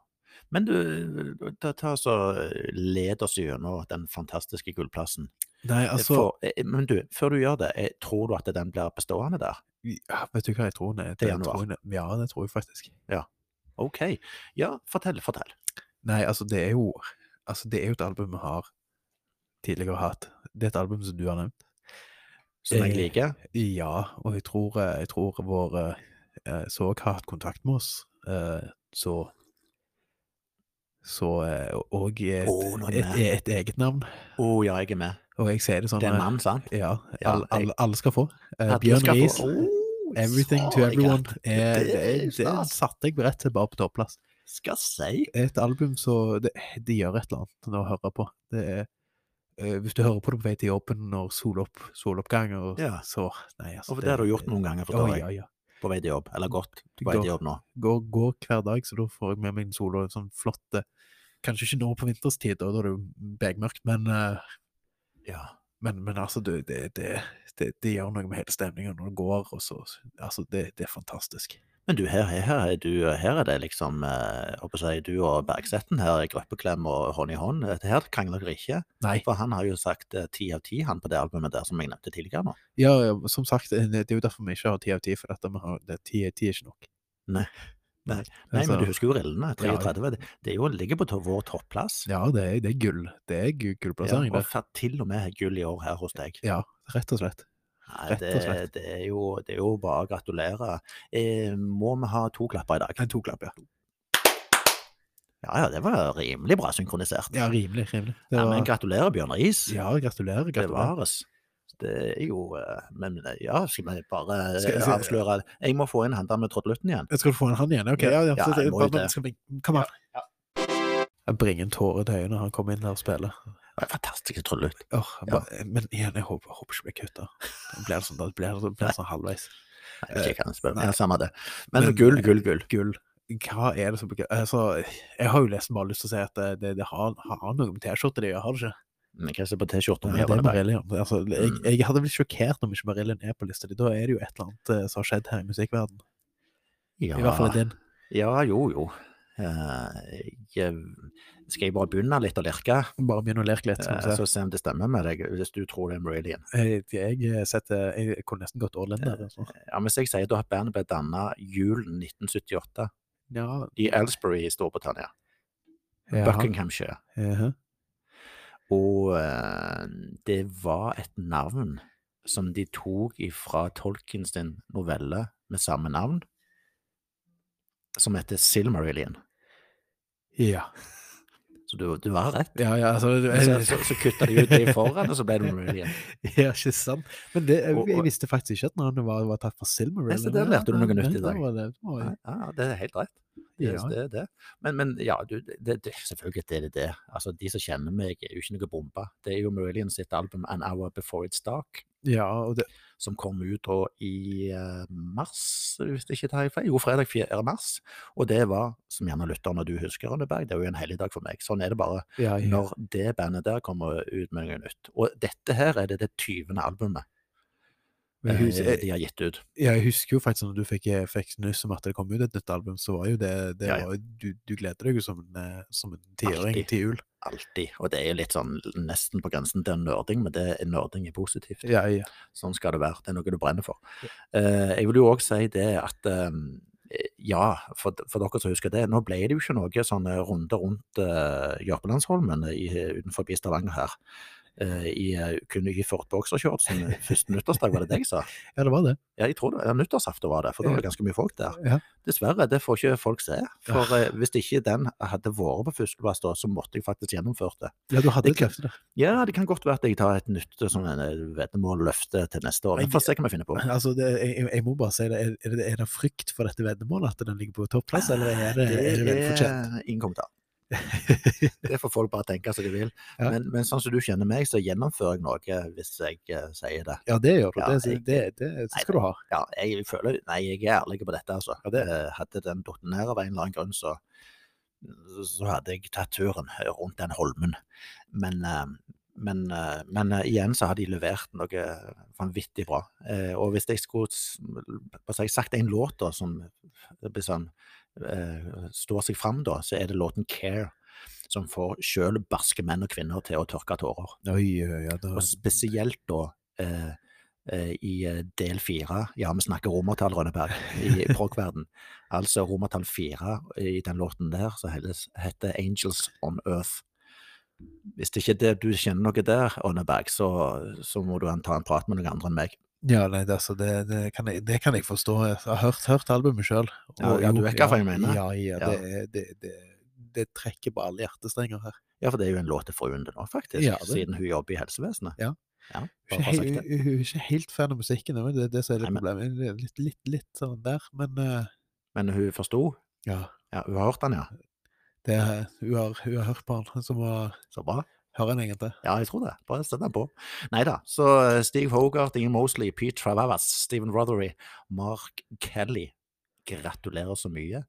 [SPEAKER 1] Men du, ta, ta så eh, led oss gjennom den fantastiske gullplassen.
[SPEAKER 2] Nei, altså,
[SPEAKER 1] For, eh, men du, før du gjør det, eh, tror du at den blir bestående der?
[SPEAKER 2] ja, vet du hva jeg tror? Nei, det,
[SPEAKER 1] Til
[SPEAKER 2] jeg
[SPEAKER 1] januar.
[SPEAKER 2] tror jeg- ja, det tror jeg faktisk.
[SPEAKER 1] Ok, ja, fortell, fortell.
[SPEAKER 2] Nei, altså, det er jo, altså, det er jo et album vi har tidligere hatt. Det er et album som du har nevnt.
[SPEAKER 1] Som jeg
[SPEAKER 2] Eh,
[SPEAKER 1] liker.
[SPEAKER 2] Ja, og jeg tror, eh, jeg tror vår eh, Sorg har hatt kontakt med oss, eh, så så eh, og et,
[SPEAKER 1] Å, nå er
[SPEAKER 2] et,
[SPEAKER 1] det
[SPEAKER 2] et, eget navn.
[SPEAKER 1] Å ja, jeg er med.
[SPEAKER 2] Og jeg sier det sånn
[SPEAKER 1] Det er
[SPEAKER 2] eh,
[SPEAKER 1] en mann, sant?
[SPEAKER 2] Ja,
[SPEAKER 1] Ja,
[SPEAKER 2] alle,
[SPEAKER 1] jeg-
[SPEAKER 2] alle, alle skal få. Eh,
[SPEAKER 1] At du
[SPEAKER 2] Bjørn
[SPEAKER 1] skal få-
[SPEAKER 2] Riis,
[SPEAKER 1] Å,
[SPEAKER 2] 'Everything
[SPEAKER 1] sa
[SPEAKER 2] to
[SPEAKER 1] jeg
[SPEAKER 2] Everyone'.
[SPEAKER 1] at
[SPEAKER 2] eh,
[SPEAKER 1] det er
[SPEAKER 2] det, det
[SPEAKER 1] stas.
[SPEAKER 2] satte jeg rett til bare på topplass.
[SPEAKER 1] Skal si.
[SPEAKER 2] Et album så det, det gjør et eller annet når du hører på. Det er, eh, hvis du hører på det på vei til jobben når solopp, soloppgang og
[SPEAKER 1] Ja.
[SPEAKER 2] så Nei, altså
[SPEAKER 1] Og det har du gjort noen ganger,
[SPEAKER 2] Å,
[SPEAKER 1] forstår
[SPEAKER 2] ja,
[SPEAKER 1] jeg.
[SPEAKER 2] ja.
[SPEAKER 1] På vei til jobb, eller godt på vei
[SPEAKER 2] Går,
[SPEAKER 1] til jobb nå.
[SPEAKER 2] går, går hver dag, så da får jeg med meg en solo. En sånn flott eh, Kanskje ikke nå på vinterstid, da da er det jo begmørkt, men eh,
[SPEAKER 1] Ja.
[SPEAKER 2] Men, men altså, du, det, det, det, det gjør noe med hele stemningen når det går, og så Altså, det, det er fantastisk.
[SPEAKER 1] Men du, her, her, er du, her er det liksom eh, håper jeg, å si, du og Bergsetten her i gruppeklem og hånd i hånd. Dette her krangler dere ikke.
[SPEAKER 2] Nei.
[SPEAKER 1] For han har jo sagt eh, ti av ti, han på det albumet der som jeg nevnte tidligere nå.
[SPEAKER 2] Ja, ja, som sagt, det det er jo derfor vi ikke har ti av ti, for dette med å ha- det- ti av ti er ikke nok. Altså,
[SPEAKER 1] Nei. Nei, Nei, men du husker jo rillene.
[SPEAKER 2] Ja.
[SPEAKER 1] 33. det- Det er jo, ligger på to- vår topplass.
[SPEAKER 2] Ja, det er, det er gull. Det er gu- gullplassering
[SPEAKER 1] og
[SPEAKER 2] der.
[SPEAKER 1] fa- til og med gull i år her hos deg.
[SPEAKER 2] Ja, rett og slett.
[SPEAKER 1] Nei,
[SPEAKER 2] Rett og
[SPEAKER 1] det,
[SPEAKER 2] slett.
[SPEAKER 1] det, er jo, det er jo bare å gratulere. Eh, må vi ha to klapper i dag?
[SPEAKER 2] En toklapp, ja.
[SPEAKER 1] Ja ja, det var rimelig bra synkronisert.
[SPEAKER 2] Ja, rimelig, rimelig. Det
[SPEAKER 1] Ja, men
[SPEAKER 2] var,
[SPEAKER 1] gratulerer, Bjørnar Is.
[SPEAKER 2] ja, gratulerer, gratulerer.
[SPEAKER 1] bevares. Det er jo eh, Men eh, ja, skal vi bare eh,
[SPEAKER 2] Skal- skal-
[SPEAKER 1] avsløre Jeg må få inn han der med trottelutten igjen.
[SPEAKER 2] Jeg skal få en hand igjen? Ok, ja, ja.
[SPEAKER 1] Ja,
[SPEAKER 2] så-
[SPEAKER 1] jeg
[SPEAKER 2] så-
[SPEAKER 1] må jo
[SPEAKER 2] bare-
[SPEAKER 1] det.
[SPEAKER 2] skal vi- Kom an. Jeg bringer en tåre til øyet når han kommer inn her og spiller.
[SPEAKER 1] Ja, Fantastisk trollelutt.
[SPEAKER 2] Åh, jeg bare, Men igjen, jeg håper, håper ikke blir kutta. Det blir sånn, da blir det blir sånn halvveis.
[SPEAKER 1] Nei, ikke kan jeg spørre.
[SPEAKER 2] nei.
[SPEAKER 1] Ja, samme det. Men,
[SPEAKER 2] Eh, Men-
[SPEAKER 1] gull, gull, gull.
[SPEAKER 2] gull. Hva er det som blir altså, Jeg har jo nesten bare lyst til å si at det, det, det har, har noe med T-skjorte å gjøre, har det ikke?
[SPEAKER 1] Men Hva ser på T-skjorta
[SPEAKER 2] Nei,
[SPEAKER 1] mi?
[SPEAKER 2] det er
[SPEAKER 1] Ronneberg?
[SPEAKER 2] Marillion. Altså, jeg, jeg hadde blitt sjokkert om ikke Marillion er på lista di. Da er det jo et eller annet eh, som har skjedd her i musikkverden. I hvert fall
[SPEAKER 1] Ja,
[SPEAKER 2] i din.
[SPEAKER 1] ja, jo, jo. Eh, jeg, eh, skal jeg bare begynne litt å lirke,
[SPEAKER 2] Bare begynn å lirke litt.
[SPEAKER 1] Eh,
[SPEAKER 2] Sånn,
[SPEAKER 1] så se om det stemmer med deg, hvis du tror det er Marillion?
[SPEAKER 2] jeg, jeg, setter, jeg kunne nesten gått all in der. Altså.
[SPEAKER 1] Ja, Hvis jeg sier da at bandet ble danna julen 1978
[SPEAKER 2] Ja,
[SPEAKER 1] i Elsbury i Storbritannia,
[SPEAKER 2] jaha.
[SPEAKER 1] Buckinghamshire,
[SPEAKER 2] Jaha.
[SPEAKER 1] Og eh, det var et navn som de tok ifra Tolkien sin novelle med samme navn, som heter Silmarillion.
[SPEAKER 2] Ja.
[SPEAKER 1] Så du, du har rett.
[SPEAKER 2] ja, ja, altså du-
[SPEAKER 1] Så, så, så kutta de ut det foran, og så ble det Marillion.
[SPEAKER 2] Ja, ikke sant? Men det, jeg,
[SPEAKER 1] Og-
[SPEAKER 2] jeg
[SPEAKER 1] og-
[SPEAKER 2] visste faktisk ikke at navnet var, var tatt fra Silmarillion.
[SPEAKER 1] Nei, så der lærte du noe nytt i dag.
[SPEAKER 2] dag.
[SPEAKER 1] Ja, det er helt rett. Det,
[SPEAKER 2] Ja,
[SPEAKER 1] det, er det. Men, men ja, du, det, det, selvfølgelig er det det. Altså, de som kjenner meg, er jo ikke noe bombe. Det er jo Marillion sitt album 'An Hour Before It's Dark'.
[SPEAKER 2] Ja, og det,
[SPEAKER 1] som kom ut da i eh, mars, hvis jeg ikke tar feil. Jo, fredag 4. mars. Og det var, som gjerne lytterne du husker, Rønneberg, det er jo en helligdag for meg. Sånn er det bare
[SPEAKER 2] ja, ja.
[SPEAKER 1] når det bandet der kommer ut med noe nytt. Og dette her er det det 20. albumet
[SPEAKER 2] Men jeg,
[SPEAKER 1] eh,
[SPEAKER 2] husker,
[SPEAKER 1] de har gitt ut.
[SPEAKER 2] jeg, jeg husker jo faktisk når du fikk, eh, fikk nyss om at det kom ut et nytt album, så var jo det, det
[SPEAKER 1] Ja, ja.
[SPEAKER 2] var, jo- du, du gleder deg jo som en, eh, som en tiåring
[SPEAKER 1] Alltid.
[SPEAKER 2] til jul.
[SPEAKER 1] Alltid. Og det er jo litt sånn nesten på grensen til en nerding, men det er nerding er positivt.
[SPEAKER 2] Ja, ja.
[SPEAKER 1] Sånn skal det være. Det er noe du brenner for. Eh, jeg vil jo òg si det at eh, ja, for, for dere som husker det, nå ble det jo ikke noe sånn runde rundt uh, Jørpelandsholmen i, utenfor Stavanger her. eh, I eh, kun iført boksershortsen første nyttårsdag, var det det jeg sa?
[SPEAKER 2] ja, det var det.
[SPEAKER 1] Ja, jeg tror det var nyttårsaften var det, for da var det ganske mye folk der.
[SPEAKER 2] Ja.
[SPEAKER 1] Dessverre, det får ikke folk se. For eh, hvis ikke den hadde vært på førsteplass da, så måtte jeg faktisk gjennomført det.
[SPEAKER 2] Ja, du hadde
[SPEAKER 1] Det
[SPEAKER 2] et
[SPEAKER 1] kan-
[SPEAKER 2] løfte der.
[SPEAKER 1] Ja, det kan godt være at jeg tar et nytt sånn en veddemål-løfte til neste år.
[SPEAKER 2] Men
[SPEAKER 1] Vi får se hva vi finner på.
[SPEAKER 2] Altså, det, jeg, jeg- jeg må bare si det, er, er det, er det frykt for dette veddemålet at den ligger på topplass, eller er det, er det veldig fortjent?
[SPEAKER 1] er ingen kommentar. Det får folk bare tenke som de vil.
[SPEAKER 2] Ja.
[SPEAKER 1] Men, men sånn som du kjenner meg, så gjennomfører jeg noe hvis jeg eh, sier det.
[SPEAKER 2] Ja, det gjør du.
[SPEAKER 1] Ja,
[SPEAKER 2] det,
[SPEAKER 1] jeg-
[SPEAKER 2] det, det, det skal du ha.
[SPEAKER 1] Ja, jeg føler Nei, jeg er ærlig på dette, altså. Eh, Hadde den falt ned av en eller annen grunn, så, så hadde jeg tatt turen rundt den holmen. Men, eh, men, eh, men eh, igjen så har de levert noe vanvittig bra. Eh, Og hvis jeg skulle s- hva skal jeg sagt en låt da, som blir sånn, eh, står seg fram, da, så er det låten 'Care'. Som får sjøl barske menn og kvinner til å tørke tårer.
[SPEAKER 2] Oi, oi, ja, da,
[SPEAKER 1] Og spesielt da eh, eh, i eh, del fire Ja, vi snakker romertall, Rønneberg, i prog-verden. Altså romertall fire i den låten der som helles- heter 'Angels on Earth'. Hvis det ikke er det du kjenner noe der, Rønneberg, så, så må du ta en prat med noen andre enn meg.
[SPEAKER 2] ja nei, det, altså, det, det, kan jeg, det kan jeg forstå. Jeg har hørt, hørt albumet sjøl.
[SPEAKER 1] Ja, ja, du vet hva jeg mener.
[SPEAKER 2] Ja, ja,
[SPEAKER 1] Ja.
[SPEAKER 2] det, er- det, det, det trekker på alle hjertestrenger her.
[SPEAKER 1] Ja, for det er jo en låt til fruen din nå, faktisk,
[SPEAKER 2] Ja, det-
[SPEAKER 1] siden hun jobber i helsevesenet.
[SPEAKER 2] Ja.
[SPEAKER 1] ja
[SPEAKER 2] Hun
[SPEAKER 1] bare for
[SPEAKER 2] er
[SPEAKER 1] å ha
[SPEAKER 2] ikke,
[SPEAKER 1] sagt
[SPEAKER 2] helt-
[SPEAKER 1] det.
[SPEAKER 2] hun- hun er ikke helt fan av musikken, det er det, det som er litt
[SPEAKER 1] Nei, men-
[SPEAKER 2] problemet. Det er Litt, litt, litt sånn der, men eh,
[SPEAKER 1] Men hun forsto?
[SPEAKER 2] ja.
[SPEAKER 1] Ja, hun har hørt den, ja.
[SPEAKER 2] Det, er- hun, har, hun har hørt på han, så må
[SPEAKER 1] Så bra.
[SPEAKER 2] høre han en gang til.
[SPEAKER 1] Ja, jeg tror det. Bare sett den på. Nei da. Så eh, Steve Hogarth, Ingen Mosley, Pete Travavas, Stephen Rothery, Mark Kelly. Gratulerer så mye.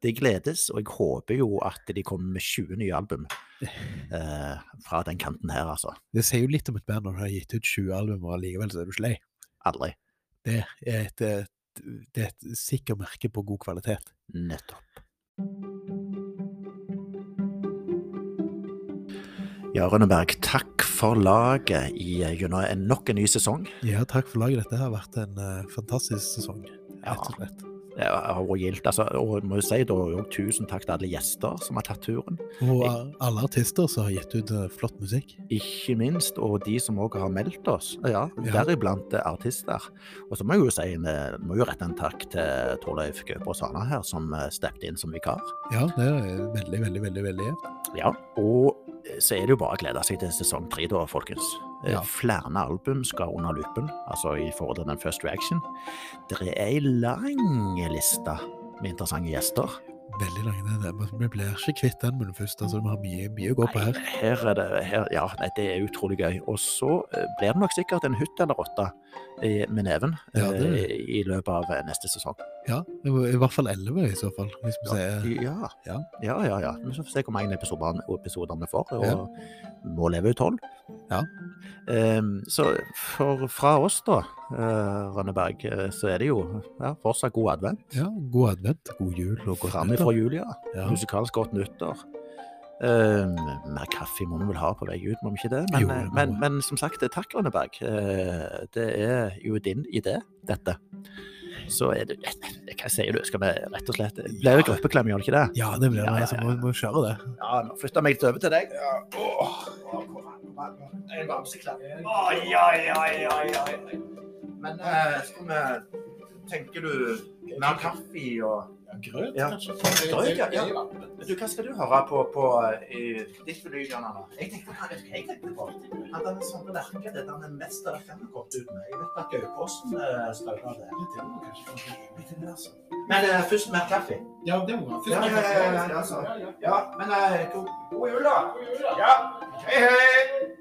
[SPEAKER 1] Det gledes, og jeg håper jo at de kommer med 20 nye album eh, fra den kanten her, altså.
[SPEAKER 2] Det sier jo litt om et band når du har gitt ut 20 album, og allikevel så er du ikke lei.
[SPEAKER 1] Aldri.
[SPEAKER 2] Det er et, et, det er et sikkert merke på god kvalitet.
[SPEAKER 1] Nettopp. Ja, Rønneberg, takk for laget i eh, gjennom en- nok en ny sesong.
[SPEAKER 2] Ja, takk for laget. Dette har vært en eh, fantastisk sesong,
[SPEAKER 1] Ja.
[SPEAKER 2] rett og slett.
[SPEAKER 1] Det har vært gildt. Altså, og jeg må jo si da, jo, tusen takk til alle gjester som har tatt turen.
[SPEAKER 2] Og eh, alle artister som har gitt ut eh, flott musikk.
[SPEAKER 1] Ikke minst, og de som òg har meldt oss, ja,
[SPEAKER 2] Ja.
[SPEAKER 1] deriblant eh, artister. Og så må jeg jo si en, eh, må jo rette en takk til Torleif Gaupa Sana her, som eh, steppet inn som vikar.
[SPEAKER 2] Ja, det er veldig, veldig, veldig veldig jevnt.
[SPEAKER 1] Ja, og eh, så er det jo bare å glede seg til sesong tre, da, folkens. Eh,
[SPEAKER 2] Ja.
[SPEAKER 1] Flere album skal under lupen, altså i forhold til den First Reaction. Det er ei lang liste med interessante gjester.
[SPEAKER 2] Veldig lang den der. men Vi blir ikke kvitt den munnen først. Altså, vi har mye, mye å gå på her.
[SPEAKER 1] Nei, her er det, her, ja, nei, det er utrolig gøy. Og så eh, blir det nok sikkert en hytt eller åtte eh, med neven
[SPEAKER 2] Ja, det-
[SPEAKER 1] eh, i løpet av eh, neste sesong.
[SPEAKER 2] Ja, det var I hvert fall elleve, i så fall. Hvis vi sier
[SPEAKER 1] Ja,
[SPEAKER 2] Ja.
[SPEAKER 1] ja, ja. ja. Men så får vi se hvor mange episoder, episoder vi får. Og
[SPEAKER 2] Ja.
[SPEAKER 1] må leve ut tolv.
[SPEAKER 2] Ja.
[SPEAKER 1] Ehm, så for, fra oss, da, eh, Rønneberg, eh, så er det jo ja, fortsatt god advent.
[SPEAKER 2] ja, god advent, god jul og godt
[SPEAKER 1] Framme fra
[SPEAKER 2] nyttår.
[SPEAKER 1] Julia.
[SPEAKER 2] Ja.
[SPEAKER 1] Musikalsk godt nyttår. Ehm, mer kaffe må vi vel ha på vei ut, må vi ikke det? Men, eh,
[SPEAKER 2] Jo, det må
[SPEAKER 1] men,
[SPEAKER 2] vi.
[SPEAKER 1] men som sagt, takk, Rønneberg. Eh, det er jo din idé, dette. Så er det eh, Hva sier du? Skal vi rett og slett Det blir jo gruppeklem, gjør det ikke det?
[SPEAKER 2] ja, det blir
[SPEAKER 1] Ja,
[SPEAKER 2] det.
[SPEAKER 1] ja,
[SPEAKER 2] Så
[SPEAKER 1] ja,
[SPEAKER 2] må vi må kjøre det.
[SPEAKER 1] Ja, nå flytter jeg meg litt over til deg. Ja. Åh. Jeg er bamseklem. Oi, oi, oi, oi, oi. Men eh, skal vi Tenker du mer kaffe og
[SPEAKER 2] Grøt,
[SPEAKER 1] Ja.
[SPEAKER 2] kanskje?
[SPEAKER 1] Grøt, ja, ja. Du, hva skal du høre på på eh, i ditt lyd, Jan Arne? Jeg tenkte på jeg tenkte på at han er sånn på verket, det er den meste verket han har kommet ut med. Jeg vet at Gaupåsen eh, støtter det. Litt til, altså. Men eh, først mer kaffe.
[SPEAKER 3] Ja, det må man.
[SPEAKER 1] Ja, ja, ja, ja, ja, altså. Ja, men eh, god, god jul, da. Ja. Hei, hei.